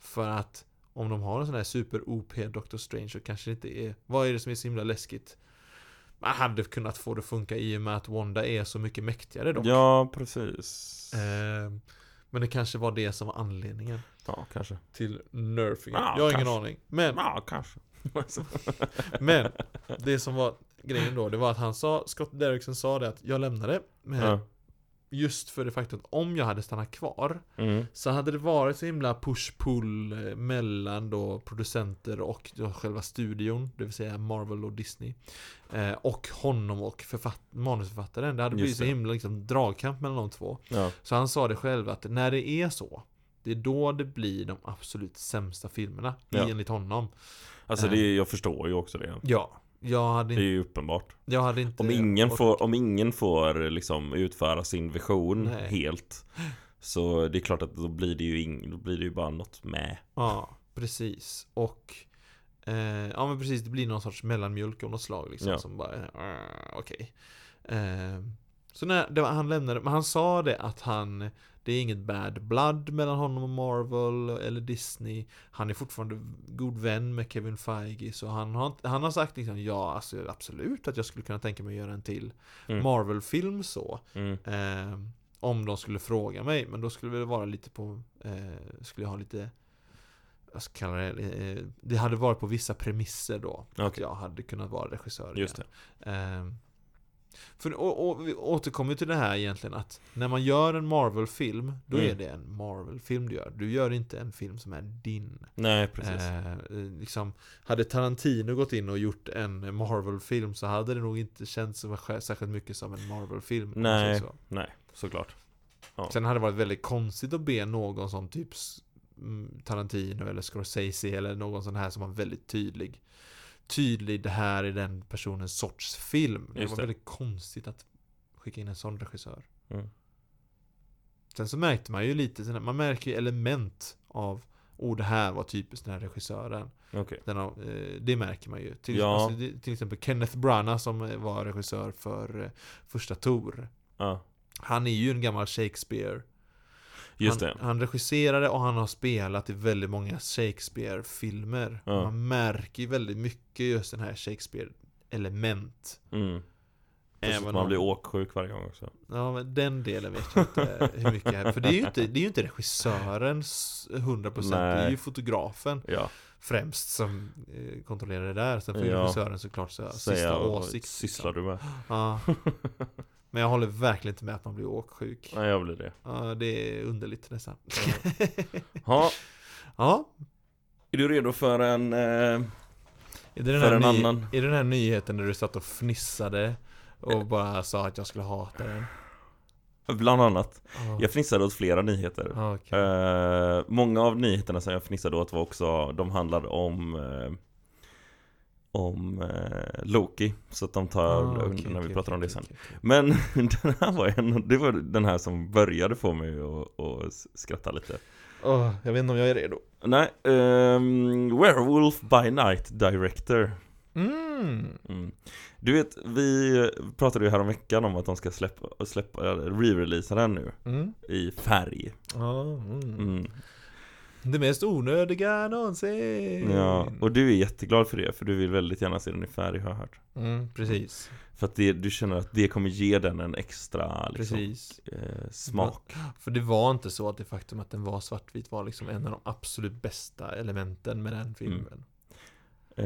Speaker 2: För att om de har en sån här super-OP Doctor Strange så kanske det inte är... Vad är det som är så himla läskigt? Man hade kunnat få det att funka i och med att Wanda är så mycket mäktigare dock.
Speaker 1: Ja, precis.
Speaker 2: Eh, Men det kanske var det som var anledningen
Speaker 1: Ja, kanske.
Speaker 2: till nerfingen.
Speaker 1: Ja,
Speaker 2: jag har ingen
Speaker 1: Ah, kanske. Ah.
Speaker 2: aning. Men,
Speaker 1: Ja, kanske. Alltså,
Speaker 2: men det som var grejen då, det var att han sa, Scott Derrickson sa det att jag lämnade. Men
Speaker 1: ja.
Speaker 2: Just för det faktum att om jag hade stannat kvar
Speaker 1: Mm.
Speaker 2: så hade det varit så himla push-pull eh, mellan då producenter och då själva studion, det vill säga Marvel och Disney. Eh, och honom och författ- manusförfattaren. Det hade
Speaker 1: Just
Speaker 2: blivit så
Speaker 1: det.
Speaker 2: himla liksom, dragkamp mellan de två.
Speaker 1: Ja.
Speaker 2: Så han sa det själv att när det är så Det är då det blir de absolut sämsta filmerna
Speaker 1: Ja.
Speaker 2: Enligt honom
Speaker 1: Alltså
Speaker 2: Eh.
Speaker 1: det, är- jag förstår ju också det.
Speaker 2: Ja Jag hade
Speaker 1: Det är
Speaker 2: inte,
Speaker 1: ju uppenbart.
Speaker 2: jag hade inte
Speaker 1: Om ingen
Speaker 2: och-
Speaker 1: får, om ingen får liksom utföra sin vision
Speaker 2: Nej.
Speaker 1: helt Så det är klart att då blir det ju, ing, då blir det ju bara något med.
Speaker 2: Ja, precis. Och eh, ja men precis, det blir någon sorts mellanmjölk av något slag liksom
Speaker 1: Ja.
Speaker 2: som bara, eh, okej. Eh, så när det var, han lämnade, men han sa det att han, det är inget bad blood mellan honom och Marvel eller Disney. Han är fortfarande god vän med Kevin Feige så han har, inte- han har sagt liksom ja, alltså absolut att jag skulle kunna tänka mig att göra en till
Speaker 1: Mm.
Speaker 2: Marvel-film så.
Speaker 1: Mm.
Speaker 2: Eh, om de skulle fråga mig, men då skulle det vara lite på, eh, skulle jag ha lite, vad ska jag kalla det, eh, det hade varit på vissa premisser då. Att
Speaker 1: Okej.
Speaker 2: jag hade kunnat vara regissör
Speaker 1: Just det.
Speaker 2: igen. Eh, för, och, och vi återkommer till det här egentligen att när man gör en Marvel-film, då är
Speaker 1: Mm.
Speaker 2: det en Marvel-film du gör. Du gör inte en film som är din.
Speaker 1: Nej, precis.
Speaker 2: Eh, liksom, hade Tarantino gått in och gjort en Marvel-film så hade det nog inte känts som, särskilt mycket som en Marvel-film. om man
Speaker 1: Nej.
Speaker 2: säger så.
Speaker 1: Nej, såklart. Ja.
Speaker 2: Sen hade det varit väldigt konstigt att be någon som typ s- mm, Tarantino eller Scorsese eller någon sån här som var väldigt tydlig. Tydlig, det här är den personens sorts film. Det
Speaker 1: Just
Speaker 2: var
Speaker 1: det.
Speaker 2: väldigt konstigt att skicka in en sån regissör.
Speaker 1: Mm.
Speaker 2: Sen så märkte man ju lite, sådana- man märker ju element av Oh, det här var typiskt den här regissören.
Speaker 1: Okej.
Speaker 2: Den har, eh, det märker man ju. Till,
Speaker 1: Ja.
Speaker 2: alltså, det- till exempel Kenneth Branagh som eh, var regissör för eh, första Tor.
Speaker 1: Ja,
Speaker 2: Han är ju en gammal Shakespeare
Speaker 1: just
Speaker 2: han,
Speaker 1: det.
Speaker 2: han regisserade och han har spelat i väldigt många Shakespeare-filmer.
Speaker 1: Ja.
Speaker 2: Man märker ju väldigt mycket just den här Shakespeare-element.
Speaker 1: Mm. Plus att
Speaker 2: Även
Speaker 1: man
Speaker 2: om-
Speaker 1: blir åksjuk varje gång också.
Speaker 2: Ja, men den delen vet jag inte hur mycket. är. För det är ju inte, det är ju inte regissörens 100%, det är
Speaker 1: Nej.
Speaker 2: ju fotografen
Speaker 1: Ja,
Speaker 2: främst som eh, kontrollerar det där. Sen får ju
Speaker 1: Ja.
Speaker 2: regissören såklart så, sista
Speaker 1: säga och
Speaker 2: åsikt. liksom.
Speaker 1: sysslar du med?
Speaker 2: Ja. Men jag håller verkligen inte med att man blir åksjuk.
Speaker 1: Nej, jag blir det.
Speaker 2: Ja, det är underligt nästan.
Speaker 1: Ja,
Speaker 2: Ja,
Speaker 1: är du redo för en... Eh...
Speaker 2: Är det, den
Speaker 1: För
Speaker 2: här
Speaker 1: en
Speaker 2: ny-
Speaker 1: annan.
Speaker 2: är det den här nyheten där du satt och fnissade och
Speaker 1: Eh.
Speaker 2: bara sa att jag skulle hata den?
Speaker 1: Bland annat.
Speaker 2: Oh.
Speaker 1: Jag fnissade åt flera nyheter.
Speaker 2: Okay.
Speaker 1: Eh, många av nyheterna som jag fnissade åt var också, de handlade om eh, om eh, Loki, så att de tar
Speaker 2: Ah,
Speaker 1: när vi pratar om det sen. Men den här var en, det var den här som började få mig att, att skratta lite.
Speaker 2: jag vet inte om jag är redo.
Speaker 1: Nej, ehm, Werewolf by Night Director.
Speaker 2: Mm.
Speaker 1: Mm. Du vet, vi pratade ju häromveckan om att de ska släppa, släppa re-releasa den nu
Speaker 2: Mm.
Speaker 1: i färg.
Speaker 2: Ja, mm.
Speaker 1: Mm.
Speaker 2: Det mest onödiga någonsin.
Speaker 1: Ja, och du är jätteglad för det, för du vill väldigt gärna se den i färg har jag hört.
Speaker 2: mm, precis.
Speaker 1: För att det, du känner att det kommer ge den en extra liksom,
Speaker 2: precis.
Speaker 1: eh, smak.
Speaker 2: För det var inte så att det faktum att den var svartvit var liksom en av de absolut bästa elementen med den filmen.
Speaker 1: Eh,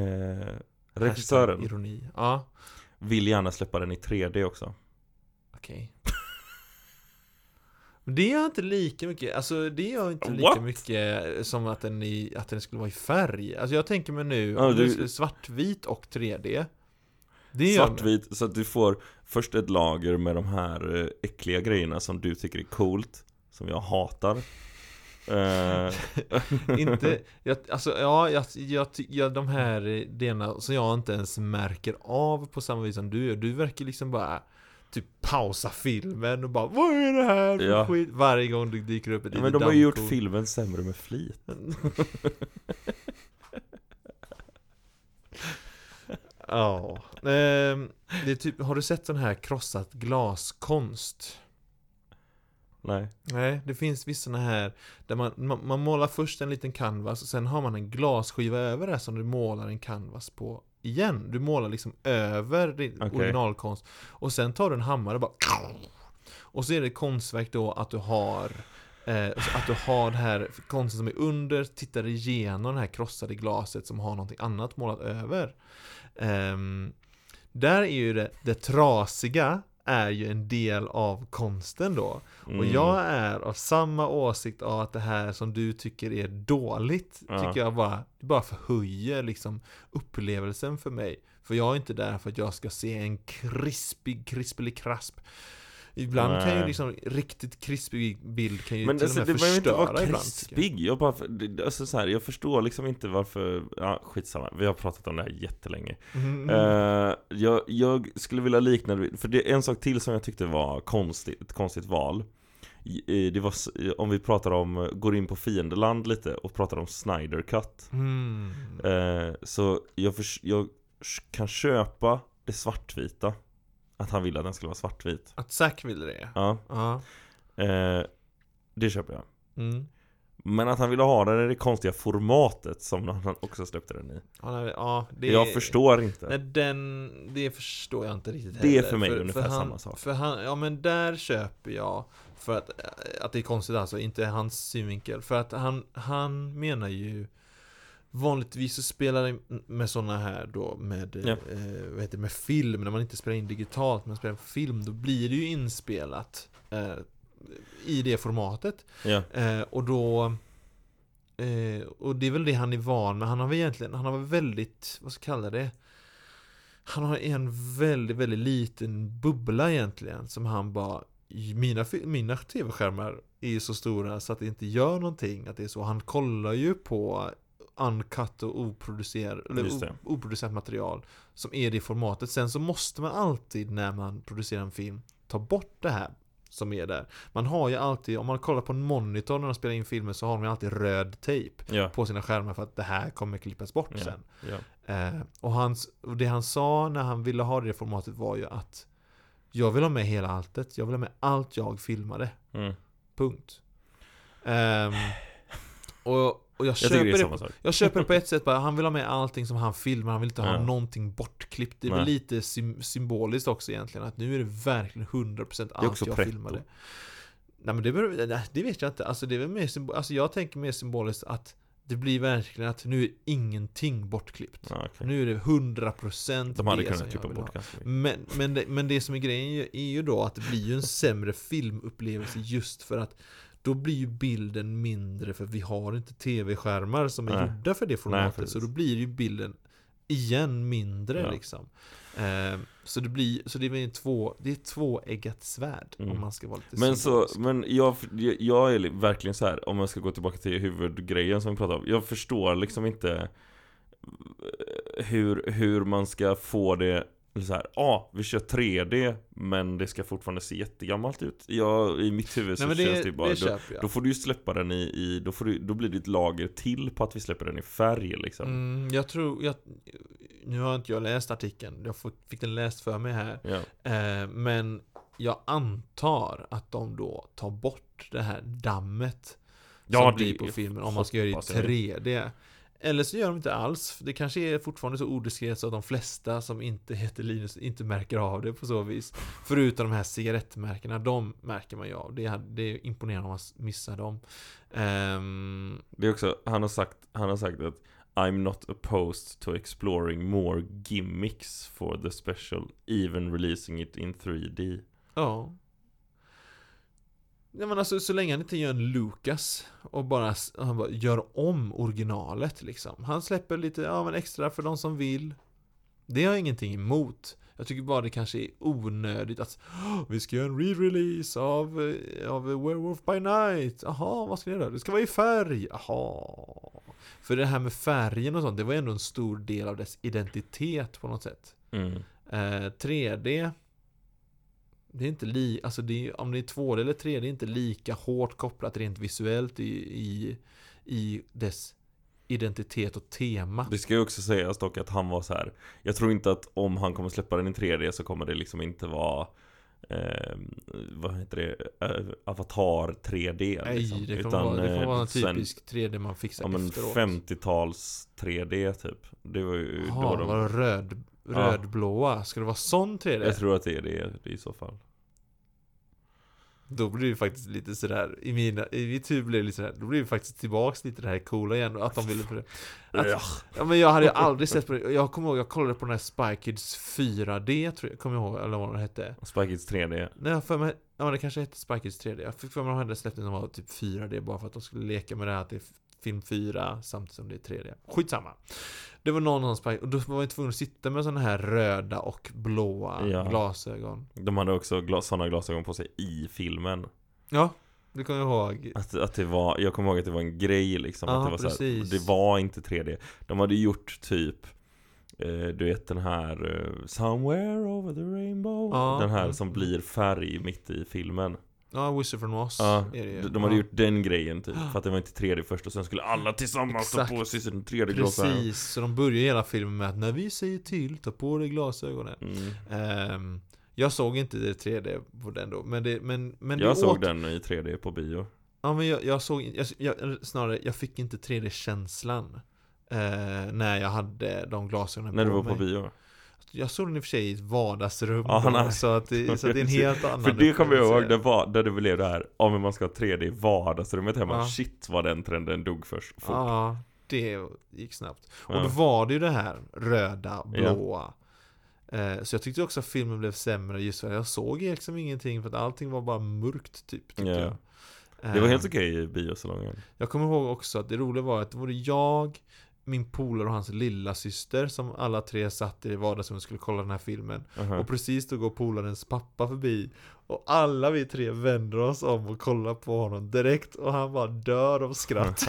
Speaker 2: Hashtag
Speaker 1: Mm. regissören
Speaker 2: Ironi. Ja,
Speaker 1: vill gärna släppa den i 3D också.
Speaker 2: Okej. Men det gör inte lika mycket, alltså det gör inte lika
Speaker 1: What?
Speaker 2: mycket som att den, i, att den skulle vara i färg. Alltså jag tänker mig nu,
Speaker 1: Ja,
Speaker 2: om
Speaker 1: du-
Speaker 2: det skulle svartvit och 3D. Det gör mig-
Speaker 1: Svartvit, så att du får först ett lager med de här eh, äckliga grejerna som du tycker är coolt, som jag hatar. Eh,
Speaker 2: inte, jag, alltså ja, jag, jag, ty- jag, de här eh, delarna som jag inte ens märker av på samma vis som du gör. Du verkar liksom bara typ pausa filmen och bara Vad är det här för
Speaker 1: Ja.
Speaker 2: skit? Varje gång du dyker upp ett
Speaker 1: Ja,
Speaker 2: litet
Speaker 1: men de har ju gjort
Speaker 2: dammkorn.
Speaker 1: filmen sämre med flit.
Speaker 2: Ja. Ehm, det är typ, har du sett sån här krossat glaskonst?
Speaker 1: Nej.
Speaker 2: Nej, det finns vissa såna här där man, man, man målar först en liten canvas och sen har man en glasskiva över det som du målar en canvas på igen. Du målar liksom över din
Speaker 1: Okej.
Speaker 2: originalkonst och sen tar du en hammare och bara och så är det konstverk då att du har eh, Att du har det här konsten som är under Tittar igenom det här krossade glaset som har någonting annat målat över Ehm, Där är ju det, det trasiga Är ju en del av konsten då
Speaker 1: Mm.
Speaker 2: och jag är av samma åsikt av att det här som du tycker är dåligt
Speaker 1: Ja.
Speaker 2: Tycker jag bara, det bara förhöjer liksom upplevelsen för mig För jag är inte där för att jag ska se en krispig, krispelig krasp Ibland kan ju
Speaker 1: Nej.
Speaker 2: liksom riktigt krispig bild kan ju
Speaker 1: Men
Speaker 2: till
Speaker 1: alltså,
Speaker 2: och
Speaker 1: det
Speaker 2: med
Speaker 1: behöver inte vara
Speaker 2: förstöra ibland tycker jag.
Speaker 1: krispig. Jag, bara, det- alltså, så här, jag förstår liksom inte varför... Ja, skitsamma. Vi har pratat om det här jättelänge.
Speaker 2: Mm.
Speaker 1: Eh, jag, jag skulle vilja likna det... För det är en sak till som jag tyckte var konstigt, ett konstigt val. eh, det var, s- eh, om vi pratar om, går in på fiendeland lite och pratar om Snyder Cut.
Speaker 2: Mm.
Speaker 1: Eh, så jag, förs- jag s- kan köpa det svartvita. Att han ville att den skulle vara svartvit.
Speaker 2: Att Zack ville det?
Speaker 1: Ja,
Speaker 2: Ja.
Speaker 1: eh, det köper jag.
Speaker 2: Mm.
Speaker 1: Men att han ville ha den i det konstiga formatet som han också släppte den i.
Speaker 2: Ja, nej, ja, det
Speaker 1: Jag förstår inte.
Speaker 2: Nej, den, det förstår jag inte riktigt
Speaker 1: Det är
Speaker 2: heller.
Speaker 1: för mig ungefär
Speaker 2: han,
Speaker 1: samma sak.
Speaker 2: För han, ja men där köper jag för att, att det är konstigt alltså, inte hans synvinkel. För att han, han menar ju Vanligtvis så spelar det med sådana här då med,
Speaker 1: Ja.
Speaker 2: eh, vad heter det, med film, när man inte spelar in digitalt men spelar film, då blir det ju inspelat eh, i det formatet.
Speaker 1: Ja.
Speaker 2: Eh, och då eh, Och det är väl det han är van med. Han har väl egentligen, han har väl väldigt, vad ska jag kalla det? Han har en väldigt, väldigt liten bubbla egentligen som han bara mina, fi- mina tv-skärmar är ju så stora så att det inte gör någonting att det är så. Han kollar ju på uncut och oproducer, eller
Speaker 1: Just
Speaker 2: o-
Speaker 1: det.
Speaker 2: oproducerat material som är det formatet. Sen så måste man alltid när man producerar en film ta bort det här som är där. Man har ju alltid, om man kollar på en monitor när de spelar in filmer så har de ju alltid röd tejp
Speaker 1: Ja.
Speaker 2: på sina skärmar för att det här kommer klippas bort
Speaker 1: Ja.
Speaker 2: sen.
Speaker 1: ja.
Speaker 2: Eh, och, hans, och det han sa när han ville ha det formatet var ju att jag vill ha med hela alltet, jag vill ha med allt jag filmade.
Speaker 1: Mm.
Speaker 2: Punkt. Ehm, och, och jag
Speaker 1: Jag tycker
Speaker 2: köper
Speaker 1: det är
Speaker 2: det
Speaker 1: samma sak.
Speaker 2: jag köper det på ett sätt bara, han vill ha med allting som han filmar, han vill inte ha
Speaker 1: Ja.
Speaker 2: någonting bortklippt. Det är väl
Speaker 1: Nej.
Speaker 2: lite sym- symboliskt också egentligen, att nu är det verkligen 100%
Speaker 1: är
Speaker 2: allt
Speaker 1: också
Speaker 2: jag
Speaker 1: pretto.
Speaker 2: filmade. Nej men det, beror- nej, det vet jag inte, alltså det är väl mer symbo- alltså jag tänker mer symboliskt att det blir verkligen att nu är ingenting bortklippt.
Speaker 1: Ja, okej.
Speaker 2: Nu är det 100%
Speaker 1: De hade
Speaker 2: det som
Speaker 1: kunnat typ
Speaker 2: jag
Speaker 1: klippa
Speaker 2: vill ha.
Speaker 1: bort ganska mycket.
Speaker 2: Men, men, det, men det som är grejen ju- är ju då att det blir ju en sämre filmupplevelse just för att då blir ju bilden mindre för vi har inte tv-skärmar som är
Speaker 1: Nej.
Speaker 2: gjorda för det formatet. så
Speaker 1: precis.
Speaker 2: då blir ju bilden igen mindre
Speaker 1: Ja.
Speaker 2: liksom. Eh, så det blir, så det är en två, det är ett tvåeggat svärd
Speaker 1: Mm.
Speaker 2: om man ska vara lite
Speaker 1: Men så,
Speaker 2: symbolisk.
Speaker 1: men jag, jag är li- verkligen så här om jag ska gå tillbaka till huvudgrejen som vi pratade om. Jag förstår liksom inte eh, hur, hur man ska få det så här, ja, ah, vi kör 3D men det ska fortfarande se jättegammalt ut. Jag, i mitt huvud så
Speaker 2: Nej men
Speaker 1: känns
Speaker 2: det,
Speaker 1: det ju bara,
Speaker 2: det
Speaker 1: då,
Speaker 2: köper jag.
Speaker 1: då får du ju släppa den i, i då, får du, då blir det ett lager till på att vi släpper den i färg liksom.
Speaker 2: Mm, jag tror, jag, nu har inte jag läst artikeln, jag får- fick den läst för mig här.
Speaker 1: Ja.
Speaker 2: Eh, men jag antar att de då tar bort det här dammet
Speaker 1: Ja,
Speaker 2: som blir
Speaker 1: det
Speaker 2: på filmen om man ska göra det i
Speaker 1: hoppas jag.
Speaker 2: 3D. Eller så gör de inte alls. Det kanske är fortfarande så odiskret så att de flesta som inte heter Linus inte märker av det på så vis. Förutom de här cigarettmärkena, de märker man ju av. Det är, det är imponerande om man missar dem. Ehm,
Speaker 1: Det är också, han har sagt, han har sagt att I'm not opposed to exploring more gimmicks for the special, even releasing it in 3D.
Speaker 2: Ja. Nej men alltså så länge han inte gör en Lucas och bara, s- han bara gör om originalet liksom. Han släpper lite, ja men extra för de som vill. Det har jag ingenting emot. Jag tycker bara det kanske är onödigt att "Åh, vi ska göra en re-release av, eh, av Werewolf by Night. Jaha, vad ska ni göra? Det ska vara i färg. Jaha. För det här med färgen och sånt, det var ändå en stor del av dess identitet på något sätt.
Speaker 1: Mm.
Speaker 2: Eh, 3D Det är inte li, alltså det är, om det är 2D eller 3D det är inte lika hårt kopplat rent visuellt i, i, i dess identitet och tema.
Speaker 1: Det ska ju också sägas dock att han var så här. jag tror inte att om han kommer släppa den i 3D så kommer det liksom inte vara eh, vad heter det? Eh, Avatar 3D
Speaker 2: Nej,
Speaker 1: liksom.
Speaker 2: det kommer vara, det kommer
Speaker 1: eh,
Speaker 2: vara en
Speaker 1: sen-
Speaker 2: typisk 3D man fixar
Speaker 1: Ja men
Speaker 2: typ efteråt.
Speaker 1: 50-tals 3D typ Det var ju
Speaker 2: Jaha,
Speaker 1: då
Speaker 2: var
Speaker 1: de,
Speaker 2: det röd, rödblåa? Ska det vara sån 3D?
Speaker 1: Jag tror att det är det i så fall
Speaker 2: Då blir det faktiskt lite sådär, i, mina, i mitt huvud blir det lite sådär, då blir det faktiskt tillbaks lite det här coola igen, att de ville Att-
Speaker 1: Ja.
Speaker 2: Ja men jag hade ju aldrig sett på det. Jag kommer ihåg, jag kollade på den här Spy Kids 4D, tror jag, kommer jag ihåg, eller vad det hette.
Speaker 1: Spike Kids 3D
Speaker 2: Nej, jag har för mig, ja men det kanske hette Spy Kids 3D. Jag fick för mig att de hade släppt den som var typ 4D bara för att de skulle leka med det här att det är film 4 samtidigt som det är 3D. Skitsamma. Det var någon som Spy, och då var jag tvungen att sitta med sådana här röda och blåa
Speaker 1: Ja.
Speaker 2: glasögon.
Speaker 1: De hade också glas, sådana glasögon på sig i filmen
Speaker 2: Ja, det kommer jag ihåg.
Speaker 1: att, att det var, jag kommer ihåg att det var en grej liksom
Speaker 2: Ja,
Speaker 1: att det, var så här,
Speaker 2: precis.
Speaker 1: det var inte 3D De hade gjort typ eh, Du vet den här eh, Somewhere over the rainbow
Speaker 2: Ja,
Speaker 1: Den här
Speaker 2: mm,
Speaker 1: som
Speaker 2: mm.
Speaker 1: blir färg mitt i filmen
Speaker 2: Ja, Wizard from Oz
Speaker 1: Ja,
Speaker 2: är det ju.
Speaker 1: de- de hade
Speaker 2: Ja,
Speaker 1: gjort den grejen typ, för att det var inte 3D först och sen skulle alla tillsammans ta
Speaker 2: Exakt.
Speaker 1: på sig sin 3D-glasögon
Speaker 2: Precis, så de börjar hela filmen med att när vi säger till, ta på dig glasögonen.
Speaker 1: mm.
Speaker 2: Ehm, jag såg inte det 3D på den då, men det, men, men det
Speaker 1: Jag såg
Speaker 2: åt-
Speaker 1: den i 3D på bio
Speaker 2: Ja men jag, jag såg, jag, jag, eller snarare, jag fick inte 3D-känslan eh, När jag hade de glasögonen
Speaker 1: När du
Speaker 2: på
Speaker 1: var
Speaker 2: mig
Speaker 1: på bio
Speaker 2: Jag såg den i och för sig i ett vardagsrum
Speaker 1: Ja,
Speaker 2: då,
Speaker 1: nej.
Speaker 2: så, att det, så att det är en helt annan
Speaker 1: För det kommer jag ihåg,
Speaker 2: upplevelse.
Speaker 1: det var, där det blev det här Ja men man ska ha 3D i vardagsrummet hemma
Speaker 2: Ja.
Speaker 1: Shit vad den trenden dog först fort.
Speaker 2: Ja, det gick snabbt Och
Speaker 1: Ja.
Speaker 2: då var det ju det här röda, blåa eh, Så jag tyckte också att filmen blev sämre just för att jag såg liksom ingenting för att allting var bara mörkt typ tyckte
Speaker 1: Ja.
Speaker 2: jag.
Speaker 1: Det var
Speaker 2: Eh,
Speaker 1: helt okej i biosalongen
Speaker 2: Jag kommer ihåg också att det roliga var att det var det jag, min polare och hans lilla syster som alla tre satt i vardagsrummet och skulle kolla den här filmen.
Speaker 1: Aha.
Speaker 2: Och precis då går polarens pappa förbi och alla vi tre vänder oss om och kollar på honom direkt och han bara dör av skratt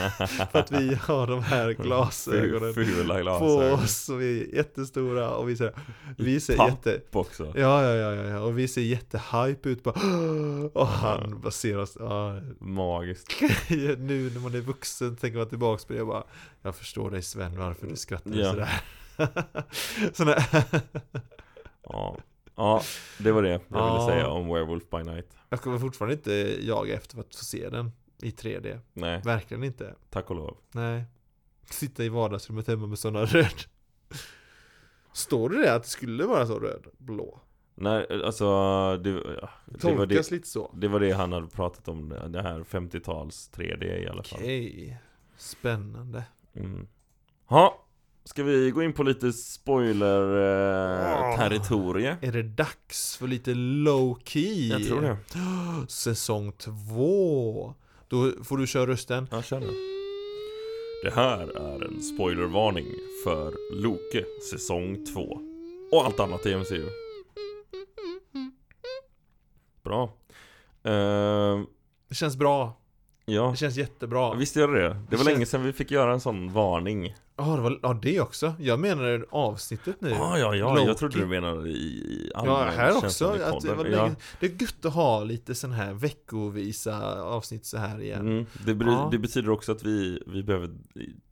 Speaker 2: för att vi har de här glasögonen
Speaker 1: Fula
Speaker 2: på
Speaker 1: glasögon
Speaker 2: oss och vi är jättestora och vi ser, vi ser
Speaker 1: Papp.
Speaker 2: jätte
Speaker 1: också
Speaker 2: Ja, ja, ja, ja, ja, och vi ser jättehype ut bara Och han bara ser oss, ja,
Speaker 1: Magiskt
Speaker 2: nu när man är vuxen tänker man tillbaks på det och bara Jag förstår dig Sven varför du skrattar
Speaker 1: Ja.
Speaker 2: sådär Sådana
Speaker 1: Ja, ja det var det jag ville
Speaker 2: Ja.
Speaker 1: säga om Werewolf by Night
Speaker 2: Jag kommer fortfarande inte jaga efter att få se den i 3D
Speaker 1: Nej,
Speaker 2: Verkligen inte
Speaker 1: tack och lov
Speaker 2: Nej Sitta i vardagsrummet hemma med sådana röd Står det det att det skulle vara så röd? Blå?
Speaker 1: Nej, alltså det, ja, det, var
Speaker 2: Tolkas
Speaker 1: det,
Speaker 2: lite så
Speaker 1: det var det han hade pratat om Det här 50-tals 3D i alla fall
Speaker 2: Okej Spännande
Speaker 1: Mm. Ha, ska vi gå in på lite eh,
Speaker 2: Ah.
Speaker 1: spoiler-territorie?
Speaker 2: Är det dags för lite low key?
Speaker 1: jag tror det.
Speaker 2: Säsong två Då får du köra rösten
Speaker 1: Jag känner. Det här är en spoilervarning för Loke säsong 2. Och allt annat i MCU. Bra. Ehm,
Speaker 2: Det känns bra
Speaker 1: ja,
Speaker 2: Det känns jättebra
Speaker 1: visst gör det det? Det var
Speaker 2: känns-
Speaker 1: länge sedan vi fick göra en sån varning.
Speaker 2: Ja det var, ja det också Jag menar avsnittet nu
Speaker 1: Ah, ja, ja,
Speaker 2: Loki.
Speaker 1: jag trodde du menade i, i
Speaker 2: Ja,
Speaker 1: allmän
Speaker 2: här också.
Speaker 1: känslan i
Speaker 2: Att det, var
Speaker 1: podden.
Speaker 2: länge,
Speaker 1: Ja.
Speaker 2: det är gött att ha lite sån här veckovisa avsnitt så här igen.
Speaker 1: Mm, det, bry,
Speaker 2: Ja.
Speaker 1: det betyder också att vi, vi behöver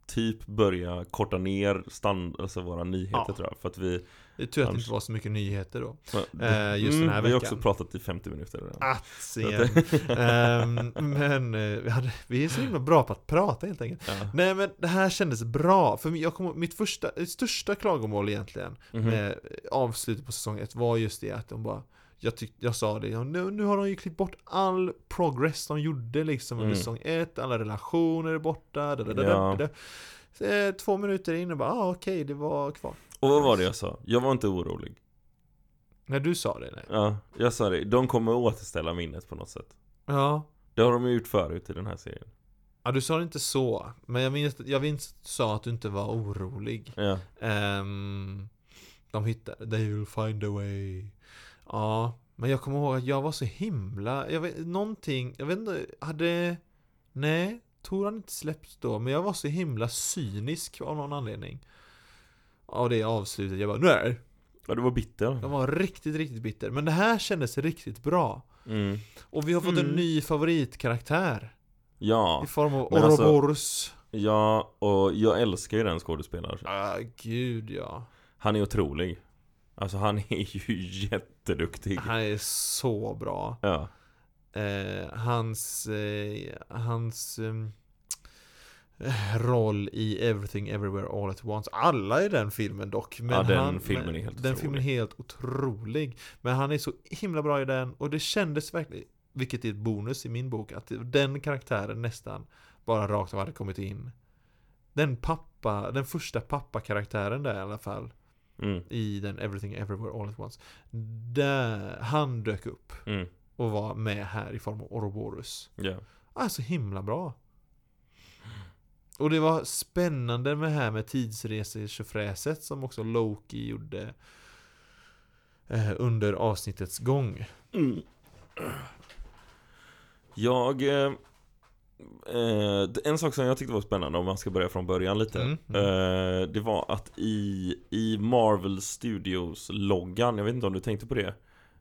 Speaker 1: typ börja korta ner stand, alltså våra nyheter
Speaker 2: Ja.
Speaker 1: tror jag. För att vi,
Speaker 2: Det är tur att det
Speaker 1: Annars-
Speaker 2: inte var så mycket nyheter då.
Speaker 1: det-
Speaker 2: Eh, just
Speaker 1: Mm, vi
Speaker 2: den här
Speaker 1: har
Speaker 2: veckan. Ah.
Speaker 1: också pratat i 50 minuter redan.
Speaker 2: Attingen. Ehm, men eh, vi, hade, vi är så himla bra på att prata helt enkelt.
Speaker 1: Ja.
Speaker 2: Nej men det här kändes bra. För jag kom, mitt första, mitt största klagomål egentligen
Speaker 1: Mhm.
Speaker 2: med Eh, avslutet på säsong ett var just det att de bara jag, tyck, jag sa det, ja, nu, nu har de ju klippt bort all progress de gjorde liksom under
Speaker 1: Mm.
Speaker 2: säsong ett, alla relationer är borta, da, da, da, da,
Speaker 1: Ja.
Speaker 2: da. Så, eh, Två minuter in och bara, ah, okej, det var kvar.
Speaker 1: Och vad var det jag sa? Jag var inte orolig.
Speaker 2: När du sa det, nej.
Speaker 1: Ja, jag sa det. De kommer återställa minnet på något sätt.
Speaker 2: Ja.
Speaker 1: Det har de ju gjort förut i den här serien.
Speaker 2: ja, du sa det inte så, men jag minns, jag minns att du sa att du inte var orolig.
Speaker 1: Ja.
Speaker 2: Ehm, de hittade, they will find a way. Ja, men jag kommer ihåg att jag var så himla, jag vet, någonting, jag vet inte, hade, nej, Tor hade inte släppts då, men jag var så himla cynisk av någon anledning. Av det avslutet, jag bara, nej,
Speaker 1: ja, du var bitter.
Speaker 2: jag var riktigt, riktigt bitter. Men det här kändes riktigt bra.
Speaker 1: Mm.
Speaker 2: Och vi har fått en
Speaker 1: Mm.
Speaker 2: ny favoritkaraktär.
Speaker 1: Ja,
Speaker 2: I form av
Speaker 1: Men alltså-
Speaker 2: Ouroboros.
Speaker 1: ja, och jag älskar ju den skådespelaren.
Speaker 2: Ah, gud ja.
Speaker 1: Han är otrolig. Alltså han är ju jätteduktig.
Speaker 2: Han är så bra.
Speaker 1: Ja.
Speaker 2: Eh, hans eh, hans ehm, eh, roll i Everything Everywhere All At Once. Alla i den filmen dock. Men
Speaker 1: Ja, den
Speaker 2: han,
Speaker 1: filmen
Speaker 2: men,
Speaker 1: är helt
Speaker 2: Den
Speaker 1: otrolig.
Speaker 2: filmen är helt otrolig. Men han är så himla bra i den och det kändes verkligen, vilket är ett bonus i min bok, att den karaktären nästan bara rakt av hade kommit in. Den pappa, den första pappakaraktären där i alla fall
Speaker 1: Mm,
Speaker 2: i den Everything Everywhere All At Once. Där han dök upp
Speaker 1: mm,
Speaker 2: och var med här i form av Ouroboros.
Speaker 1: ja.
Speaker 2: Ah, så himla bra. Och det var spännande med det här med tidsresor som också Loki gjorde eh, under avsnittets gång.
Speaker 1: Mm. Jag... Eh, eh, en sak som jag tyckte var spännande, om man ska börja från början lite.
Speaker 2: Mm,
Speaker 1: Eh, det var att i, i Marvel Studios-loggan, jag vet inte om du tänkte på det.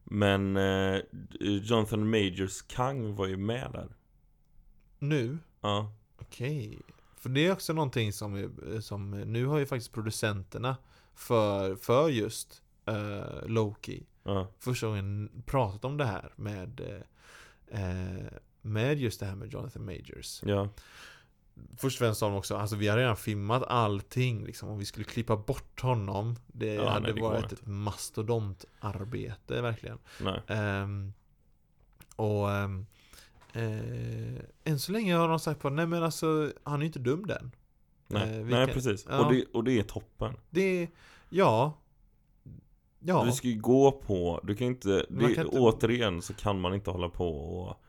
Speaker 1: Men eh, Jonathan Majors Kang var ju med där.
Speaker 2: Nu?
Speaker 1: Ja.
Speaker 2: Okej. För det är också någonting som, eh, som nu har ju faktiskt producenterna för, för just eh, Loki
Speaker 1: ja.
Speaker 2: första gången pratat om det här med eh, eh, med just det här med Jonathan Majors.
Speaker 1: Ja,
Speaker 2: Först och främst sa de också, alltså vi har redan filmat allting liksom. Om vi skulle klippa bort honom. Det
Speaker 1: Ja, nej,
Speaker 2: hade
Speaker 1: det går
Speaker 2: varit
Speaker 1: inte.
Speaker 2: ett mastodontarbete verkligen.
Speaker 1: nej.
Speaker 2: Ehm, och ehm, eh, än så länge har de sagt på nej men alltså han är ju inte dum den.
Speaker 1: Nej,
Speaker 2: Eh, vi
Speaker 1: nej
Speaker 2: kan-
Speaker 1: precis.
Speaker 2: ja.
Speaker 1: Och, det, och det är toppen.
Speaker 2: Det, ja. Ja.
Speaker 1: Du ska ju gå på, du kan inte,
Speaker 2: Man
Speaker 1: det,
Speaker 2: kan inte-
Speaker 1: återigen så kan man inte hålla på och,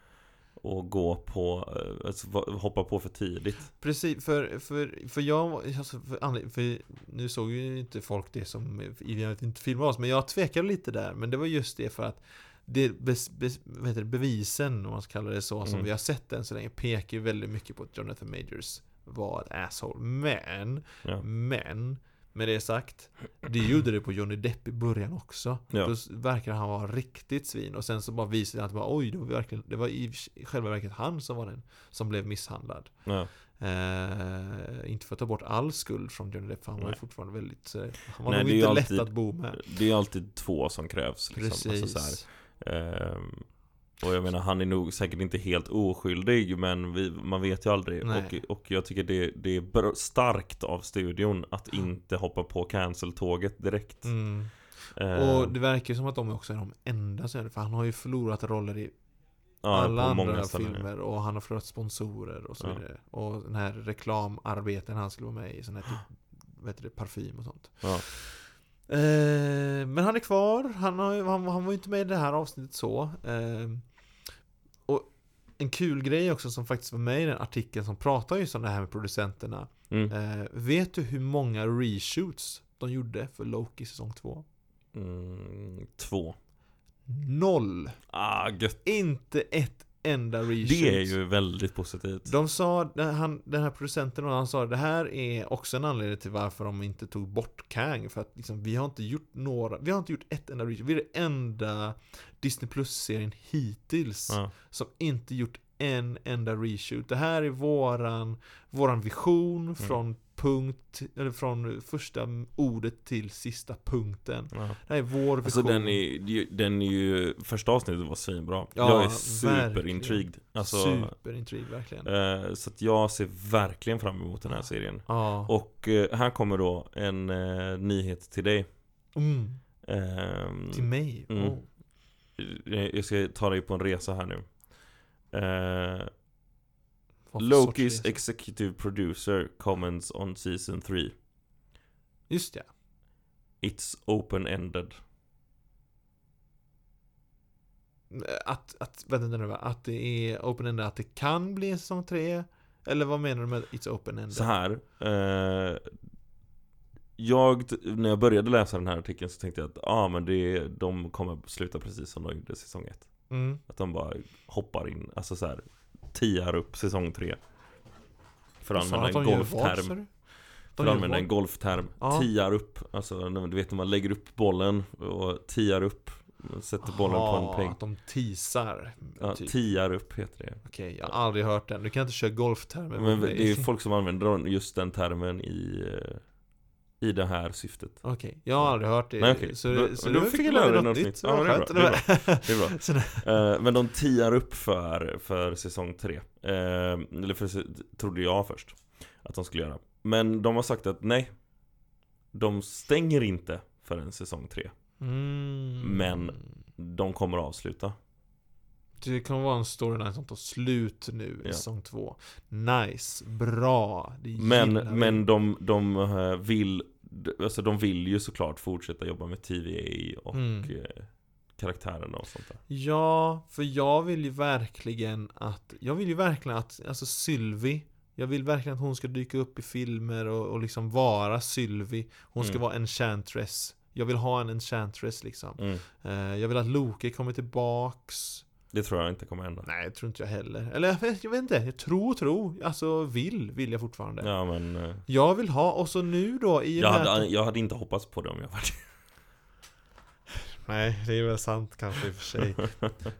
Speaker 1: och gå på, eh, alltså, va- hoppa på för tidigt.
Speaker 2: Precis, för, för, för jag, alltså, för, anled- för nu såg ju inte folk det som, i och inte filmade oss, men jag tvekade lite där, men det var just det för att det, bes, bes, vad heter det, bevisen, om man ska kalla det så, som
Speaker 1: Mm.
Speaker 2: vi har sett än så länge pekar ju väldigt mycket på att Jonathan Majors var ett asshole. Men,
Speaker 1: Ja.
Speaker 2: men, med det sagt, det gjorde det på Johnny Depp i början också.
Speaker 1: Ja.
Speaker 2: Då s- verkar han vara riktigt svin och sen så bara visade det att bara, oj, det var, verkligen, det var i själva verket han som var den som blev misshandlad.
Speaker 1: Ja.
Speaker 2: Eh, inte för att ta bort all skuld från Johnny Depp, för han var ju
Speaker 1: Nej.
Speaker 2: fortfarande väldigt... eh, Han var
Speaker 1: Nej,
Speaker 2: nog
Speaker 1: det är
Speaker 2: inte
Speaker 1: ju
Speaker 2: lätt
Speaker 1: alltid-
Speaker 2: att bo med.
Speaker 1: Det är alltid två som krävs. Liksom.
Speaker 2: Precis.
Speaker 1: Alltså, så här. Ehm, och jag menar, han är nog säkert inte helt oskyldig, men vi, man vet ju aldrig.
Speaker 2: Nej.
Speaker 1: Och, och jag tycker det, det är bra- starkt av studion att inte hoppa på cancel-tåget direkt.
Speaker 2: mm.
Speaker 1: Ehm,
Speaker 2: Och det verkar ju som att de också är de enda som gör det, för han har ju förlorat roller i
Speaker 1: ja,
Speaker 2: alla
Speaker 1: på
Speaker 2: andra
Speaker 1: ställen, ja.
Speaker 2: filmer och han har förlorat sponsorer och så
Speaker 1: Ja.
Speaker 2: vidare. Och den här reklamarbeten han skulle vara med i, sån här typ, vad heter det, parfym och sånt.
Speaker 1: Ja.
Speaker 2: Eh, men han är kvar, han, har, ju- han, han var ju inte med i det här avsnittet så. Eh, och en kul grej också som faktiskt var med i den artikeln som pratar just om det här med producenterna.
Speaker 1: Mm.
Speaker 2: Eh, vet du hur många reshoots de gjorde för Loki säsong 2?
Speaker 1: Mm, två.
Speaker 2: Noll!
Speaker 1: Ah, gött.
Speaker 2: Inte ett enda reshoot.
Speaker 1: Det är ju väldigt positivt.
Speaker 2: De sa, den- han, den här producenten och han sa det här är också en anledning till varför de inte tog bort Kang. För att liksom, vi har inte gjort några, vi har inte gjort ett enda reshoot. Vi är den enda Disney Plus-serien hittills
Speaker 1: Ja,
Speaker 2: som inte gjort en enda reshoot. Det här är våran, våran vision
Speaker 1: Mm.
Speaker 2: från punkt, eller från första ordet till sista punkten.
Speaker 1: ja.
Speaker 2: Det här är vår vision.
Speaker 1: Alltså den är, den är ju, första avsnittet var svinbra.
Speaker 2: Ja,
Speaker 1: jag är
Speaker 2: verkligen.
Speaker 1: superintrigued. Alltså,
Speaker 2: Superintrig verkligen.
Speaker 1: eh, så att jag ser verkligen fram emot den här serien.
Speaker 2: Ja.
Speaker 1: Och eh, här kommer då en eh, nyhet till dig.
Speaker 2: Mm,
Speaker 1: Ehm,
Speaker 2: till mig.
Speaker 1: Mm.
Speaker 2: Oh.
Speaker 1: eh, jag ska ta dig på en resa här nu. Eh,
Speaker 2: Vad för sorts
Speaker 1: Lokis
Speaker 2: resa?
Speaker 1: executive producer comments on season 3.
Speaker 2: Just ja.
Speaker 1: It's open-ended.
Speaker 2: Att, att, vänta nu va? Att det är open-ended, att det kan bli en säsong 3? Eller vad menar du med it's
Speaker 1: Så
Speaker 2: open-ended?
Speaker 1: här. Eh, jag, t- när jag började läsa den här artikeln så tänkte jag att ah, men det, de kommer sluta precis som de gjorde säsong 1.
Speaker 2: Mm.
Speaker 1: Att de bara hoppar in, alltså så här, tiar upp säsong 3. För att
Speaker 2: Du sa
Speaker 1: använda en
Speaker 2: de gör vad, sa
Speaker 1: golfterm. För
Speaker 2: du? De
Speaker 1: att
Speaker 2: gör
Speaker 1: använda en
Speaker 2: vad?
Speaker 1: golfterm.
Speaker 2: Ja.
Speaker 1: Tiar upp. Alltså när- du vet när man lägger upp bollen och tiar upp. Sätter bollen
Speaker 2: Aha,
Speaker 1: på en peng.
Speaker 2: att de teasar.
Speaker 1: Ja,
Speaker 2: Ah, typ.
Speaker 1: tiar upp heter det.
Speaker 2: Okej, jag har aldrig hört den. Du kan inte köra golftermer med
Speaker 1: Men det
Speaker 2: mig.
Speaker 1: är ju folk som använder den- just den termen i, eh, i det här syftet.
Speaker 2: Okej, jag har aldrig hört det.
Speaker 1: Nej, okej.
Speaker 2: Så,
Speaker 1: Då-
Speaker 2: så
Speaker 1: då
Speaker 2: du
Speaker 1: fick
Speaker 2: fick
Speaker 1: jag
Speaker 2: lära
Speaker 1: lära
Speaker 2: dig
Speaker 1: dig
Speaker 2: något
Speaker 1: något
Speaker 2: nytt.
Speaker 1: nytt.
Speaker 2: Det
Speaker 1: Ja,
Speaker 2: var skönt.
Speaker 1: men det är
Speaker 2: Det
Speaker 1: Det
Speaker 2: var-
Speaker 1: är bra.
Speaker 2: Så det-
Speaker 1: Eh, men de tiar upp för, för säsong 3. eller för, se- trodde jag först att de skulle göra. Men de har sagt att nej. De stänger inte för en säsong 3.
Speaker 2: Mm.
Speaker 1: Men- De kommer avsluta.
Speaker 2: Det kommer vara en storyline som tar slut nu i
Speaker 1: Ja.
Speaker 2: säsong två. Nice, bra. Det
Speaker 1: Men,
Speaker 2: gillar vi.
Speaker 1: men de, de eh, vill d- Alltså de vill ju såklart fortsätta jobba med TVA och
Speaker 2: Mm.
Speaker 1: eh, karaktärerna och sånt där.
Speaker 2: Ja, för jag vill ju verkligen att, jag vill ju verkligen att, alltså Sylvie, jag vill verkligen att hon ska dyka upp i filmer och, och liksom vara Sylvie. Hon ska
Speaker 1: Mm.
Speaker 2: vara Enchantress. Jag vill ha en Enchantress liksom.
Speaker 1: Mm.
Speaker 2: Eh, jag vill att Loke kommer tillbaks.
Speaker 1: Det tror jag inte kommer hända.
Speaker 2: Nej, jag tror inte jag heller. Eller jag vet, jag vet inte, jag tror, tror. Alltså vill, vill jag fortfarande.
Speaker 1: Ja men eh,
Speaker 2: Jag vill ha, och så nu då i och
Speaker 1: jag
Speaker 2: med att-
Speaker 1: hade, jag hade inte hoppats på det om jag var
Speaker 2: Nej, det är väl sant kanske i och för sig.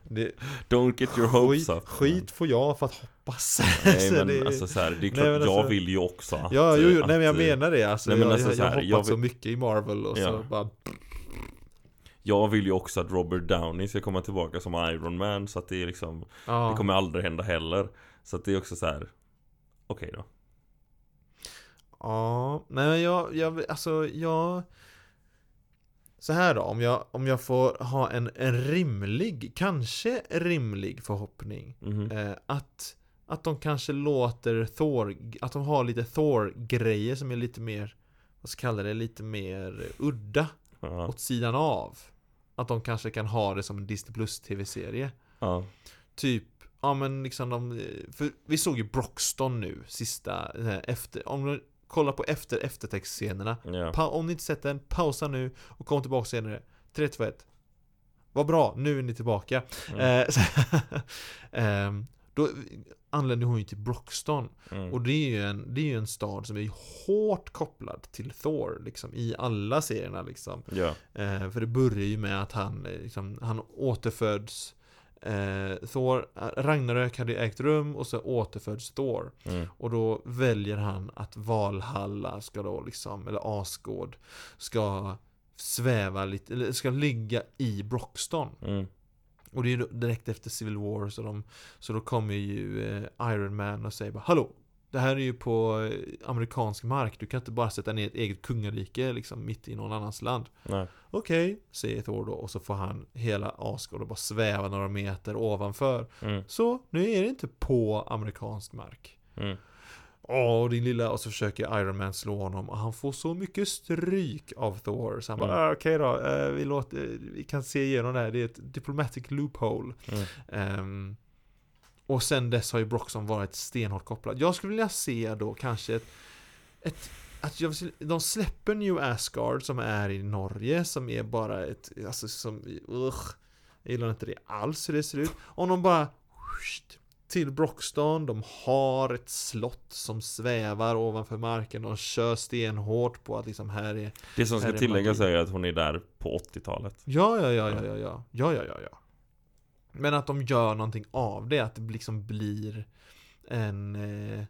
Speaker 2: Det,
Speaker 1: Don't get your hopes
Speaker 2: skit,
Speaker 1: up
Speaker 2: skit får jag för att hoppas.
Speaker 1: Nej
Speaker 2: Så
Speaker 1: men
Speaker 2: det-
Speaker 1: alltså så här, det är klart,
Speaker 2: Nej, men alltså-
Speaker 1: jag vill ju också att,
Speaker 2: Ja, jo, jo,
Speaker 1: att,
Speaker 2: nej men jag
Speaker 1: eh,
Speaker 2: menar det alltså.
Speaker 1: nej, men
Speaker 2: jag,
Speaker 1: alltså
Speaker 2: jag,
Speaker 1: så
Speaker 2: jag
Speaker 1: här,
Speaker 2: har
Speaker 1: jag
Speaker 2: hoppat så
Speaker 1: vill-
Speaker 2: mycket i Marvel och så
Speaker 1: Ja.
Speaker 2: bara
Speaker 1: Jag vill ju också att Robert Downey ska komma tillbaka som Iron Man så att det är liksom
Speaker 2: ja.
Speaker 1: Det kommer aldrig hända heller Så att det är också så här. Okej då
Speaker 2: Ja, nej men jag, jag, alltså jag Så här då, om jag, om jag får ha en, en rimlig, kanske rimlig förhoppning
Speaker 1: Mhm.
Speaker 2: eh, Att, att de kanske låter Thor, att de har lite Thor-grejer som är lite mer Vad ska jag kalla det, lite mer udda
Speaker 1: ja,
Speaker 2: åt sidan av Att de kanske kan ha det som en Disney Plus TV-serie
Speaker 1: ja,
Speaker 2: Typ, ja men liksom de, för vi såg ju Broxton nu, sista, den här efter, om du kollar på efter eftertextscenerna.
Speaker 1: ja.
Speaker 2: Pa- om ni inte sett den, pausa nu och kom tillbaka senare. 3, 2, 1. Vad bra, nu är ni tillbaka.
Speaker 1: Mm.
Speaker 2: Eh, så, ehm, då anländer hon ju till Broxton.
Speaker 1: Mm.
Speaker 2: Och det är, ju en, det är ju en stad som är hårt kopplad till Thor, liksom i alla serierna liksom.
Speaker 1: Ja,
Speaker 2: Eh, för det börjar ju med att han, eh, liksom, han återföds eh, Thor, Ragnarök hade ju ägt rum och så återföds Thor.
Speaker 1: mm.
Speaker 2: Och då väljer han att Valhalla ska då liksom, eller Asgård ska sväva lite, eller ska ligga i Broxton.
Speaker 1: Mm.
Speaker 2: Och det är ju då direkt efter Civil War så, de, så då kommer ju eh, Iron Man och säger bara Hallå! Det här är ju på eh, amerikansk mark, du kan inte bara sätta ner ett eget kungarike liksom mitt i någon annans land.
Speaker 1: Nej.
Speaker 2: Okej, säger Thor då och så får han hela Asgård och bara sväva några meter ovanför.
Speaker 1: Mm.
Speaker 2: Så nu är det inte på amerikansk mark.
Speaker 1: Mm.
Speaker 2: Åh, din lilla... Och så försöker Iron Man slå honom och han får så mycket stryk av Thor. Så han bara,
Speaker 1: Mm.
Speaker 2: "Ah, okej då, eh, vi, låter, vi kan se igenom det här. Det är ett diplomatic loophole.
Speaker 1: Mm.
Speaker 2: Ehm, och sen dess har ju Broxon varit stenhårt kopplad. Jag skulle vilja se då kanske ett... ett att jag, vill se- de släpper New Asgard som är i Norge som är bara ett... Alltså som... Ugh, jag gillar inte det alls hur det ser ut. Om de bara... whoosh, Till Broxton, de har ett slott som svävar ovanför marken. De kör stenhårt på att liksom här är...
Speaker 1: Det som
Speaker 2: Här
Speaker 1: ska
Speaker 2: är
Speaker 1: tilläggas
Speaker 2: magi.
Speaker 1: är ju att hon är där på 80-talet
Speaker 2: Ja, ja, ja, ja, ja, ja, ja, ja, ja, ja. Men att de gör någonting av det, att det liksom blir en... Eh,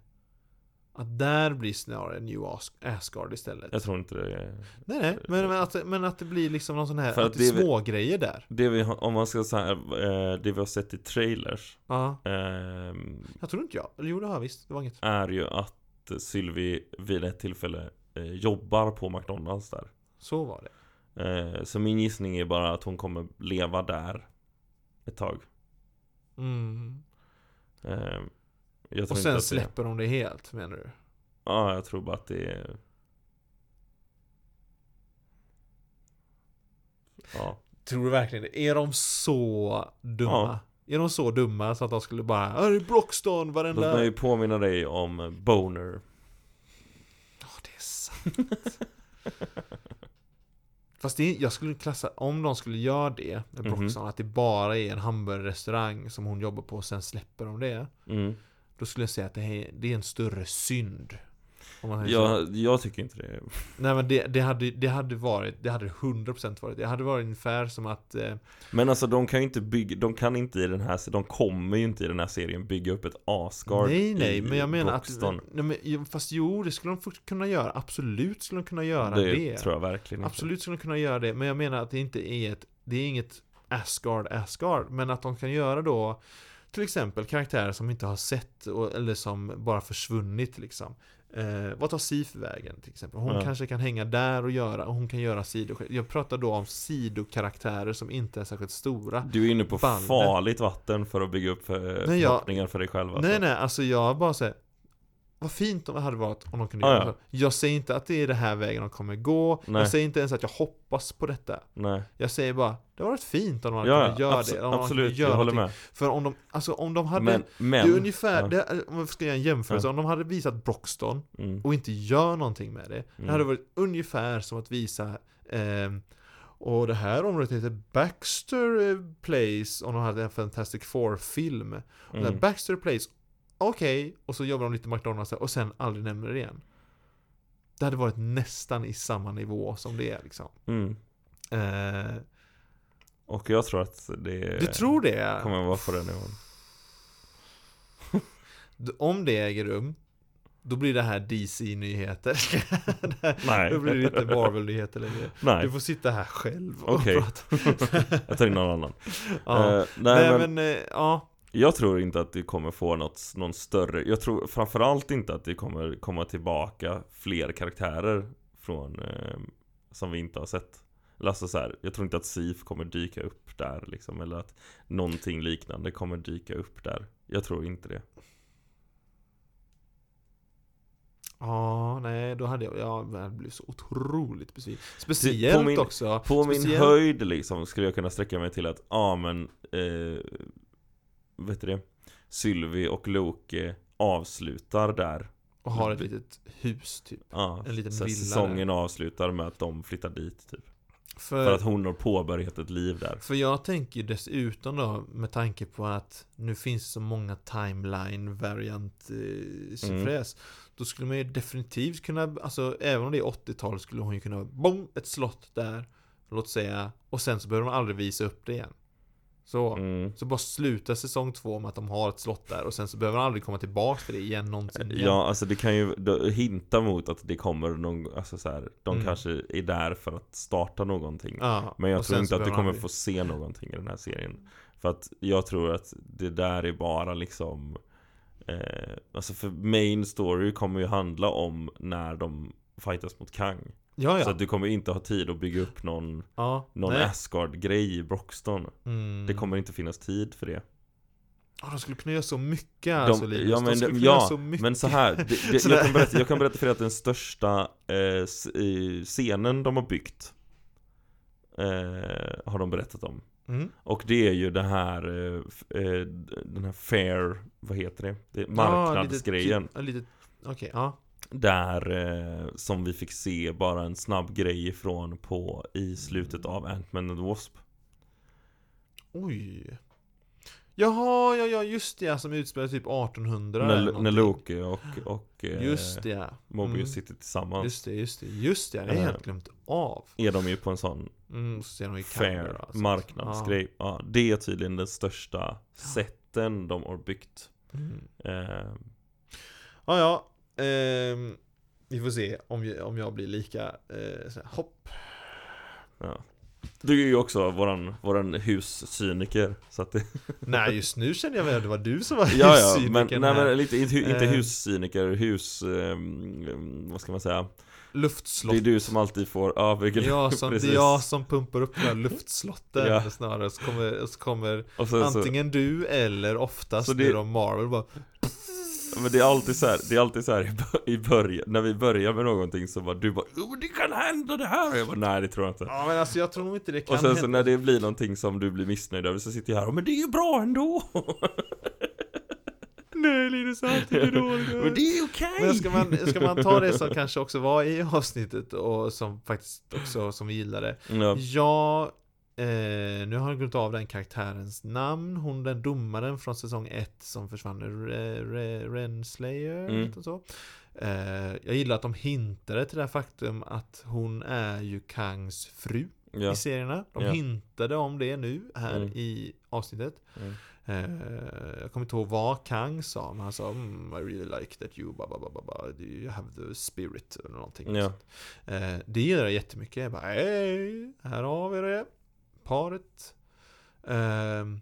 Speaker 2: att där blir snarare New As- Asgard istället.
Speaker 1: Jag tror inte det är...
Speaker 2: Nej, nej, men, men, att, men att det blir liksom någon sån här,
Speaker 1: För
Speaker 2: att,
Speaker 1: att
Speaker 2: det är
Speaker 1: det är-
Speaker 2: smågrejer där.
Speaker 1: Det vi, har- om man ska säga, eh, det vi har sett i trailers
Speaker 2: Ja,
Speaker 1: ehm,
Speaker 2: jag tror inte jag. Eller jo, det har jag visst. Det var inget.
Speaker 1: Är ju att Sylvie vid ett tillfälle eh, jobbar på McDonalds där
Speaker 2: Så var det.
Speaker 1: Eh, Så min gissning är bara att hon kommer leva där ett tag.
Speaker 2: Mm.
Speaker 1: Eh, Jag tror
Speaker 2: Och
Speaker 1: inte
Speaker 2: sen
Speaker 1: att Det,
Speaker 2: släpper de det helt, menar du?
Speaker 1: ja, jag tror bara att det är... Ja.
Speaker 2: Tror du verkligen det? Är de så dumma?
Speaker 1: Ja.
Speaker 2: Är de så dumma så att de skulle bara "Ja, det är Broxton varenda...
Speaker 1: Låt mig påminna dig om Boner.
Speaker 2: Ja, det är sant. Fast det, jag skulle klassa, om de skulle göra det med
Speaker 1: Mhm.
Speaker 2: Broxon, att det bara är en hamburgerrestaurang som hon jobbar på och sen släpper de det.
Speaker 1: Mm.
Speaker 2: Då skulle jag säga att det, här, det är en större synd. Om man säger så.
Speaker 1: Jag, jag tycker inte det.
Speaker 2: Nej men det, det, hade, det hade varit, det hade 100% varit. Det hade varit ungefär som att eh,
Speaker 1: Men alltså de kan ju inte bygga, de kan inte i den här, de kommer ju inte i den här serien bygga upp ett Asgard
Speaker 2: Nej, nej,
Speaker 1: i
Speaker 2: men jag menar
Speaker 1: Broxton.
Speaker 2: att... Nej, men, jo, fast jo, det skulle de fort kunna göra. Absolut skulle de kunna göra det.
Speaker 1: det, tror jag verkligen inte.
Speaker 2: Absolut skulle de kunna göra det, men jag menar att det inte är ett... Det är inget Asgard, Asgard, men att de kan göra då till exempel karaktärer som vi inte har sett och, eller som bara försvunnit liksom. Eh, vad tar Sif vägen till exempel? Hon
Speaker 1: Ja.
Speaker 2: kanske kan hänga där och göra, och hon kan göra sido. Jag pratar då om sidokaraktärer som inte är särskilt stora.
Speaker 1: Du är inne på
Speaker 2: bandet.
Speaker 1: farligt vatten för att bygga upp för,
Speaker 2: Nej, jag-
Speaker 1: förhoppningar för dig själv alltså.
Speaker 2: Nej nej, alltså jag bara säger Vad fint om det hade varit om de kunde
Speaker 1: Ah,
Speaker 2: göra
Speaker 1: ja.
Speaker 2: så. Jag säger inte att det är det här vägen de kommer gå
Speaker 1: Nej.
Speaker 2: Jag säger inte ens att jag hoppas på detta
Speaker 1: nej.
Speaker 2: Jag säger bara Det hade varit fint om de hade
Speaker 1: Ja,
Speaker 2: kunnat
Speaker 1: ja,
Speaker 2: göra
Speaker 1: abso-
Speaker 2: det om de hade
Speaker 1: absolut,
Speaker 2: kunnat göra
Speaker 1: jag håller
Speaker 2: någonting.
Speaker 1: med.
Speaker 2: För om de, alltså om de hade
Speaker 1: Men, men,
Speaker 2: Det är ungefär,
Speaker 1: ja.
Speaker 2: det är, om jag ska göra en jämförelse Om de hade visat Broxton
Speaker 1: mm,
Speaker 2: och inte gör någonting med det
Speaker 1: Mm.
Speaker 2: Det hade varit ungefär som att visa ehm, och det här området heter Baxter eh, Place om de hade en Fantastic Four-film. Och
Speaker 1: mm.
Speaker 2: där, Baxter Place, okej, och så jobbar de lite McDonalds där, och sen aldrig nämner det igen. Det hade varit nästan i samma nivå som det är liksom.
Speaker 1: Mm.
Speaker 2: Eh,
Speaker 1: Och jag tror att det
Speaker 2: Du tror det?
Speaker 1: Eh, kommer att vara på den nivån.
Speaker 2: D- Om det äger rum, då blir det här DC-nyheter.
Speaker 1: Nej.
Speaker 2: då blir det inte Marvel-nyheter längre.
Speaker 1: Nej,
Speaker 2: Du får sitta här själv och
Speaker 1: Okej.
Speaker 2: prata.
Speaker 1: jag tar in någon annan.
Speaker 2: Ja.
Speaker 1: Eh, nej,
Speaker 2: Nej
Speaker 1: men,
Speaker 2: men, eh, ja.
Speaker 1: jag tror inte att det kommer få något, någon större, jag tror framförallt inte att det kommer komma tillbaka fler karaktärer från, eh, som vi inte har sett. Eller alltså så här, jag tror inte att SIF kommer dyka upp där liksom, eller att någonting liknande kommer dyka upp där. Jag tror inte det.
Speaker 2: Ja, nej då hade jag, ja, jag blev så otroligt besviken. Speciellt
Speaker 1: min-
Speaker 2: också.
Speaker 1: På min
Speaker 2: speciellt-
Speaker 1: höjd liksom skulle jag kunna sträcka mig till att, ja ah, men, eh, vet du det? Sylvie och Loke avslutar där.
Speaker 2: Och har ett litet hus typ.
Speaker 1: Ja,
Speaker 2: En liten
Speaker 1: så här,
Speaker 2: villa
Speaker 1: säsongen avslutar med att de flyttar dit typ. För
Speaker 2: För,
Speaker 1: att hon har påbörjat ett liv där.
Speaker 2: för jag tänker ju dessutom då med tanke på att nu finns det så många timeline variant eh,
Speaker 1: Mm.
Speaker 2: tjofräs. Då skulle man ju definitivt kunna, alltså även om det är 80-tal skulle hon ju kunna, bom, ett slott där. Låt säga, och sen så behöver de aldrig visa upp det igen. Så.
Speaker 1: Mm.
Speaker 2: Så bara sluta säsong två med att de har ett slott där och sen så behöver de aldrig komma tillbaka till det igen någonsin igen.
Speaker 1: Ja, alltså det kan ju då- hinta mot att det kommer någon, alltså så här, de
Speaker 2: Mm.
Speaker 1: kanske är där för att starta någonting.
Speaker 2: Ja,
Speaker 1: Men jag
Speaker 2: och
Speaker 1: tror
Speaker 2: sen
Speaker 1: inte
Speaker 2: så
Speaker 1: att du
Speaker 2: behöver
Speaker 1: kommer
Speaker 2: han bli-
Speaker 1: få se någonting i den här serien. För att jag tror att det där är bara liksom eh, Alltså för main story kommer ju handla om när de fightas mot Kang.
Speaker 2: Ja, ja.
Speaker 1: Så att du kommer inte ha tid att bygga upp någon,
Speaker 2: ja
Speaker 1: någon
Speaker 2: nej.
Speaker 1: Asgard-grej i Broxton.
Speaker 2: Mm.
Speaker 1: Det kommer inte finnas tid för det.
Speaker 2: Ja, de skulle kunna göra så mycket alltså, Linus.
Speaker 1: ja, men,
Speaker 2: de skulle
Speaker 1: de,
Speaker 2: kunna
Speaker 1: ja,
Speaker 2: göra så mycket.
Speaker 1: men så här, det, det,
Speaker 2: Sådär.
Speaker 1: jag, kan berätta, jag kan berätta för er att den största eh, s- eh, scenen de har byggt eh, Har de berättat om
Speaker 2: Mm.
Speaker 1: Och det är ju det här, eh, f- eh, den här fair, vad heter det? det är marknadsgrejen.
Speaker 2: Ja, lite, typ. okej, ja.
Speaker 1: Där, eh, som vi fick se bara en snabb grej ifrån på i slutet av Ant-Man and the Wasp.
Speaker 2: Oj. Jaha, ja, ja, just det, ja, som utspelar typ 1800 eller
Speaker 1: När,
Speaker 2: någonting.
Speaker 1: när Loki och, och eh,
Speaker 2: Just det, ja.
Speaker 1: Mobius
Speaker 2: Mm.
Speaker 1: sitter tillsammans.
Speaker 2: Just det, just det, just det, ja, det har
Speaker 1: Eh.
Speaker 2: jag helt glömt av.
Speaker 1: Är de ju på en sån
Speaker 2: Mm, så ser de i
Speaker 1: fair
Speaker 2: Canberra, alltså.
Speaker 1: marknadsgrej. Ja. det är tydligen den största sätten de har byggt.
Speaker 2: Ja. Mm.
Speaker 1: Eh,
Speaker 2: Ja, ja. Ehm, vi får se om jag, om jag blir lika eh, så här, hopp.
Speaker 1: ja. Du är ju också våran, våran huscyniker. Så att det,
Speaker 2: Nej, just nu känner jag väl att det var du som var
Speaker 1: Ja, ja, men, nej,
Speaker 2: cynikern här.
Speaker 1: men lite, inte, inte
Speaker 2: Eh.
Speaker 1: huscyniker, hus... ehm, vad ska man säga? Det är
Speaker 2: Luftslott.
Speaker 1: du som alltid får övergrepp.
Speaker 2: Jag som, det
Speaker 1: precis.
Speaker 2: är jag som pumpar upp de här luftslotten
Speaker 1: Ja.
Speaker 2: snarare, så kommer, så kommer
Speaker 1: Och sen så,
Speaker 2: antingen du eller oftast
Speaker 1: Så
Speaker 2: så
Speaker 1: det-
Speaker 2: det... Marvel bara
Speaker 1: men det är alltid så här, det är alltid så här i bör- i början, när vi börjar med någonting så bara du bara "Jo, men det kan hända det här! Och jag bara nej det tror jag inte.
Speaker 2: Ja men alltså jag tror inte det kan
Speaker 1: Och sen så
Speaker 2: hända.
Speaker 1: när det blir någonting som du blir missnöjd över så sitter jag här och men det är ju bra ändå!
Speaker 2: Mm. Nej Linus, allt är
Speaker 1: Men det
Speaker 2: dåligt.
Speaker 1: är ju okej!
Speaker 2: Men ska man, ska man ta det som kanske också var i avsnittet och som faktiskt också, som vi gillade
Speaker 1: Ja,
Speaker 2: Ja, eh, nu har jag glömt av den karaktärens namn. Hon den domaren från säsong 1 som försvann. Re, Re, Renslayer,
Speaker 1: Mm.
Speaker 2: heter hon så. Eh, jag gillar att de hintade till det här faktum att hon är ju Kangs fru
Speaker 1: ja.
Speaker 2: i serierna. De
Speaker 1: Ja.
Speaker 2: hintade om det nu här
Speaker 1: Mm.
Speaker 2: i avsnittet.
Speaker 1: Mm.
Speaker 2: Eh, jag kommer inte ihåg vad Kang sa, men han sa mm, I really like that you, ba, ba, ba, ba, ba, do you have the spirit eller någonting.
Speaker 1: Ja.
Speaker 2: Eh, det gillar jag jättemycket. Jag bara, hej, här har vi det. Paret. Ehm,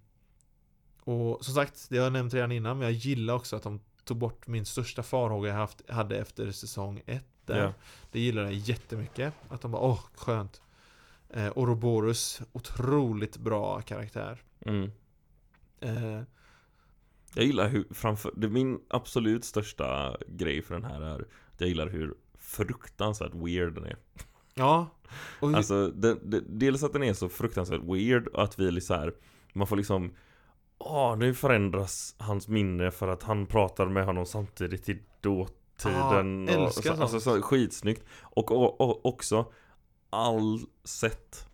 Speaker 2: och som sagt, det har jag nämnt redan innan, men jag gillar också att de tog bort min största farhåga jag haft, hade efter säsong 1.
Speaker 1: Ja.
Speaker 2: Det gillar jag jättemycket. Att de bara, åh, skönt. Eh, Ouroboros, otroligt bra karaktär.
Speaker 1: Mm.
Speaker 2: Eh,
Speaker 1: Jag gillar hur, framför, det min absolut största grej för den här är att jag gillar hur fruktansvärt weird den är.
Speaker 2: ja. Och,
Speaker 1: Alltså, den, den, dels att den är så fruktansvärt weird och att vi är så här, man får liksom Åh, nu förändras hans minne för att han pratar med honom samtidigt i dåtiden
Speaker 2: Ja,
Speaker 1: och,
Speaker 2: Ah,
Speaker 1: så,
Speaker 2: älskar sånt.
Speaker 1: Alltså så skitsnyggt och, och, och också All set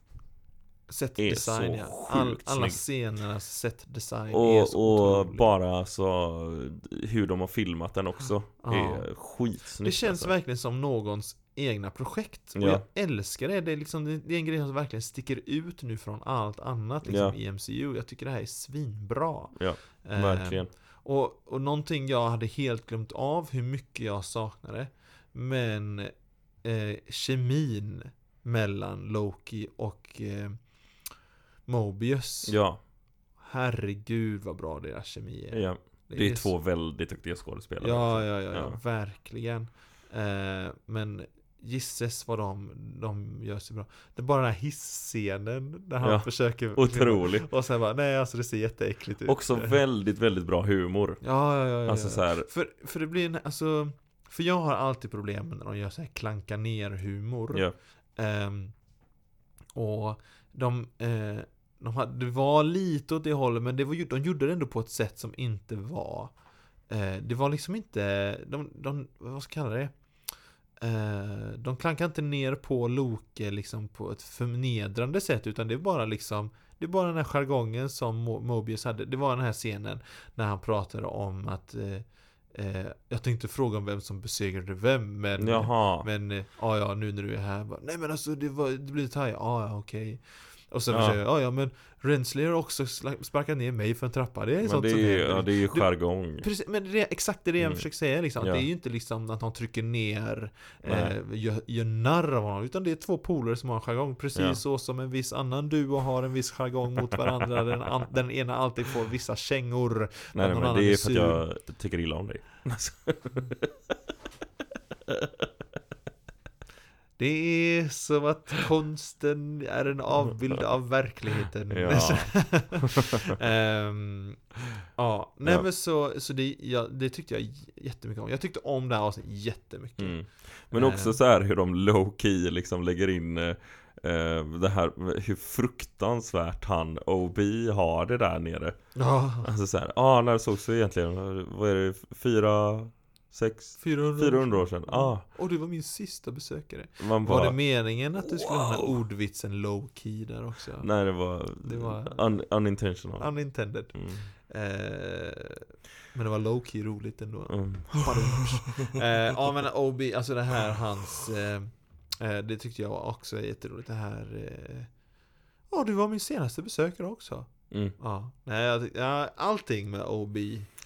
Speaker 2: set
Speaker 1: är
Speaker 2: design,
Speaker 1: så
Speaker 2: ja. All,
Speaker 1: sjukt
Speaker 2: alla
Speaker 1: snygg.
Speaker 2: scenernas set design är så
Speaker 1: och, och
Speaker 2: otrolig.
Speaker 1: bara så hur de har filmat den också
Speaker 2: Ja.
Speaker 1: är skitsnyggt
Speaker 2: Ah. Det känns
Speaker 1: alltså.
Speaker 2: verkligen som någons egna projekt. Och
Speaker 1: Ja.
Speaker 2: jag älskar det. Det är, liksom, det är en grej som verkligen sticker ut nu från allt annat liksom,
Speaker 1: Ja.
Speaker 2: i MCU. Jag tycker det här är svinbra.
Speaker 1: Ja,
Speaker 2: Eh,
Speaker 1: alltså. verkligen.
Speaker 2: och, och någonting jag hade helt glömt av hur mycket jag saknade. Men eh, kemin mellan Loki och eh, Mobius.
Speaker 1: Ja,
Speaker 2: Herregud vad bra deras kemi är.
Speaker 1: ja. Det är två väldigt duktiga skådespelare.
Speaker 2: Ja,
Speaker 1: också.
Speaker 2: ja, ja, ja,
Speaker 1: Ja.
Speaker 2: verkligen. Eh, men gisses vad de, de gör sig bra. Det är bara den här hissscenen där han
Speaker 1: Ja,
Speaker 2: försöker...
Speaker 1: Otrolig.
Speaker 2: Och sen bara, nej alltså det ser jätteäckligt ut.
Speaker 1: Också
Speaker 2: ja,
Speaker 1: väldigt, väldigt bra humor.
Speaker 2: ja, ja, ja, ja.
Speaker 1: Alltså så här,
Speaker 2: För, för det blir en, alltså... För jag har alltid problem när de gör så här klanka ner humor.
Speaker 1: ja,
Speaker 2: Ehm, och de, eh, de hade, det var lite åt det hållet, men det var, ju- de gjorde det ändå på ett sätt som inte var... Eh, det var liksom inte... De, de, vad ska jag kalla det? Eh, de klankade inte ner på Loke liksom på ett förnedrande sätt, utan det är bara liksom... Det är bara den här jargongen som Mo- Mobius hade. Det var den här scenen när han pratade om att... Eh, eh, jag tänkte fråga om vem som besegrade vem, men...
Speaker 1: jaha.
Speaker 2: Men eh, ja, ja, nu när du är här bara, Nej men alltså det, var, det blir thai, ja ja okej Och sen
Speaker 1: Ja.
Speaker 2: försöker jag, ja ja men Rensselaer har också sla- sparkat ner mig för en trappa Det är
Speaker 1: Men
Speaker 2: sånt
Speaker 1: det
Speaker 2: som
Speaker 1: är,
Speaker 2: händer
Speaker 1: ja,
Speaker 2: liksom.
Speaker 1: det är ju jargong.
Speaker 2: Precis, men det är exakt det jag
Speaker 1: Mm.
Speaker 2: försöker säga liksom.
Speaker 1: Ja.
Speaker 2: Det är ju inte liksom att han trycker ner, eh,
Speaker 1: Nej.
Speaker 2: gör, gör narr av honom. Utan det är två polare som har en jargong. Precis
Speaker 1: Ja.
Speaker 2: så som en viss annan duo har en viss jargong mot varandra. den, an- den ena alltid får vissa kängor.
Speaker 1: Nej, nej
Speaker 2: någon
Speaker 1: men
Speaker 2: annan
Speaker 1: det är
Speaker 2: är
Speaker 1: för att jag tycker illa om dig.
Speaker 2: Det är som att konsten är en avbild av verkligheten.
Speaker 1: Ja.
Speaker 2: Ehm, ja, nej
Speaker 1: Ja.
Speaker 2: men så, så det, ja, det tyckte jag j- jättemycket om. Jag tyckte om det här avsnittet jättemycket.
Speaker 1: Mm. Men
Speaker 2: Eh.
Speaker 1: också så här hur de low key liksom lägger in eh, eh, det här hur fruktansvärt han OB har det där nere.
Speaker 2: Ja,
Speaker 1: Alltså så här, ah, när sågs vi egentligen? Vad är det? Fyra, sex,
Speaker 2: 400.
Speaker 1: 400 år sedan? Ah,
Speaker 2: Och du var min sista besökare.
Speaker 1: man
Speaker 2: Var
Speaker 1: bara,
Speaker 2: det meningen att du skulle ha den här
Speaker 1: Wow.
Speaker 2: ordvitsen low key där också?
Speaker 1: nej det var,
Speaker 2: Det var-
Speaker 1: un, unintentional.
Speaker 2: Unintended.
Speaker 1: Mm.
Speaker 2: Ehm, men det var low key roligt ändå.
Speaker 1: Mm.
Speaker 2: eh, ja men OB, alltså det här hans eh, eh, Det tyckte jag också är jätteroligt det här eh, Ja du var min senaste besökare också
Speaker 1: Mm.
Speaker 2: Ja, nej jag tyck- ja, allting med OB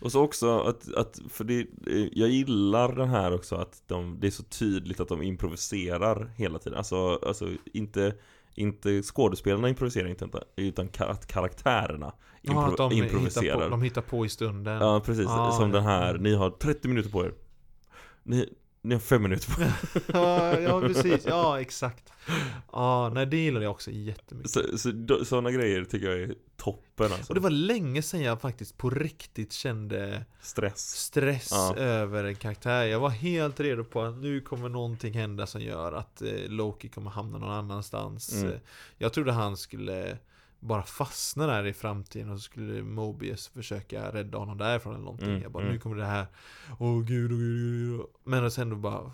Speaker 1: Och så också att, att för det, eh, jag gillar den här också att de, det är så tydligt att de improviserar hela tiden. Alltså, alltså inte, inte skådespelarna improviserar inte, utan- utan ka- att karaktärerna
Speaker 2: ja,
Speaker 1: impro-
Speaker 2: att de
Speaker 1: improviserar.
Speaker 2: Hittar på, de hittar på i stunden
Speaker 1: Ja, precis.
Speaker 2: Ah,
Speaker 1: Som
Speaker 2: ja.
Speaker 1: den här, ni har 30 minuter på er. Ni, ni har 5 minuter på er.
Speaker 2: ja, ja precis, ja exakt Ja, nej det gillade jag också jättemycket
Speaker 1: Så, så, då- sådana grejer tycker jag är toppen alltså.
Speaker 2: Och det var länge sedan jag faktiskt på riktigt kände
Speaker 1: Stress.
Speaker 2: stress
Speaker 1: Ja.
Speaker 2: över en karaktär. Jag var helt redo på att nu kommer någonting hända som gör att eh, Loki kommer hamna någon annanstans.
Speaker 1: Mm.
Speaker 2: Eh, Jag trodde han skulle bara fastna där i framtiden och så skulle Mobius försöka rädda honom därifrån eller någonting.
Speaker 1: Mm,
Speaker 2: Jag bara,
Speaker 1: mm.
Speaker 2: nu kommer det här. Åh oh, gud, åh oh, gud, åh, gud. Men och sen då bara...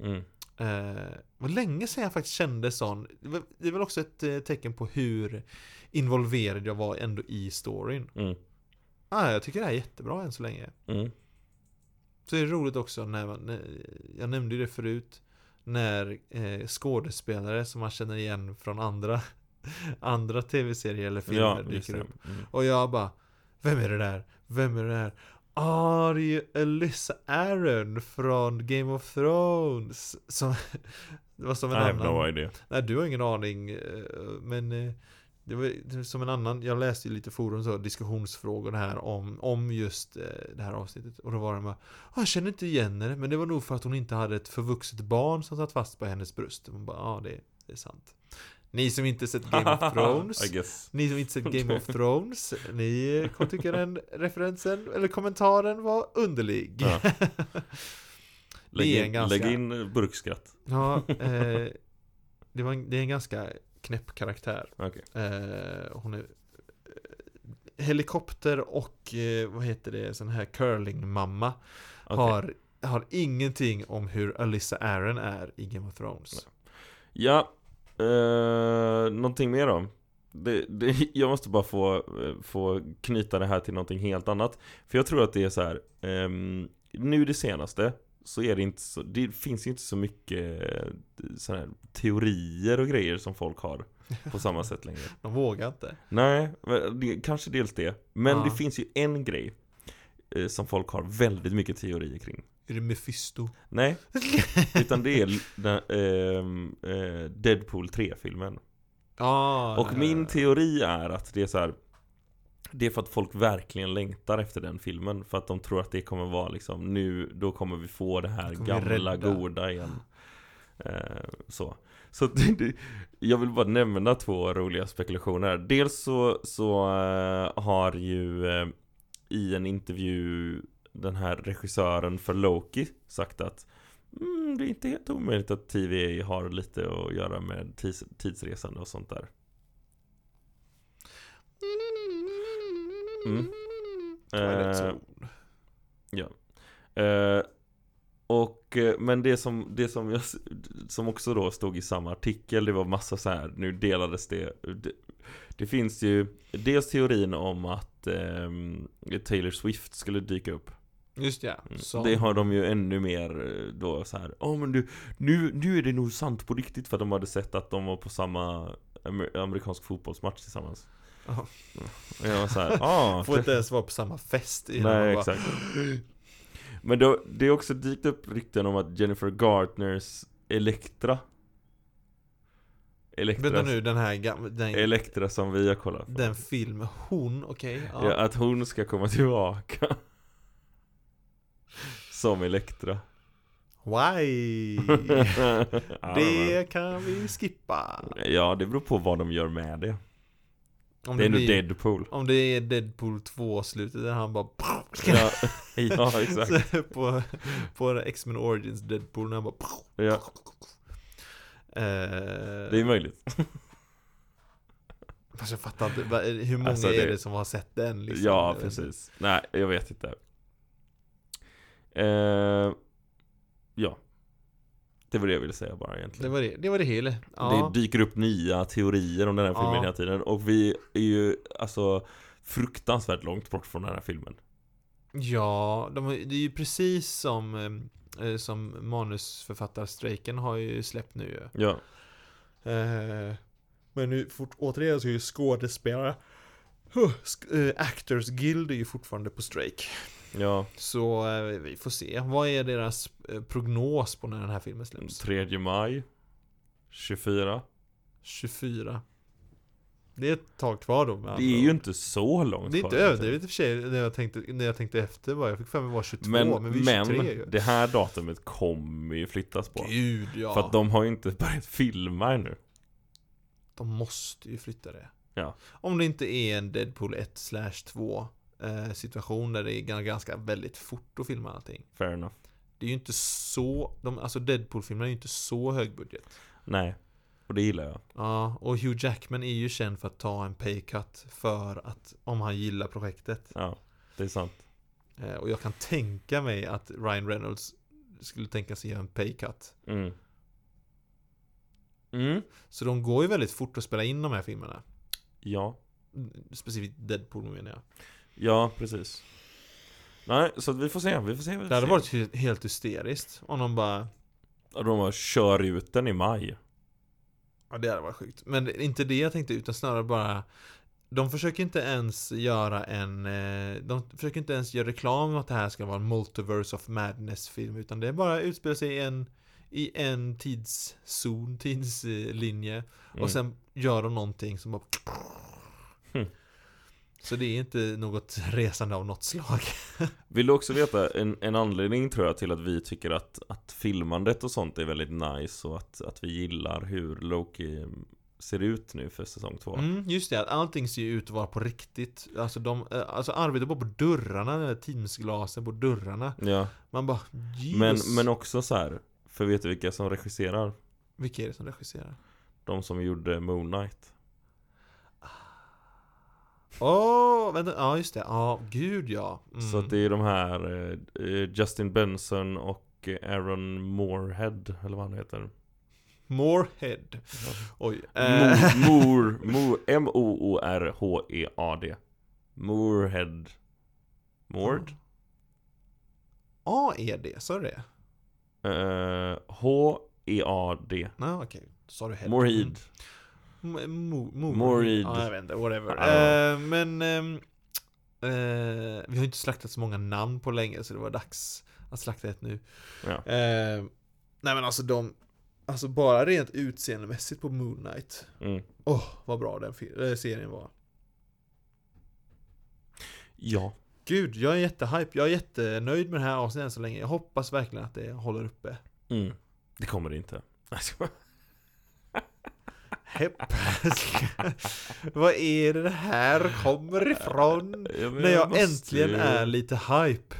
Speaker 1: Mm.
Speaker 2: Eh, det var länge sedan jag faktiskt kände sån. Det var- Det är väl också ett eh, tecken på hur involverad jag var ändå i storyn.
Speaker 1: Mm.
Speaker 2: Ah, jag tycker det här är jättebra än så länge.
Speaker 1: Mm.
Speaker 2: Så är det roligt också när, man- när jag nämnde ju det förut, när eh, skådespelare som man känner igen från andra, andra tv-serier eller filmer
Speaker 1: Ja, just
Speaker 2: dyker
Speaker 1: det.
Speaker 2: upp.
Speaker 1: Mm.
Speaker 2: Och jag bara, vem är det där? Vem är det där? Ah, det är ju Alyssa Aaron från Game of Thrones. Som, det var som
Speaker 1: I
Speaker 2: en
Speaker 1: have
Speaker 2: annan.
Speaker 1: no idea.
Speaker 2: Nej, du har ingen aning. eh, Men eh, det var ju- det var som en annan, jag läste ju lite forum så, diskussionsfrågor här om, om just eh, det här avsnittet. Och då var det bara, "Ah, jag känner inte igen henne, men det var nog för att hon inte hade ett förvuxet barn som satt fast på hennes bröst. Och man bara, ja ah, det, det är sant. Ni som inte sett Game of Thrones.
Speaker 1: I guess.
Speaker 2: Ni som inte sett Game of Thrones, ni eh, kommer tycka den referensen, eller kommentaren var underlig.
Speaker 1: Ja. Lägg
Speaker 2: Det är
Speaker 1: in,
Speaker 2: en ganska-
Speaker 1: lägg in burkskratt.
Speaker 2: Ja, eh, det, var en, det är en ganska knäpp karaktär.
Speaker 1: Okej.
Speaker 2: Eh, hon är eh, helikopter och eh, vad heter det, sån här curlingmamma
Speaker 1: Okej.
Speaker 2: har, har ingenting om hur Alyssa Aaron är i Game of Thrones.
Speaker 1: Ja, eh, någonting mer då? Det, det, jag måste bara få, eh, få knyta det här till någonting helt annat. För jag tror att det är så här. ehm, nu det senaste, så är det inte så, det finns ju inte så mycket eh, såna här teorier och grejer som folk har på samma sätt längre.
Speaker 2: De vågar inte.
Speaker 1: Nej, väl, det, kanske dels det. Men
Speaker 2: Ja.
Speaker 1: det finns ju en grej eh, som folk har väldigt mycket teorier kring.
Speaker 2: Är det Mephisto?
Speaker 1: Nej, utan det är den, ehm, eh, Deadpool 3-filmen.
Speaker 2: Ja.
Speaker 1: Och
Speaker 2: ja,
Speaker 1: min
Speaker 2: ja.
Speaker 1: teori är att det är så här. Det är för att folk verkligen längtar efter den filmen För att de tror att det kommer vara liksom Nu, då kommer vi få det här
Speaker 2: Då kommer vi
Speaker 1: gamla
Speaker 2: rädda.
Speaker 1: goda igen eh, Så, så att det, det, jag vill bara nämna två roliga spekulationer Dels så, så eh, har ju eh, i en intervju den här regissören för Loki sagt att mm, det är inte helt omöjligt att TVA har lite att göra med tids tidsresande och sånt där. Mm.
Speaker 2: Twilight
Speaker 1: Eh,
Speaker 2: Zone.
Speaker 1: Eh, och, eh, men det som, det som, jag, s- som också då stod i samma artikel, det var massa så här, nu delades det. Det, det finns ju dels teorin om att ehm, Taylor Swift skulle dyka upp.
Speaker 2: Just ja.
Speaker 1: Mm.
Speaker 2: Så.
Speaker 1: Det har de ju ännu mer eh, då så här. Ja men du, nu, nu är det nog sant på riktigt för att de hade sett att de var på samma amer- amerikansk fotbollsmatch tillsammans.
Speaker 2: Ja.
Speaker 1: Och jag var så här, ah,
Speaker 2: Får inte ens vara på samma fest innan
Speaker 1: Nej
Speaker 2: man bara,
Speaker 1: exakt. Men då, det har också dykt upp rykten om att Jennifer Gartners Elektra
Speaker 2: Vänta
Speaker 1: Elektra,
Speaker 2: nu, den här gamla, den,
Speaker 1: Elektra som vi har kollat på.
Speaker 2: den film, hon, okej. ja.
Speaker 1: Ja, att hon ska komma tillbaka. Som Elektra.
Speaker 2: Why?
Speaker 1: det...
Speaker 2: det kan vi skippa.
Speaker 1: Ja, det beror på vad de gör med det.
Speaker 2: Om
Speaker 1: det är nog
Speaker 2: blir-
Speaker 1: Deadpool.
Speaker 2: Om det är Deadpool 2-slutet där han bara
Speaker 1: Ja, ja exakt.
Speaker 2: på, på X-Men Origins Deadpool när han bara
Speaker 1: Ja,
Speaker 2: eh,
Speaker 1: det är möjligt.
Speaker 2: Fast jag fattar inte, vad är det- hur många
Speaker 1: Alltså, det-
Speaker 2: är det som har sett den liksom? Jag
Speaker 1: Ja,
Speaker 2: vet inte.
Speaker 1: precis. Nej, jag vet inte. Eh, ja. Det var det jag ville säga bara
Speaker 2: Det
Speaker 1: egentligen.
Speaker 2: var det, det var det hela ja.
Speaker 1: Det dyker upp nya teorier om den här filmen
Speaker 2: Ja.
Speaker 1: hela tiden. Och vi är ju alltså fruktansvärt långt bort från den här filmen.
Speaker 2: Ja, de, har- det är ju precis som eh, som manusförfattarstrejken har ju släppt nu ju.
Speaker 1: Ja.
Speaker 2: Eh, Men nu, fort, återigen så är ju skådespelare Huh, sk- eh, Actors Guild är ju fortfarande på strejk.
Speaker 1: Ja,
Speaker 2: Så eh, vi får se. Vad är deras eh, prognos på när den här filmen släpps?
Speaker 1: 3 maj 24.
Speaker 2: 24. Det är ett tag kvar då. med
Speaker 1: Det
Speaker 2: andra
Speaker 1: är ju
Speaker 2: ord.
Speaker 1: inte så långt
Speaker 2: Alltså. Det är inte
Speaker 1: kvar,
Speaker 2: överdrivet i och för sig när jag tänkte, när jag tänkte efter bara. Jag fick för mig att det var 22, men,
Speaker 1: Men,
Speaker 2: vi är 23 ju.
Speaker 1: men det här datumet kommer ju flyttas på.
Speaker 2: Gud ja.
Speaker 1: För att de har ju inte börjat filma ännu.
Speaker 2: De måste ju flytta det.
Speaker 1: Ja.
Speaker 2: Om det inte är en Deadpool 1 slash 2 eh, situation där det är gan- ganska väldigt fort att filma allting.
Speaker 1: Fair enough.
Speaker 2: Det är ju inte så, de, alltså Deadpool-filmerna är ju inte så högbudget.
Speaker 1: Nej. Och det gillar jag.
Speaker 2: Ja, och Hugh Jackman är ju känd för att ta en pay cut för att, om han gillar projektet.
Speaker 1: Ja, det är sant.
Speaker 2: Eh, och jag kan tänka mig att Ryan Reynolds skulle tänka sig göra en pay cut.
Speaker 1: Mm. Mm.
Speaker 2: Så de går ju väldigt fort att spela in de här filmerna.
Speaker 1: Ja.
Speaker 2: Mm, Specifikt Deadpool menar jag.
Speaker 1: Ja, precis. Nej, så att vi får se. Vi får se. Vi får
Speaker 2: Det hade
Speaker 1: se.
Speaker 2: varit hy- helt hysteriskt om de bara
Speaker 1: Och De bara kör ut den i maj.
Speaker 2: Ja det hade varit sjukt. Men det- inte det jag tänkte utan snarare bara De försöker inte ens göra en eh, De försöker inte ens göra reklam om att det här ska vara en Multiverse of Madness film utan det bara utspelar sig i en I en tidszon, tidslinje
Speaker 1: Mm.
Speaker 2: och sen gör de någonting som bara
Speaker 1: Hmm.
Speaker 2: Så det är inte något resande av något slag.
Speaker 1: Vill du också veta en, en anledning tror jag till att vi tycker att, att filmandet och sånt är väldigt nice och att, att vi gillar hur Loki ser ut nu för säsong två?
Speaker 2: Mm, just det, att allting ser ju ut att vara på riktigt. Alltså de, eh, alltså arbetar bara på dörrarna, den där teamsglasen på dörrarna.
Speaker 1: Ja,
Speaker 2: Man bara
Speaker 1: men,
Speaker 2: Jesus.
Speaker 1: men också så här. För vet du vilka som regisserar?
Speaker 2: Vilka är det som regisserar?
Speaker 1: De som gjorde Moon Knight.
Speaker 2: Åh, vänta, ja just det, ja, gud ja mm.
Speaker 1: Så att det är de här eh, eh, Justin Benson och eh, Aaron Moorhead, eller vad han heter.
Speaker 2: Morehead Oj eh,
Speaker 1: Moor, Moor, E M-O-O-R-H-E-A-D Moorhead Mord?
Speaker 2: A är det, E, sa du det?
Speaker 1: Eh, H-E-A-D.
Speaker 2: Ja, okej. Sa du head? Mm.
Speaker 1: Morhid.
Speaker 2: M- mo- mo-
Speaker 1: Morid.
Speaker 2: Ja, jag vet inte, whatever.
Speaker 1: Ja, ja.
Speaker 2: Eh, men ehm, eh, vi har inte slaktat så många namn på länge så det var dags att slakta ett nu.
Speaker 1: Ja.
Speaker 2: Eh, nej men alltså de, alltså bara rent utseendemässigt på Moon Knight.
Speaker 1: Mm.
Speaker 2: Åh, vad bra den fi- eh, serien var.
Speaker 1: Ja.
Speaker 2: Gud, jag är jättehype. Jag är jättenöjd med det här avsnittet än så länge. Jag hoppas verkligen att det håller uppe.
Speaker 1: Mm. Det kommer det inte. Nej, jag skojar.
Speaker 2: Hepp. vad är det det här kommer ifrån?
Speaker 1: Ja, men
Speaker 2: När jag
Speaker 1: måste
Speaker 2: äntligen
Speaker 1: ju-
Speaker 2: är lite hype.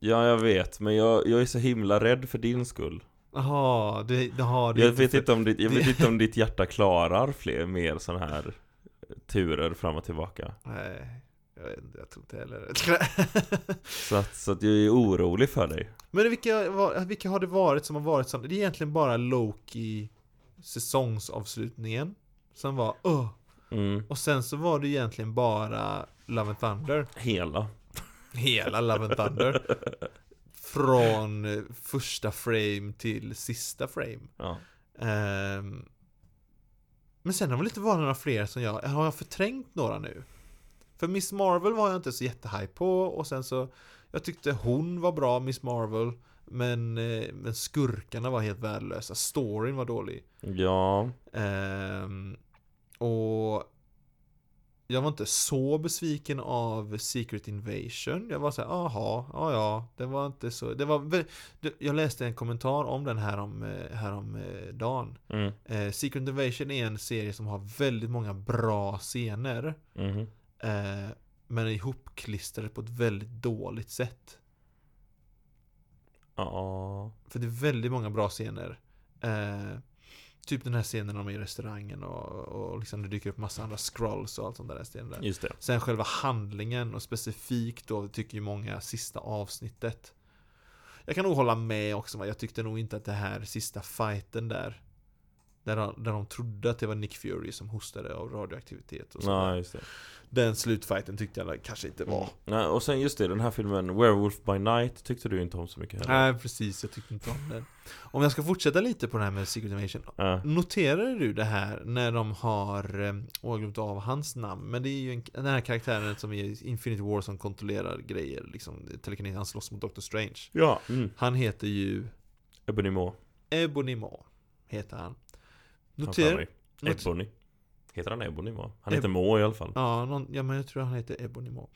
Speaker 1: Ja, jag vet. Men jag, jag är så himla rädd för din skull.
Speaker 2: Jaha, det, jaha, det är
Speaker 1: Jag
Speaker 2: inte
Speaker 1: vet
Speaker 2: för-
Speaker 1: inte om ditt, jag vet
Speaker 2: det-
Speaker 1: inte om ditt hjärta klarar fler, mer sån här turer fram och tillbaka.
Speaker 2: Nej, jag, vet inte, jag tror inte heller det.
Speaker 1: Så att, så att jag är orolig för dig.
Speaker 2: Men vilka, var- vilka har det varit som har varit sån? Det är egentligen bara Loki säsongsavslutningen som var öh.
Speaker 1: Mm.
Speaker 2: Och sen så var det egentligen bara Love and Thunder.
Speaker 1: Hela.
Speaker 2: Hela Love and Thunder. Från eh, första frame till sista frame.
Speaker 1: Ja.
Speaker 2: Ehm, men sen har väl inte varit några fler som jag, har jag förträngt några nu? För Miss Marvel var jag inte så jättehype på och sen så Jag tyckte hon var bra, Miss Marvel Men, eh, men skurkarna var helt värdelösa, storyn var dålig
Speaker 1: Ja.
Speaker 2: Ehm, Och Jag var inte så besviken av Secret Invasion Jag var såhär, aha, ja ja Det var inte så, det var vä- du, Jag läste en kommentar om den här om, eh, här om eh, dagen
Speaker 1: Mm.
Speaker 2: Eh, Secret Invasion är en serie som har väldigt många bra scener.
Speaker 1: Mhm.
Speaker 2: Eh, men är ihopklistrade på ett väldigt dåligt sätt.
Speaker 1: Ja.
Speaker 2: För det är väldigt många bra scener. Eh, typ den här scenen om i restaurangen och, och liksom det dyker upp massa andra scrolls och allt sånt där. Scener.
Speaker 1: Just det.
Speaker 2: Sen själva handlingen och specifikt då tycker ju många sista avsnittet. Jag kan nog hålla med också, men jag tyckte nog inte att det här sista fighten där där de, där de trodde att det var Nick Fury som hostade av radioaktivitet och så.
Speaker 1: Ja, just det.
Speaker 2: Den slutfighten tyckte jag kanske inte var.
Speaker 1: Nej, och sen just det, den här filmen Werewolf by Night tyckte du inte om så mycket heller.
Speaker 2: Nej precis, jag tyckte inte om den. Om jag ska fortsätta lite på det här med Secret Invasion.
Speaker 1: Äh.
Speaker 2: Noterade du det här när de har, eh, åh jag glömt av hans namn, men det är ju en, den här karaktären som är i Infinity War som kontrollerar grejer, liksom telekinesis, han slåss mot Doctor Strange.
Speaker 1: Ja. Mm.
Speaker 2: Han heter ju
Speaker 1: Ebony Maw.
Speaker 2: Ebony Maw, heter han.
Speaker 1: Hans Harry.
Speaker 2: Noter, noter,
Speaker 1: Ebony. Heter han Ebony Maw? Han
Speaker 2: Eb-
Speaker 1: heter Maw i alla fall.
Speaker 2: ja, någon, ja, men jag tror han heter Ebony Maw.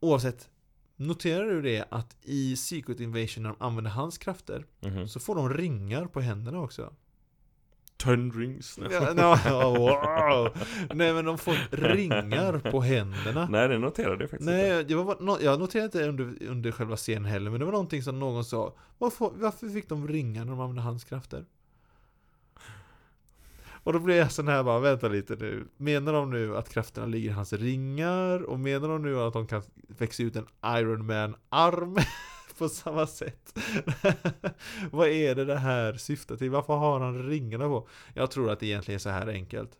Speaker 2: Oavsett, noterar du det att i Secret Invasion när de använder hans krafter
Speaker 1: Mhm.
Speaker 2: så får de ringar på händerna också.
Speaker 1: Ten rings.
Speaker 2: Ja, no, wow. Nej men de får ringar på händerna.
Speaker 1: Nej, det noterade jag faktiskt inte.
Speaker 2: Nej, det var, bara- nå- jag noterade inte under, under själva scenen heller, men det var någonting som någon sa Varför, varför fick de ringa när de använde hans krafter? Och då blev jag sån här bara, vänta lite nu Menar de nu att krafterna ligger i hans ringar? Och menar de nu att de kan växa ut en Iron Man-arm? På samma sätt Vad är det det här syftar till? Varför har han ringarna på? Jag tror att det egentligen är så här enkelt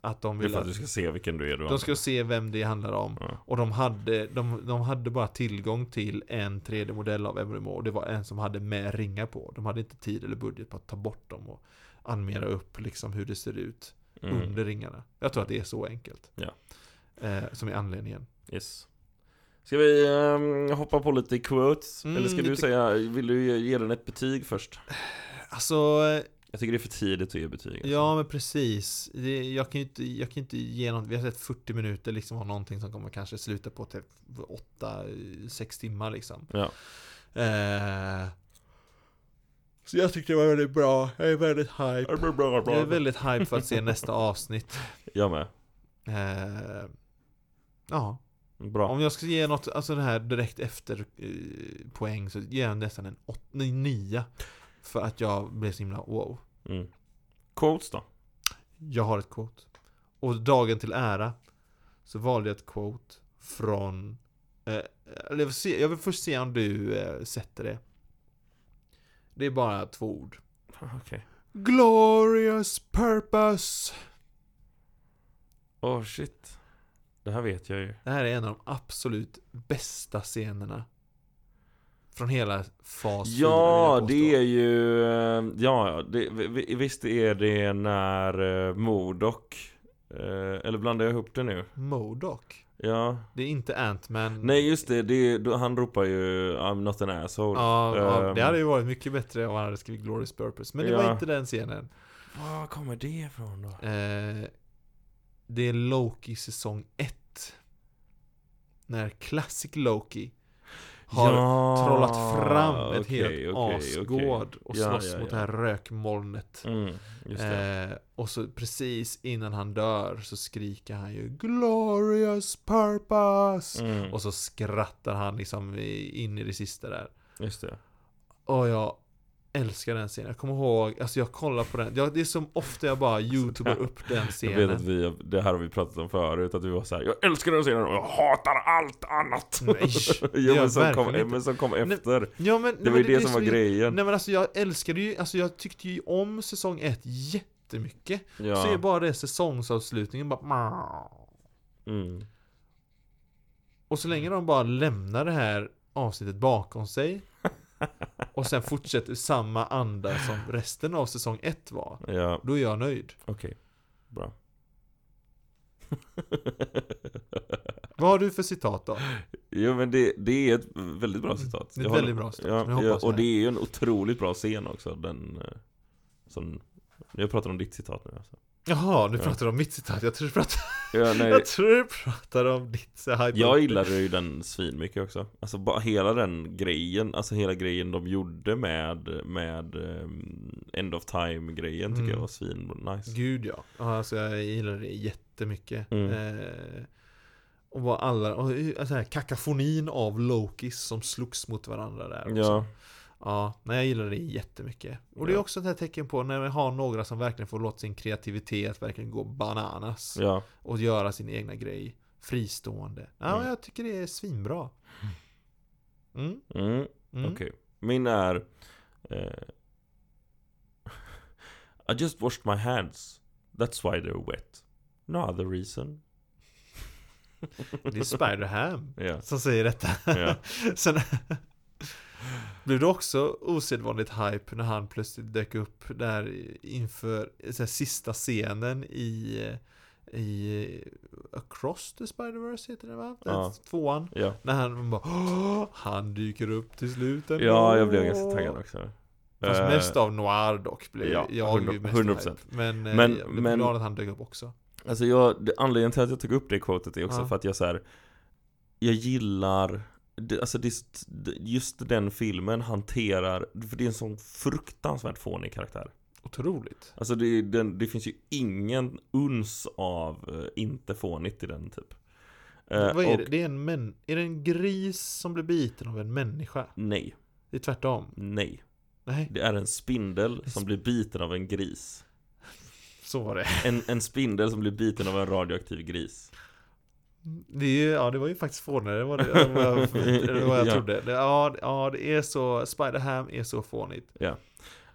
Speaker 2: Att de
Speaker 1: Det är
Speaker 2: vill
Speaker 1: för att
Speaker 2: att
Speaker 1: du ska se vilken du är du
Speaker 2: de ska se vem det handlar om
Speaker 1: Ja.
Speaker 2: och de hade, de, de hade bara tillgång till en 3D-modell av Ebony Moore. Och det var en som hade med ringar på. De hade inte tid eller budget på att ta bort dem och animera upp liksom hur det ser ut
Speaker 1: mm.
Speaker 2: under ringarna. Jag tror att det är så enkelt.
Speaker 1: Ja.
Speaker 2: Eh, som är anledningen.
Speaker 1: Yes. Ska vi ehm, hoppa på lite quotes?
Speaker 2: Mm,
Speaker 1: Eller ska du
Speaker 2: lite-
Speaker 1: säga, vill du ge- ge den ett betyg först?
Speaker 2: Alltså, eh,
Speaker 1: Jag tycker det är för tidigt att ge betyg. alltså.
Speaker 2: ja men precis. Det, jag, kan ju inte, jag kan ju inte ge något, vi har sett 40 minuter liksom av någonting som kommer kanske sluta på typ 8-6 timmar liksom.
Speaker 1: ja.
Speaker 2: Eh, Så jag tyckte det var väldigt bra, jag är väldigt hype. Jag är väldigt hype för att se nästa avsnitt.
Speaker 1: Jag med.
Speaker 2: Eh, Ja,
Speaker 1: Bra.
Speaker 2: om jag ska ge något, alltså det här direkt efter eh, poäng så ger jag nästan en åt, nej, nia. För att jag blev så himla wow.
Speaker 1: Mm. Quotes då?
Speaker 2: Jag har ett quote. Och dagen till ära så valde jag ett quote från... Eh, eller jag, vill se, jag vill först se om du eh, sätter det. Det är bara två ord.
Speaker 1: Okej.
Speaker 2: Glorious purpose!
Speaker 1: Åh shit. Det här vet jag ju.
Speaker 2: Det här är en av de absolut bästa scenerna Från hela fas 4
Speaker 1: Ja,
Speaker 2: vill jag
Speaker 1: det
Speaker 2: påstå.
Speaker 1: är ju... eh, Ja, ja. Det, vi- vi- visst är det när eh, Modok... eh, Eller blandar jag ihop det nu?
Speaker 2: Modok.
Speaker 1: Ja.
Speaker 2: Det är inte Ant-Man.
Speaker 1: Nej, just det. det är- då, han ropar ju I'm not an asshole.
Speaker 2: Ja, ja,
Speaker 1: Ehm.
Speaker 2: det hade ju varit mycket bättre om han hade skrivit Glorious Purpose. Men det var
Speaker 1: Ja.
Speaker 2: inte den scenen.
Speaker 1: Var kommer det ifrån då?
Speaker 2: Eh, det är Loki säsong 1. När Classic Loki har
Speaker 1: Ja,
Speaker 2: trollat fram ett
Speaker 1: okej,
Speaker 2: helt
Speaker 1: okej,
Speaker 2: asgård
Speaker 1: okej.
Speaker 2: och
Speaker 1: Ja,
Speaker 2: slåss
Speaker 1: ja,
Speaker 2: mot det
Speaker 1: ja.
Speaker 2: här rökmolnet.
Speaker 1: Mm, just det.
Speaker 2: Eh, och så precis innan han dör så skriker han ju 'Glorious purpose'
Speaker 1: Mm,
Speaker 2: Och så skrattar han liksom i- in i det sista där.
Speaker 1: just det.
Speaker 2: Och jag älskar den scenen. Jag kommer ihåg, alltså jag kollar på den. Jag, det är som ofta jag bara youtuber upp den
Speaker 1: Alltså, Jag vet att
Speaker 2: scenen.
Speaker 1: vi, det här har vi pratat om förut, att vi var så här. Jag älskar den scenen och jag hatar allt annat!
Speaker 2: Nej, det
Speaker 1: jo,
Speaker 2: gör
Speaker 1: men,
Speaker 2: jag
Speaker 1: som kom,
Speaker 2: verkligen inte.
Speaker 1: men som kom
Speaker 2: Nej,
Speaker 1: efter.
Speaker 2: Ja, men,
Speaker 1: det var ju det, som var grejen.
Speaker 2: Nej men alltså jag älskade ju, alltså jag tyckte ju om säsong 1 jättemycket.
Speaker 1: ja.
Speaker 2: Så är bara det säsongsavslutningen bara
Speaker 1: mm.
Speaker 2: Och så länge de bara lämnar det här avsnittet bakom sig och sen fortsätter i samma anda som resten av säsong 1 var.
Speaker 1: Ja,
Speaker 2: Då är jag nöjd.
Speaker 1: okej. Bra.
Speaker 2: Vad har du för citat då?
Speaker 1: Jo men det, det är ett väldigt bra citat.
Speaker 2: Mm. Det är ett
Speaker 1: Jag håller-
Speaker 2: väldigt bra citat. Jag
Speaker 1: Ja,
Speaker 2: hoppas
Speaker 1: ja,
Speaker 2: på
Speaker 1: och
Speaker 2: det.
Speaker 1: det är ju en otroligt bra scen också. Den, eh, som, jag pratar om ditt citat nu alltså.
Speaker 2: Jaha, nu
Speaker 1: Ja.
Speaker 2: pratar du om mitt citat. Jag tror du pratar,
Speaker 1: Ja, nej,
Speaker 2: jag tror du pratar om ditt så här-
Speaker 1: jag gillade ju den svinmycket också. Alltså bara hela den grejen, alltså hela grejen de gjorde med, med ehm, End of Time-grejen tycker
Speaker 2: Mm.
Speaker 1: jag var svinnice.
Speaker 2: Gud ja. Ja, Alltså jag gillar det jättemycket.
Speaker 1: Mm.
Speaker 2: Eh, och vad alla, och eh, så här, kakafonin av Lokis som slogs mot varandra där. också.
Speaker 1: Ja,
Speaker 2: Ja, nej jag gillar det jättemycket. Och det är
Speaker 1: Ja.
Speaker 2: också ett här tecken på när vi har några som verkligen får låta sin kreativitet verkligen gå bananas.
Speaker 1: ja.
Speaker 2: Och göra sin egna grej. Fristående. Ja,
Speaker 1: Mm.
Speaker 2: jag tycker det är svinbra. Mm,
Speaker 1: Mm.
Speaker 2: mm.
Speaker 1: Okej, min är... eh, I just washed my hands. That's why they're wet. No other reason.
Speaker 2: Det är Spider-Ham
Speaker 1: Ja.
Speaker 2: som säger detta.
Speaker 1: Ja.
Speaker 2: Sen blev det också osedvanligt hype när han plötsligt dök upp där inför så här, sista scenen i, i Across the Spider-Verse heter det va? Den
Speaker 1: Ja.
Speaker 2: tvåan.
Speaker 1: Ja.
Speaker 2: När han bara "Åh, Han dyker upp till slut ändå."
Speaker 1: ja, jag blev ganska taggad också.
Speaker 2: Fast
Speaker 1: Eh,
Speaker 2: mest av Noir dock blev
Speaker 1: ja,
Speaker 2: jag blev mest
Speaker 1: 100%.
Speaker 2: hype. Men, eh,
Speaker 1: Men-
Speaker 2: jag blev
Speaker 1: men-
Speaker 2: glad att han dök upp också.
Speaker 1: Alltså jag, det- anledningen till att jag tog upp det quotet är också
Speaker 2: Ja.
Speaker 1: för att jag så här. Jag gillar det, alltså det, är s- det- just den filmen hanterar, för det är en sån fruktansvärt fånig karaktär.
Speaker 2: Otroligt.
Speaker 1: Alltså det, är- den, det finns ju ingen uns av eh, inte fånigt i den typ. Eh,
Speaker 2: Vad är
Speaker 1: och-
Speaker 2: det? Det är, en män... är det en gris som blir biten av en människa?
Speaker 1: Nej,
Speaker 2: Det är tvärtom.
Speaker 1: nej.
Speaker 2: Nej,
Speaker 1: Det är en spindel som blir biten av en gris.
Speaker 2: så var det.
Speaker 1: En, en spindel som blir biten av en radioaktiv gris.
Speaker 2: det är ju, ja, det var ju faktiskt fånigare än vad, det, än vad jag, än vad jag
Speaker 1: Ja.
Speaker 2: trodde. Det, ja, det- ja, det är så. Spider-Ham är så fånigt.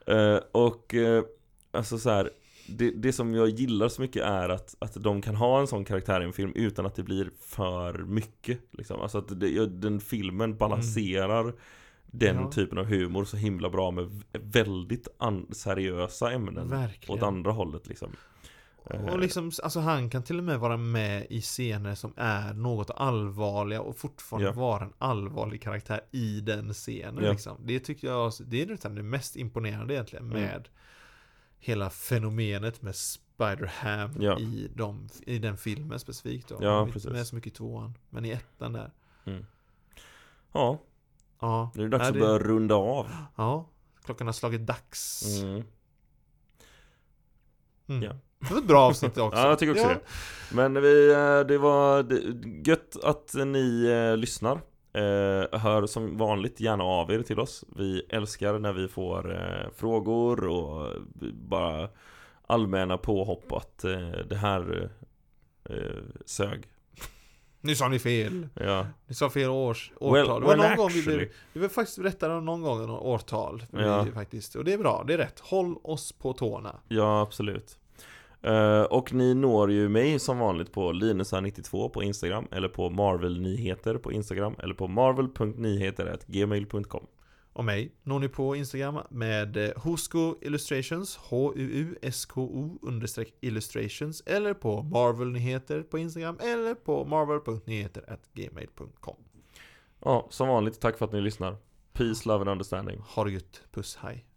Speaker 1: Eh, och eh, alltså så här, det, det som jag gillar så mycket är att, att de kan ha en sån karaktär i en film utan att det blir för mycket. Liksom. Alltså att det, ja, den filmen balanserar den
Speaker 2: Mm. Ja.
Speaker 1: typen av humor så himla bra med v- väldigt an- seriösa ämnen. Åt
Speaker 2: Verkligen.
Speaker 1: andra hållet liksom. Eh,
Speaker 2: Och liksom, alltså han kan till och med vara med i scener som är något allvarliga och fortfarande
Speaker 1: Ja.
Speaker 2: vara en allvarlig karaktär i den scenen.
Speaker 1: Ja.
Speaker 2: Liksom. Det tycker jag, det är nästan det mest imponerande egentligen
Speaker 1: Mm.
Speaker 2: med hela fenomenet med Spider-Ham
Speaker 1: Ja.
Speaker 2: i, de, i den filmen specifikt då.
Speaker 1: Ja,
Speaker 2: Han är inte
Speaker 1: precis.
Speaker 2: med så mycket i tvåan, men i ettan där.
Speaker 1: ja,
Speaker 2: Ja,
Speaker 1: nu är det dags
Speaker 2: Ja,
Speaker 1: att
Speaker 2: det-
Speaker 1: börja runda av.
Speaker 2: ja. Klockan har slagit dags.
Speaker 1: Mm.
Speaker 2: Mm.
Speaker 1: ja.
Speaker 2: Det var ett bra avsnitt också.
Speaker 1: Ja, jag tycker också
Speaker 2: Ja.
Speaker 1: det. Men vi, eh, det var det- gött att ni eh, lyssnar. Eh, hör som vanligt gärna av er till oss. Vi älskar när vi får eh, frågor och bara allmänna påhopp att eh, det här eh, sög.
Speaker 2: Nu sa ni fel.
Speaker 1: Ja.
Speaker 2: Ni sa fel års, årtal.
Speaker 1: Well,
Speaker 2: det var
Speaker 1: well,
Speaker 2: någon gång vi blev,
Speaker 1: actually.
Speaker 2: vi var faktiskt rättare än någon gång än årtal.
Speaker 1: Ja.
Speaker 2: Vi, faktiskt. Och det är bra, det är rätt. Håll oss på tårna.
Speaker 1: Ja, absolut. Eh, och ni når ju mig som vanligt på linusa92 på Instagram eller på marvelnyheter på Instagram eller på marvel.nyheter.gmail.com
Speaker 2: Och mig når ni på Instagram med eh, Husko Illustrations, H-U-U-S-K-O understreck illustrations eller på Marvel-nyheter på Instagram eller på marvel.nyheter.gmail.com
Speaker 1: Ja, som vanligt, tack för att ni lyssnar. Peace, love and understanding.
Speaker 2: Ha det gött, puss, hej!